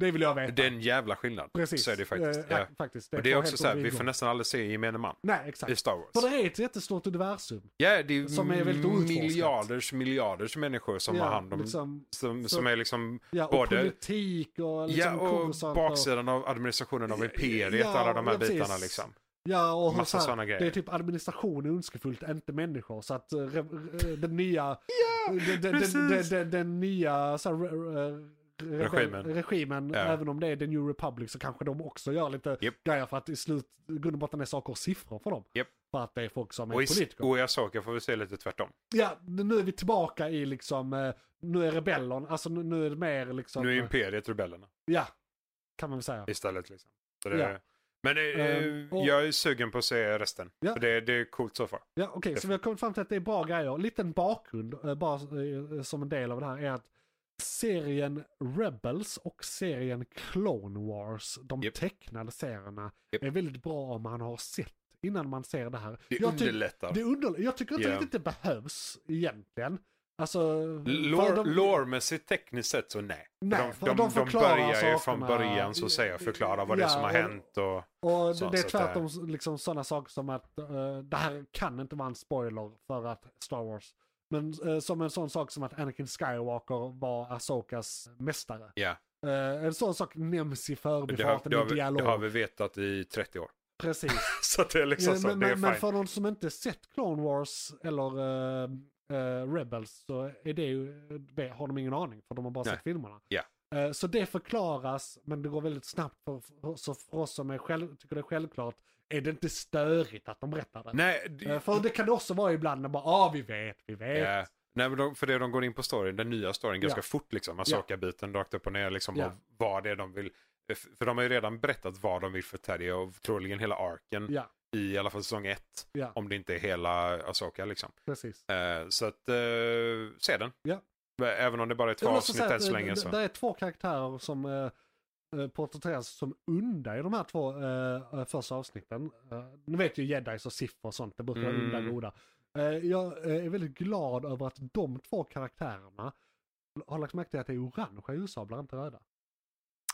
Det vill jag veta. Det är en jävla skillnad. Precis. Så är det faktiskt. Eh, ja. faktiskt. och det är två också helt så här, olika vi får ingångar. nästan aldrig se gemene man Nej, i exakt. Star Wars. För det är ett jättestort universum. Ja, det är, som är väldigt outforskat. miljarders miljarders människor som Ja, har hand om, liksom, som, så- som är liksom ja, och både- politik och ja, liksom och Coruscant baksidan av administrationen av imperiet, Ja, alla de här ja, precis. bitarna liksom. Ja, och hur Massa så här, såna grejer. Det är typ administration är ondskefullt, inte människor. Så att eh, re, re, den nya... eh, den, den, den, den, precis. den, den nya så här, re, re, Regimen. regimen Ja. även om det är The New Republic så kanske de också gör lite Japp. grejer för att i slut, i grund och botten är saker och siffror för dem. Japp. För att det är folk som är Och i, politiker. och i Asoka får vi se lite tvärtom. Ja, nu är vi tillbaka i liksom, eh, nu är rebellen, alltså nu, nu är det mer liksom... Nu är eh, imperiet rebellerna. Ja, kan man väl säga. istället. Liksom. Så det, Ja. Men eh, Ehm, och- jag är sugen på att se resten. Ja. För det, det är coolt så far. Ja, okej, så vi har kommit fram till att det är bra grejer. Liten bakgrund, eh, bara eh, som en del av det här, är att serien Rebels och serien Clone Wars, de Japp. tecknade serierna, Japp. är väldigt bra om man har sett innan man ser det här. Det jag, ty- underlättar. det underl- jag tycker inte Ja. riktigt det behövs egentligen. Alltså, för Lore- Loremässigt tekniskt sett så nej. För Nej, de, för de, de de, förklarar börjar ju från sakerna. början så att säga förklara vad det är Ja, som har och- hänt. Och, Och Så- det, det är så att det- tvärtom liksom sådana saker som att eh, det här kan inte vara en spoiler för att Star Wars. Men eh, som en sån sak som att Anakin Skywalker var Asokas mästare. ja. Eh, en sån sak nämns i det, har, förbifarten det, har vi, i det dialog. har vi vetat i 30 år. Precis. Så att det är liksom Eh, så, men, det är men, men fint. för någon som inte sett Clone Wars eller eh, eh, Rebels så är det ju, det har de ingen aning för de har bara Nej. sett filmerna. Ja. Eh, så det förklaras men det går väldigt snabbt för, för, så för oss som är själv, tycker det är självklart är det inte störigt att de berättar det. Nej, det- Eh, för det kan det också vara ibland när bara ah vi vet, vi vet. ja. Eh, Nej, men de, för det de går in på storyn, den nya storyn, ganska Ja. fort liksom. Asoka-biten rakt upp och ner liksom. Ja. Och vad det är de vill. eh, För de har ju redan berättat vad de vill för Teddy och troligen hela arken. Ja, i alla fall säsong ett. Ja. Om det inte är hela Asoka liksom. precis. Eh, så att, eh, se den. Eh, Ja. Även om det bara är två Jag vill också avsnitt säga än så att, länge. eh, Så. Det, det är två karaktärer som eh, eh, porträtteras som onda i de här två eh, eh, första avsnitten. Eh, nu vet ju jedis och siffror och sånt, det brukar vara Mm. onda goda. Eh, jag eh, är väldigt glad över att de två karaktärerna har lagt märke till att det är orangea ljusablar, inte röda.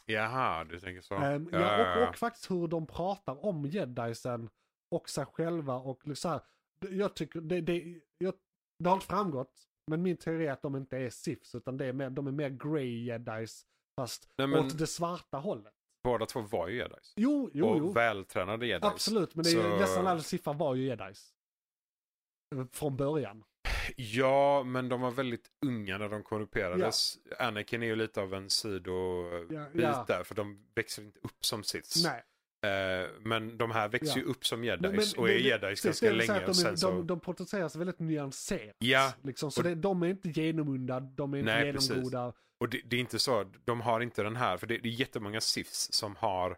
Jaha, du tänker så. Eh, Ehm, Ja, ja, ja, ja. och, och faktiskt hur de pratar om jedisen och sig själva och liksom så här, det- jag tycker, det, det, jag, det har inte framgått, men min teori är att de inte är sifs utan det är mer, de är mer grey jedis fast Nej, men- åt det svarta hållet. båda två var ju jedis. Jo, jo, och jo. vältränade jedis. Absolut, men det är ju, Så- nästan all siffran var ju jedis. Eh, Från början. Ja, men de var väldigt unga när de korrumperades. Anakin är ju lite av en sidobit Ja, ja. där, för de växer inte upp som sits. Nej. Eh, men de här växer Ja. ju upp som jedis Men- men och är det- det- jedis precis, det ganska är väl så länge. att Och De, sen de, så... de, porträtteras väldigt nyanserat. Ja. Liksom, så Och- det, de är inte genomunda, de är inte Nej, precis. genomgoda. Och det, det är inte så, de har inte den här, för det, det är jättemånga SIFs som har,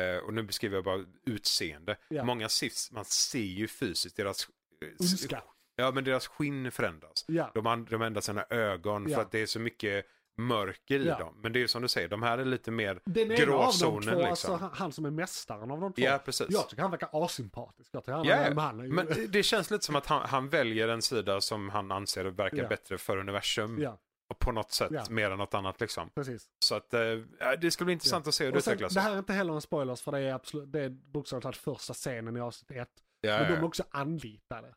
eh, och nu beskriver jag bara utseende, Ja. många SIFs, man ser ju fysiskt deras, eh, s- Ondska. ja, men deras skinn förändras. Ja. De, an- de ändrar sina ögon Ja. för att det är så mycket mörker i Ja. dem. Men det är ju som du säger, de här är lite mer, Den ena av de gråzonen, två, alltså, liksom. han- han som är mästaren av de två. ja precis. Jag tycker han verkar asympatisk. Jag tycker han, Ja, men ja. han är ju... Men det- det känns lite som att han, han väljer en sida som han anser verkar Ja. bättre för universum ja, och på något sätt Ja. mer än något annat liksom. precis. Så att eh, ja, det ska bli intressant att se hur det Och sen, utvecklas. det här är inte heller en spoilers för det är, absolut, det är bokstavligt talat första scenen i avsnitt ett. Ja, Men ja, de ja. är också anlitade.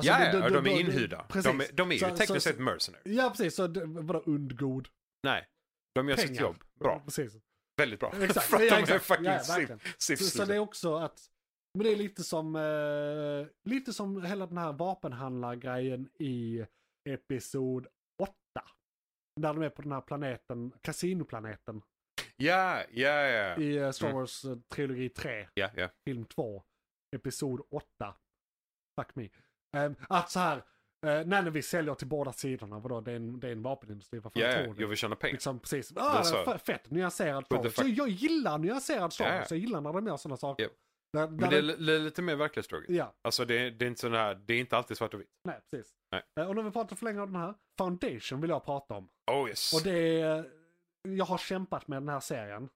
Alltså, Ja, det- ja, det- ja, de det- är det- inhyrda. Precis. De, är- de är ju Så- tekniskt så- sett mercenaries. Ja, precis. Så det- vadå undgod? Nej, de gör sitt Pengar. jobb bra. Precis. Väldigt bra. Exakt. För att Ja, de är exakt. fucking Ja, ja, ja, verkligen. Så, så det är också att, men det är lite som, eh, lite som hela den här vapenhandlargrejen i episod 8. När de är på den här planeten, kasinoplaneten, Ja, ja, ja. i eh, Star Mm. Wars eh, trilogi 3, Ja, ja. film 2, episod 8. Fuck me. Eh, att så här, eh, nej, nej, vi säljer till båda sidorna, vadå, det är en, det är en vapenindustri, vad fan Ja, tror ja, ni? jag vill tjäna pengar. Liksom precis, Det ah, är så. f- fett nyanserad the Star Wars. Så fuck? jag gillar nyanserad Star Ja, Wars, ja. jag gillar när de gör sådana saker. Japp. Där, Men där det är li- li- lite mer verklighetstroget. Ja, Alltså det, det, är inte sån här, det är inte alltid svart och vitt. nej precis. Nej. Eh, Och när vi pratar för länge om den här, Foundation vill jag prata om. Oh yes. Och det, det är, eh, jag har kämpat med den här serien.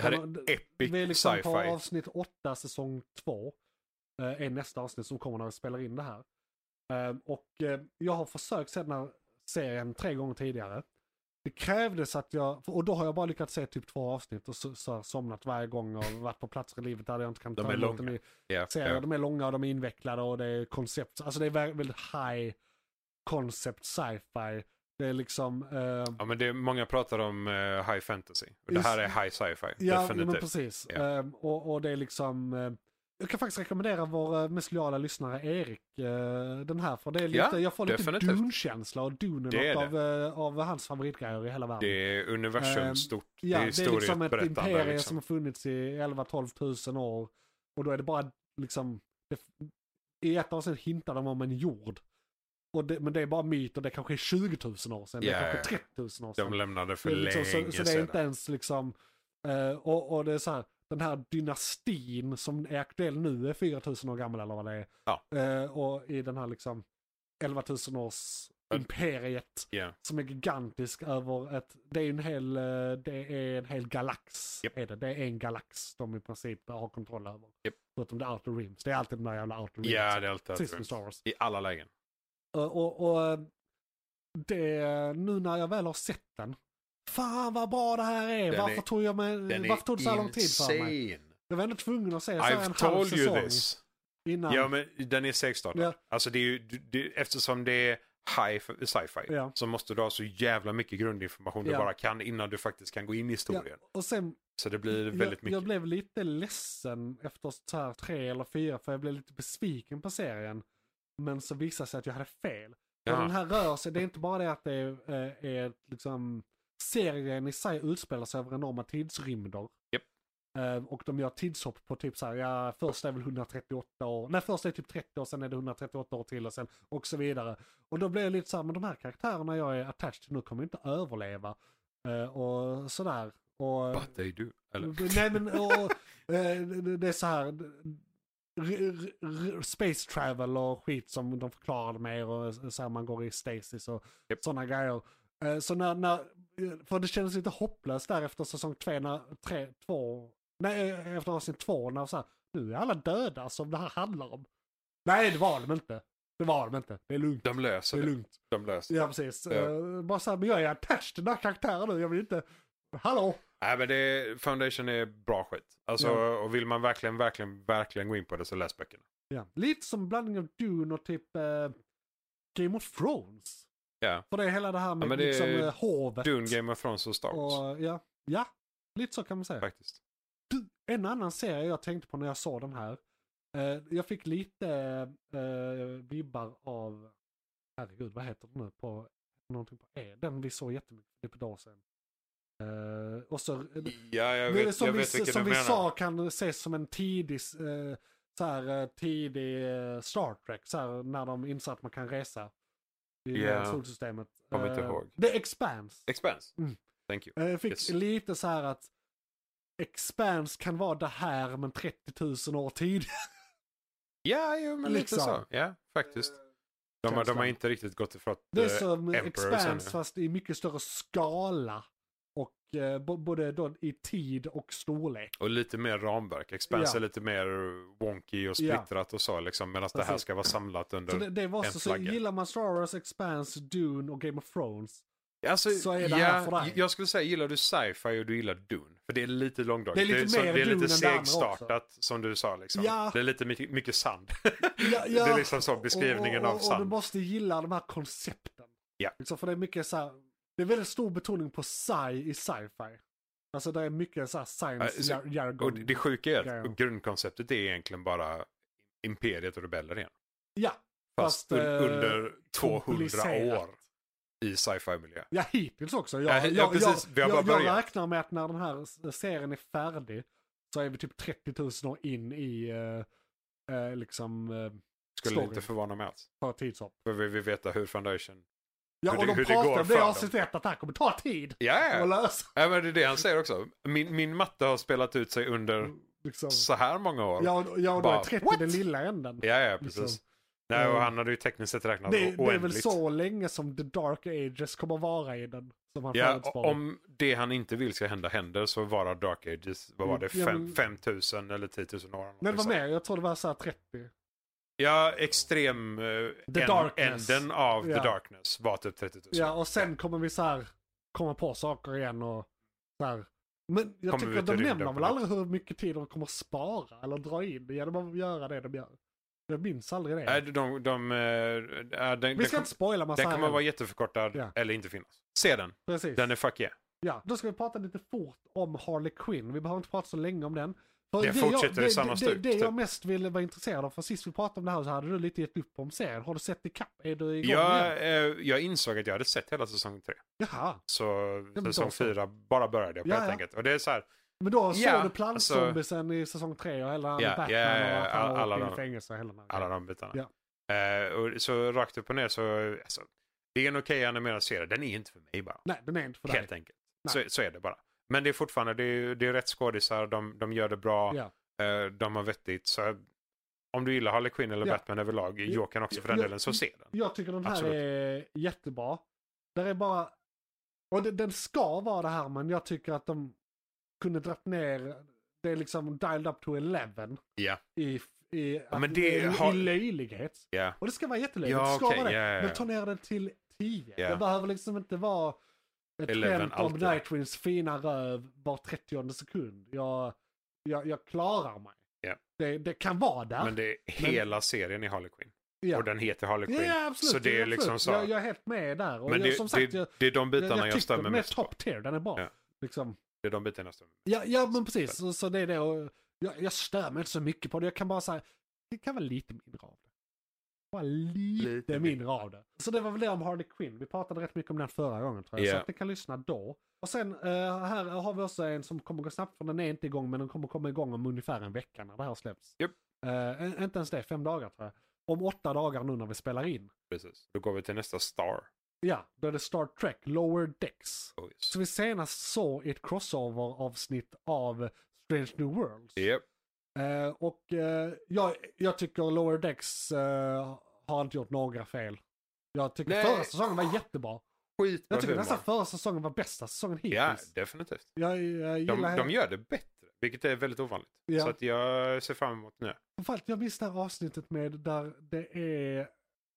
här Och det- är epic Vi är liksom på sci-fi. avsnitt 8, säsong 2. eh, Är nästa avsnitt som kommer när vi spelar in det här. Eh, Och eh, jag har försökt se den här serien tre gånger tidigare. Det krävdes att jag, och då har jag bara lyckats se typ två avsnitt och så, så har jag somnat varje gång och varit på platser i livet där jag inte kan De ta är emot en långa. ny Ja, serier. ja. De är långa och de är invecklade och det är koncept, alltså det är vä- väldigt high concept sci-fi. Det är liksom... eh, ja, men det är, många pratar om eh, high fantasy. Och det Just- här är high sci-fi. Ja, ja, men definitivt. precis. Ja. Ehm, och, och det är liksom... eh, jag kan faktiskt rekommendera vår eh, mest lojala lyssnare Erik eh, den här. För det är lite, Ja, jag får lite definitivt. Dune-känsla och Dune Det är är något av, eh, av hans favoritgrejer i hela världen. det är universum Ehm, stort. ja, det är det är liksom ett historieberättande. imperium liksom. som har funnits i 11-12 000 år. Och då är det bara liksom... Det, I ett avsnitt hintar de om en jord. Och det, men det är bara myter, det kanske är 20 000 år sedan, Ja, det är ja. kanske 30 000 år sedan. De lämnade för Det är liksom, länge så, så det är sedan. inte ens liksom, eh, och, och det är så här, den här dynastin som är aktuell nu är 4000 år gammal eller vad det är. Ja. Eh, och i den här liksom 11 000 års Men- imperiet Ja. som är gigantisk över ett, det är en hel, eh, det är en hel galax. Japp. Är det. det är en galax de i princip har kontroll över. Japp. Förutom the outer rims, det är alltid de där jävla outer rims. Ja, det är alltid Precis som allt. Star Wars. I alla lägen. Och, och, och eh, det, nu när jag väl har sett den. Fan vad bra det här är! Den varför är- tog jag mig, varför tog det så här lång tid för mig? Jag var ändå tvungen att se så här en I've halv told you säsong this. innan. Ja, men den är segstartad. Ja. Alltså det är ju, det, eftersom det är high f- sci-fi Ja. så måste du ha så jävla mycket grundinformation du Ja. bara kan innan du faktiskt kan gå in i Ja, historien. och sen, Så det blir jag, väldigt jag mycket. blev lite ledsen efter så här tre eller fyra, för jag blev lite besviken på serien. Men så visade det sig att jag hade fel. För Ja. Den här rör sig, det är inte bara det att det är, eh, är liksom, serien i sig utspelar sig över enorma tidsrymder. Japp. Eh, Och de gör tidshopp på typ så här, ja först är väl 138 år, nej först är det typ 30 år, sen är det 138 år till och sen och så vidare. Och då blir jag lite så här, men de här karaktärerna jag är attached till nu kommer inte överleva. Eh, Och sådär. Och, But they do. Eller? Nej men och, eh, det det är så här. r- r- r- Space travel och skit som de förklarade mer och så här man går i stasis och Japp. sådana grejer. Eh, Så när, när, eh, för det kändes lite hopplöst där efter säsong två, när, tre, två, nej eh, efter avsnitt två när så här, nu är alla döda som det här handlar om. Nej det var de inte. Det var de inte. Det är lugnt. De löser Det är det. lugnt. De löser det. Ja precis. Ja. Eh, Bara så här, men jag är attached till den här karaktären nu, jag vill inte, hallå! Nej, men det, Foundation är bra skit. Alltså, och vill man verkligen, verkligen, verkligen gå in på det så läs böckerna. Ja. Lite som blandning av Dune och typ eh, Game of Thrones. Ja. För det är hela det här med men det liksom, är eh, hovet. Dune, Game of Thrones och Star Wars. och, ja. ja, lite så kan man säga. Faktiskt. En annan serie jag tänkte på när jag såg den här. Eh, jag fick lite eh, vibbar av, herregud vad heter den nu på, någonting på E, den vi såg jättemycket för typ ett par dagar sedan. Eh, och så, Ja, jag nu är det vet, som jag vi, vet vilken som du vi menar. sa kan ses som en tidig, eh, så här, eh, tidig eh, Star Trek, så här, när de inser att man kan resa i Ja. eh, solsystemet. Kommer inte Eh, ihåg. The Expanse. Expense. Mm. Thank you. Eh, Jag fick Yes. lite så här att Expanse kan vara det här men 30 000 år tidigare. Ja, jo, men Liksom. lite så. Ja, faktiskt. De, har- de har känslan. inte riktigt gått ifrån Det är eh, som Emperor sen, Expanse ja. fast i mycket större skala. Och eh, bo- både då i tid och storlek. Och lite mer ramverk. Expanse Ja. är lite mer wonky och Ja. splittrat och så liksom. Medan det här Precis. ska vara samlat under... Så det, det var en så, så flagga. gillar man Star Wars, Expanse, Dune och Game of Thrones. Alltså, så är det ja, här för dig. Jag skulle säga, gillar du sci-fi och du gillar Dune? För det är lite långdraget. Det är lite så- mer det är Dune lite än det andra segstartat som du sa liksom. Ja. Det är lite mycket, mycket sand. Ja, Det ja. är liksom så beskrivningen och, och, av och, och du sand. måste gilla de här koncepten. Ja. Liksom, för det är mycket så här, det är väldigt stor betoning på sci i sci-fi. Alltså det är mycket så här Ja, science så- jar- jargon. Och det det sjuka är att Ja. grundkonceptet är egentligen bara imperiet och rebeller igen. Ja, Fast, Fast, un- eh, under 200 komplicerat. år i sci-fi-miljö. ja hittills också. Ja, Jag, ja, jag, jag, precis. Vi har jag, bara jag börjat. räknar med att när den här s- serien är färdig så är vi typ 30 000 år in i eh, eh, liksom eh, Skulle Storyn. inte förvåna mig alls. ta tidshopp. För vi vill veta hur Foundation... Ja, Hur och det- de hur det går pratar om för det i dem. avsnitt ett att det här kommer ta tid Ja, att ja. lösa. ja men det är det han säger också. Min, min matte har spelat ut sig under Liksom. så här många år. Ja, och- ja, och då är Bara, 30 what? den lilla änden. Ja, ja, precis. Liksom. Nej, och Eh, han hade ju tekniskt sett räknat det, oändligt. det är väl så länge som The Dark Ages kommer vara i den. Som han Ja, förutspår. om det han inte vill ska hända händer så varar Dark Ages, vad var det, Mm, Ja, fem- men- 5000 eller 10 000 år? Men vad liksom. mer? Jag tror det var så här 30. Ja, extrem... eh, The Darkness. Änden av Ja. The Darkness var typ 30 000. Ja, och sen kommer vi så här komma på saker igen och så här. Men jag Kommer vi till tycker de rymden nämner på väl något aldrig hur mycket tid de kommer spara eller dra in genom att göra det de gör. Jag minns aldrig det. Nej, de... de, de, eh, ja, den, vi den ska kom- inte spoila massa Den här kommer än. vara jätteförkortad Ja. eller inte finnas. Se den. Precis. Den är fuck yeah. Ja, då ska vi prata lite fort om Harley Quinn. Vi behöver inte prata så länge om den. För Det fortsätter i jag, det, samma det, stuk, Det, det jag typ. mest ville vara intresserad av, för sist vi pratade om det här så hade du lite gett upp om serien. Har du sett ikapp? Är du igång Jag, igen? eh, jag insåg att jag hade sett hela säsong tre. Jaha, Så men då säsong så. fyra bara började på Ja, helt ja. enkelt. Och det är så här, men då såg Ja, alltså- du plantzombisen i säsong tre och hela Ja, Batman ja, ja, och att han alla- alla alla, åkte de- i fängelse och hela den här alla de grejen. bitarna. Eh, och så rakt upp och ner så, alltså, det är en okej animerad serie. Den är inte för mig bara. Nej, den är inte för dig. Helt enkelt. Nej. Så, så är det bara. Men det är fortfarande, det är, det är rätt skådisar, de, de gör det bra, Ja. eh, de har vettigt. Så om du gillar Harley Quinn eller Ja. Batman överlag, Jokern också för den Ja. delen, så se den. Jag tycker den här Absolut. är jättebra. Där är bara... Och den, den ska vara det här, men jag tycker att de kunde dragit ner... Det är liksom dialed up to 11. Ja. i, i, Ja, att- men det i, har- i löjlighet. Ja. Och det ska vara jättelöjligt, Ja, det ska okej, vara det. ja, ja, ja. Men ta ner det till 10. Ja. Det behöver liksom inte vara ett 11 skämt om alltid. Nightwings fina röv var 30 sekund. Jag, jag, jag klarar mig. Ja. Det, det kan vara där. Men det är hela serien i Harley Quinn. ja. Och den heter Harley ja, Quinn. ja, absolut. så det är absolut. liksom så. Jag, jag är helt med där. Och men jag, det, som sagt, det, jag, det är de jag, bitarna jag, jag tycker stämmer den är mest på. top tier, den är bra. Ja. Liksom. Det är de bitarna jag stämmer Ja, ja men precis. Så, så det är det. Och jag, jag stör mig inte så mycket på det. Jag kan bara säga, det kan vara lite mindre av det. Bara lite, Lite mindre av det. Så det var väl det om Harley Quinn. Vi pratade rätt mycket om den förra gången tror jag. Ja. Så att ni kan lyssna då. Och sen eh, här har vi också en som kommer gå snabbt för den är inte igång men den kommer komma igång om ungefär en vecka när det här släpps. Japp. Eh, en- inte ens det, fem dagar tror jag. Om åtta dagar nu när vi spelar in. Precis. Då går vi till nästa Star. Ja, då är det Star Trek Lower Decks. Oh, yes. Som vi senast såg i ett crossover-avsnitt av Strange New Worlds. Japp. Eh, och eh, jag, jag tycker Lower Decks eh, har inte gjort några fel. Jag tycker Nej. förra säsongen var jättebra. Skitbra Jag tycker humor. nästan förra säsongen var bästa säsongen hittills. Ja, definitivt. Jag, jag De, gillar de gör det bättre, vilket är väldigt ovanligt. Ja. Så att jag ser fram emot nu. Framförallt jag minns det här avsnittet med där det är,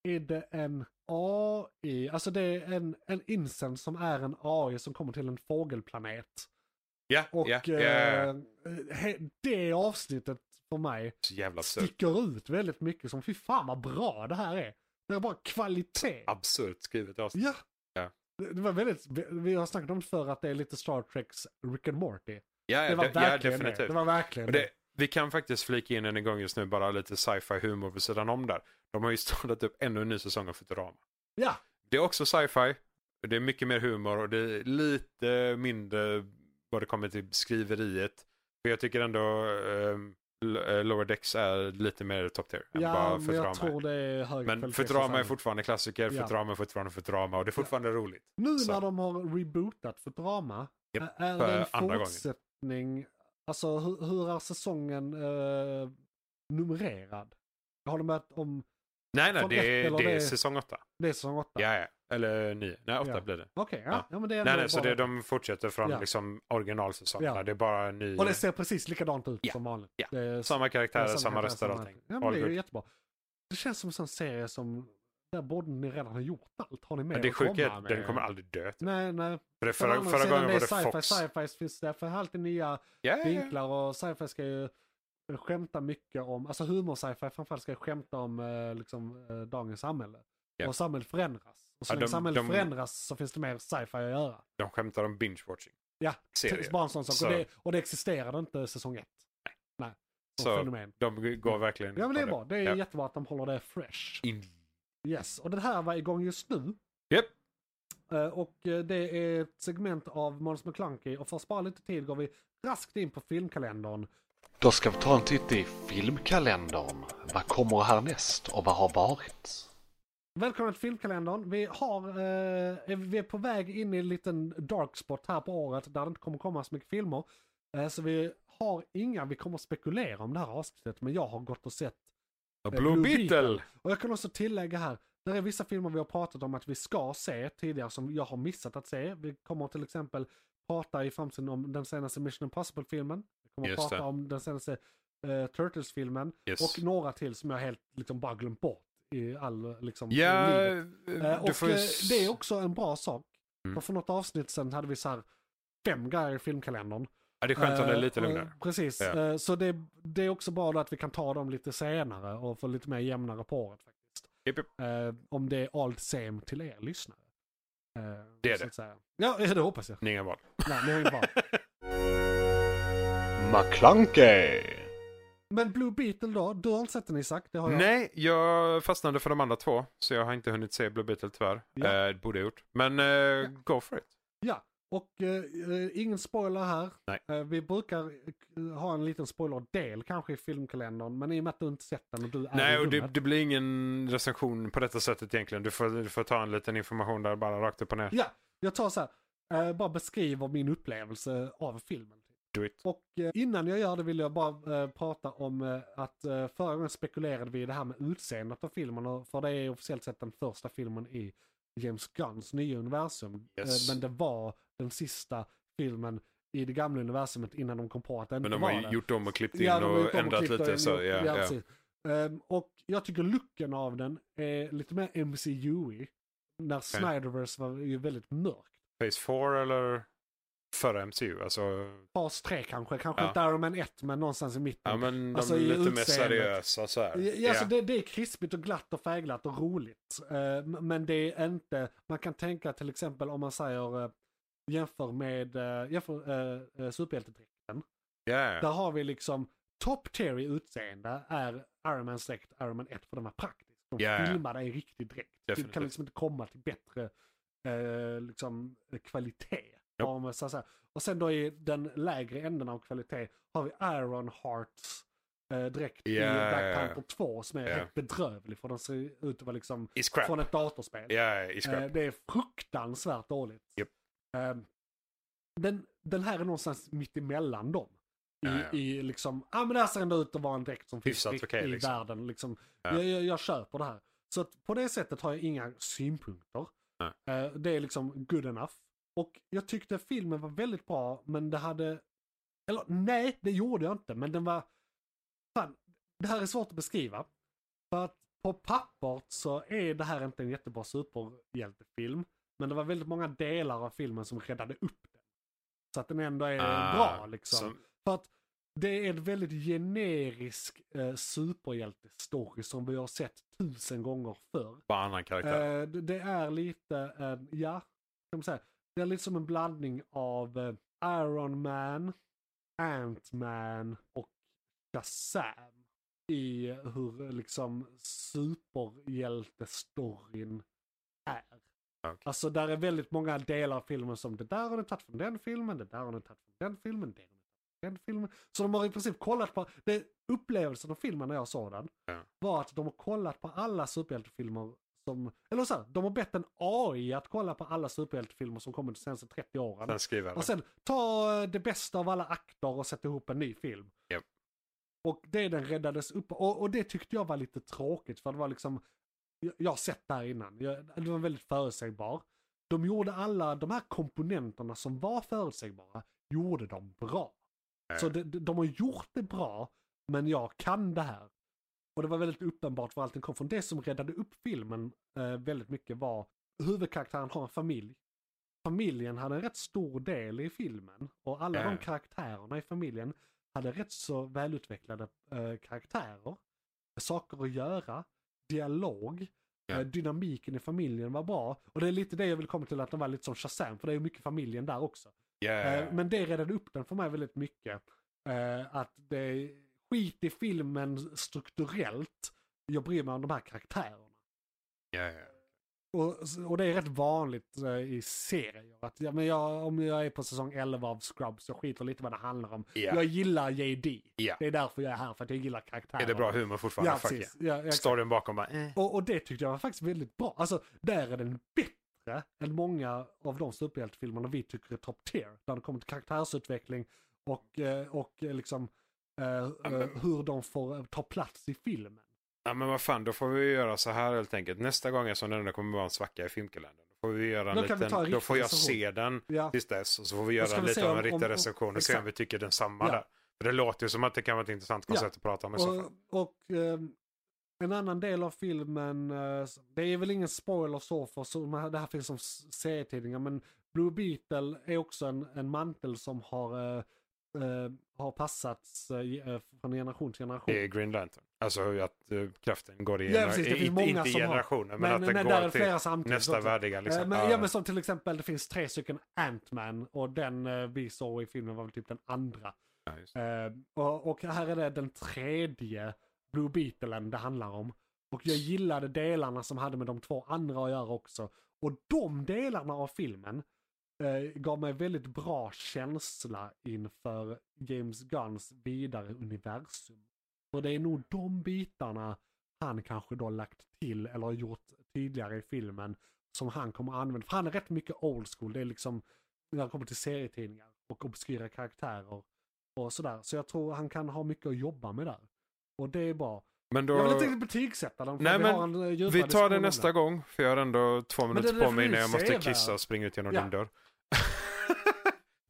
är det en AI, alltså det är en, en incens som är en AI som kommer till en fågelplanet. Ja, Och ja, ja. eh, he- det avsnittet för mig Så jävla absurt. sticker ut väldigt mycket som fy fan vad bra det här är. Det är bara kvalitet. Absurt skrivet avsnitt. Ja. Ja. Det det var väldigt, vi- vi har snackat om det förr att det är lite Star Treks Rick and Morty. Ja, Det var de- ja verkligen det. definitivt. Det var verkligen Och det. det, vi kan faktiskt flika in en gång just nu, bara lite sci-fi humor på sidan om där. De har ju startat upp ännu en ny säsong av Futurama. Ja. Det är också sci-fi, och det är mycket mer humor och det är lite mindre vad det kommer till skriveriet. För jag tycker ändå ehm, L- eh, Lower Decks är lite mer top tier än Ja, bara men jag Futurama. tror det är hög Men kvalitet Futurama är fortfarande. fortfarande klassiker, Ja. Futurama är fortfarande Futurama och det är fortfarande roligt. Nu Så. när de har rebootat för drama, Japp, ä- är för det en andra gången. fortsättning? Alltså hur, hur är säsongen eh, numrerad? Har de börjat om, Nej, nej, Från ett det är, eller det är det- säsong åtta. det är säsong åtta? Ja, ja. Eller nio. Nej, åtta Ja. blir det. Okej, ja. Ja. ja. men det är Nej, ändå nej, så bara- det, de fortsätter från Ja. liksom originalsäsongerna. Ja. Det är bara en ny... Och det ser precis likadant ut Ja. som vanligt. Ja. Det är Samma karaktärer, samma, karaktär, röster och samma- allting. Ja, men All det är ju good. jättebra. Det känns som en sån serie som, där borde ni redan ha gjort allt. Har ni mer Men det att sjuka är komma att med? den kommer aldrig dö. typ. Nej, nej. För det Men å förra, andra förra sidan, gången det var är det sci-fi, Fox. Eh. sci-fi finns det för alltid nya Ja, ja, ja. vinklar och sci-fi ska ju skämta mycket om, alltså humor-sci-fi framförallt ska ju skämta om eh, liksom, eh, dagens samhälle. Ja. Och samhället förändras. Och så Ja, länge de- samhället de- förändras så finns det mer sci-fi att göra. De skämtar om binge-watching. Ja, serier. Bara en sån sak. Så- Och, det, och det existerade inte säsong ett. Nej. Som Så- fenomen. De går verkligen... Ja men det är på bra. Det är Ja. jättebra att de håller det fresh. In. Yes, och den här var igång just nu. Japp. Eh, Och eh, det är ett segment av Måns McClunky och för att spara lite tid går vi raskt in på filmkalendern. Då ska vi ta en titt i filmkalendern. Vad kommer härnäst och vad har varit? Välkomna till filmkalendern. Vi, har, eh, är- vi är på väg in i en liten dark spot här på året där det inte kommer komma så mycket filmer. Eh, så vi har inga, vi kommer spekulera om det här avsnittet men jag har gått och sett A eh, Blue, Beetle! Och jag kan också tillägga här, det är vissa filmer vi har pratat om att vi ska se tidigare som jag har missat att se. Vi kommer till exempel prata i framtiden om den senaste Mission Impossible-filmen. Vi kommer Just prata det. om den senaste eh, Turtles-filmen. Yes. Och några till som jag helt liksom bara glömt bort i all liksom ja, livet. Eh, eh, Och du får ju... eh, s- det är också en bra sak. Mm. För, för något avsnitt sen hade vi så här fem grejer i filmkalendern. Ja, det är skönt om det är Eh, lite eh, lugnare. Precis, Ja. Eh, så det, det är också bra då att vi kan ta dem lite senare och få lite mer jämnare på året. Faktiskt. Japp, japp. Eh, om det är all same till er lyssnare. Eh, Det är så det. att säga. Ja, ja, det hoppas jag. Det är Inga val. Nej, det är inte bra. McClunkey! Men Blue Beetle då? Du har inte sett den Isak? Det har jag. Nej, jag fastnade för de andra två. Så jag har inte hunnit se Blue Beetle tyvärr. Ja. Eh, det borde jag gjort. Men eh, go for it. Ja, och eh, eh, ingen spoiler här. Nej. Eh, vi brukar eh, ha en liten spoilerdel kanske i filmkalendern, men i och med att du inte sett den och du är Nej, i och det, rummet- det blir ingen recension på detta sättet egentligen. Du får, du får ta en liten information där bara rakt upp och ner. Ja, jag tar så här, eh, bara beskriver min upplevelse av filmen. Do it. Och eh, innan jag gör det vill jag bara eh, prata om eh, att eh, förra gången spekulerade vi i det här med utseendet av filmen. Och för det är officiellt sett den första filmen i James Gunns nya universum. Yes. Eh, men det var den sista filmen i det gamla universumet innan de kom på att det inte Men de var har ju det. gjort om och klippt in Ja, de har gjort och om ändrat klippt och lite. Så, gjort- ja, ja. precis. Ehm, och jag tycker looken av den är lite mer MCU-ig. När Snyderverse var ju väldigt mörkt. Phase 4 eller förra MCU? Alltså, Fas 3 kanske, kanske Ja. inte Iron Man 1 men någonstans i mitten. ja men de Alltså, är i lite mer utseendet. seriösa så här. Ja, alltså Ja. det, det är krispigt och glatt och färgglatt och roligt. Eh, m- men det är inte, man kan tänka till exempel om man säger eh, jämför med eh, jämför, eh, eh, superhjältedräkten. Ja, ja. Där har vi liksom top tier i utseende är Iron Man släkt Iron Man 1 för den var praktisk. De Ja, ja. filmade i riktig dräkt. Du Definitivt. kan liksom inte komma till bättre eh, liksom, kvalitet. Japp. Om, så att säga. Och sen då i den lägre änden av kvalitet har vi Iron Hearts eh, dräkt Ja, ja, i ja. Black Panther 2 som är Ja. helt bedrövlig för den ser ut att vara liksom I scrap. från ett datorspel. Ja, i Eh, scrap. Det är fruktansvärt dåligt. Japp. Ehm, den, den här är någonstans mitt emellan dem. I, Ja, ja. i liksom, ja ah, men det här ser ändå ut att vara en dräkt som finns Hyfsat riktigt okej, i liksom. världen. Liksom. Ja. Jag, jag, jag köper det här. Så att på det sättet har jag inga synpunkter. Nej. Eh, det är liksom good enough. Och jag tyckte filmen var väldigt bra men det hade, eller nej det gjorde jag inte men den var, fan, det här är svårt att beskriva. För att på pappret så är det här inte en jättebra superhjältefilm. Men det var väldigt många delar av filmen som räddade upp den. Så att den ändå är Ah, bra liksom. som- För att det är en väldigt generisk eh, superhjältestory som vi har sett tusen gånger förr. Bara annan karaktär. Eh, det, det är lite, eh, ja, kan man säga, det är lite som en blandning av eh, Iron Man, Ant-Man och Shazam i hur liksom superhjältestoryn är. Ja, okej. Alltså där är väldigt många delar av filmen som det där har ni tagit från den filmen, det där har ni tagit från den filmen, det har ni tagit från den filmen. Så de har i princip kollat på, det, upplevelsen av filmen när jag såg den Ja. var att de har kollat på alla superhjältefilmer som, eller så här, de har bett en AI att kolla på alla superhjältefilmer som kommit de senaste 30 åren. Sen skriver Och jag sen ta eh, det bästa av alla akter och sätta ihop en ny film. Japp. Och det den räddades upp och, och det tyckte jag var lite tråkigt för det var liksom, jag, jag har sett det här innan, jag, det var väldigt förutsägbar. De gjorde alla de här komponenterna som var förutsägbara, gjorde de bra. Ja. Så de, de, de har gjort det bra, men jag kan det här. Och det var väldigt uppenbart var allting kom från. Det som räddade upp filmen eh, väldigt mycket var huvudkaraktären har en familj familjen hade en rätt stor del i filmen. Och alla de Ja. karaktärerna i familjen hade rätt så välutvecklade eh, karaktärer. Saker att göra, dialog, Ja. eh, dynamiken i familjen var bra. Och det är lite det jag vill komma till att den var lite som Shazam, för det är ju mycket familjen där också. Eh, yeah. Men det räddade upp den för mig väldigt mycket. Eh, Att det är skit i filmen strukturellt, jag bryr mig om de här karaktärerna. yeah, yeah. Och, och det är rätt vanligt eh, i serier. Att, ja, men jag, om jag är på säsong 11 av Scrubs, jag skiter lite vad det handlar om. Ja. Jag gillar JD. Ja. Det är därför jag är här, för att jag gillar karaktären. Är det bra humor fortfarande? Ja, Fuck precis. yeah. Ja, exakt. Storyn bakom bara, eh. och, och det tyckte jag var faktiskt väldigt bra. Alltså, där är den bättre än många av de superhjältefilmerna vi tycker är top tier. När det kommer till karaktärsutveckling och, eh, och eh, liksom eh, eh, hur de får eh, ta plats i filmen. Ja men vad fan, då får vi göra så här helt enkelt. Nästa gång som det ändå kommer vara en svacka i filmkalendern. Då får vi göra en Då kan vi ta en liten, då riktig får jag recension. se den Ja. tills dess. Och så får vi ska göra vi se lite av om- en om- om- riktig recension och se exakt. om vi tycker den samma Ja. där. För det låter ju som att det kan vara ett intressant Ja. koncept att prata om i så fall. Och, och ehm, en annan del av filmen, eh, det är väl ingen spoiler så för så de här- det här finns som s- serietidningar, men Blue Beetle är också en, en mantel som har, eh, eh, har passats eh, ge- eh, från generation till generation. Det är Green Lantern. Alltså att eh, kraften går i Ja, gener- precis, det i- finns inte, många inte i som har- generationer men, men att den men där är går det till flera samtidigt. nästa också. värdiga. Liksom. Eh, Men, Ja, ja men som till exempel det finns tre stycken Ant-Man och den eh, vi såg i filmen var väl typ den andra. ja, just det. Eh, och, och här är det den tredje Blue Beetlen det handlar om. Och jag gillade delarna som hade med de två andra att göra också. Och de delarna av filmen eh, gav mig väldigt bra känsla inför James Gunns vidare universum. För det är nog de bitarna han kanske då lagt till eller har gjort tydligare i filmen som han kommer att använda. För han är rätt mycket old school. Det är liksom när det kommer till serietidningar och obskyra karaktärer och sådär. Så jag tror han kan ha mycket att jobba med där. Och det är bra. Men då... Jag vill inte riktigt betygsätta den. för Nej, vi men har en, eh, djupare Vi tar diskussion det om nästa gång, för jag har ändå två det minuter där på får mig vi innan jag måste se, va? kissa och springa ut genom Ja. din dörr.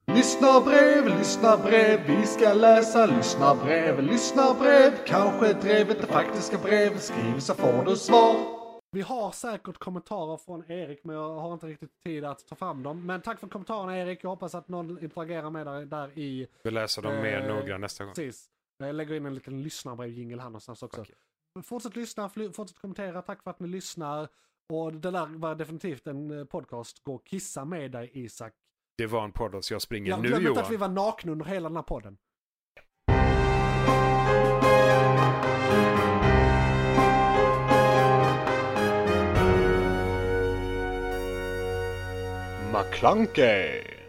Lyssnarbrev, lyssnarbrev, vi ska läsa lyssnarbrev, lyssnarbrev. Kanske drev inte faktiska brev, skriv så får du svar. Vi har säkert kommentarer från Erik men jag har inte riktigt tid att ta fram dem. Men tack för kommentarerna Erik. Jag hoppas att någon interagerar med dig där i... Vi läser dem mer Eh, noggrant nästa gång. Precis. Jag lägger in en liten lyssnarbrevjingel här någonstans också. Okej. Fortsätt lyssna, fly- fortsätt kommentera. Tack för att ni lyssnar. Och det där var definitivt en eh, podcast. Gå och kissa med dig Isak. Det var en podd så jag springer Jag nu glöm inte Johan. att vi var nakna under hela den här podden. McClunkey!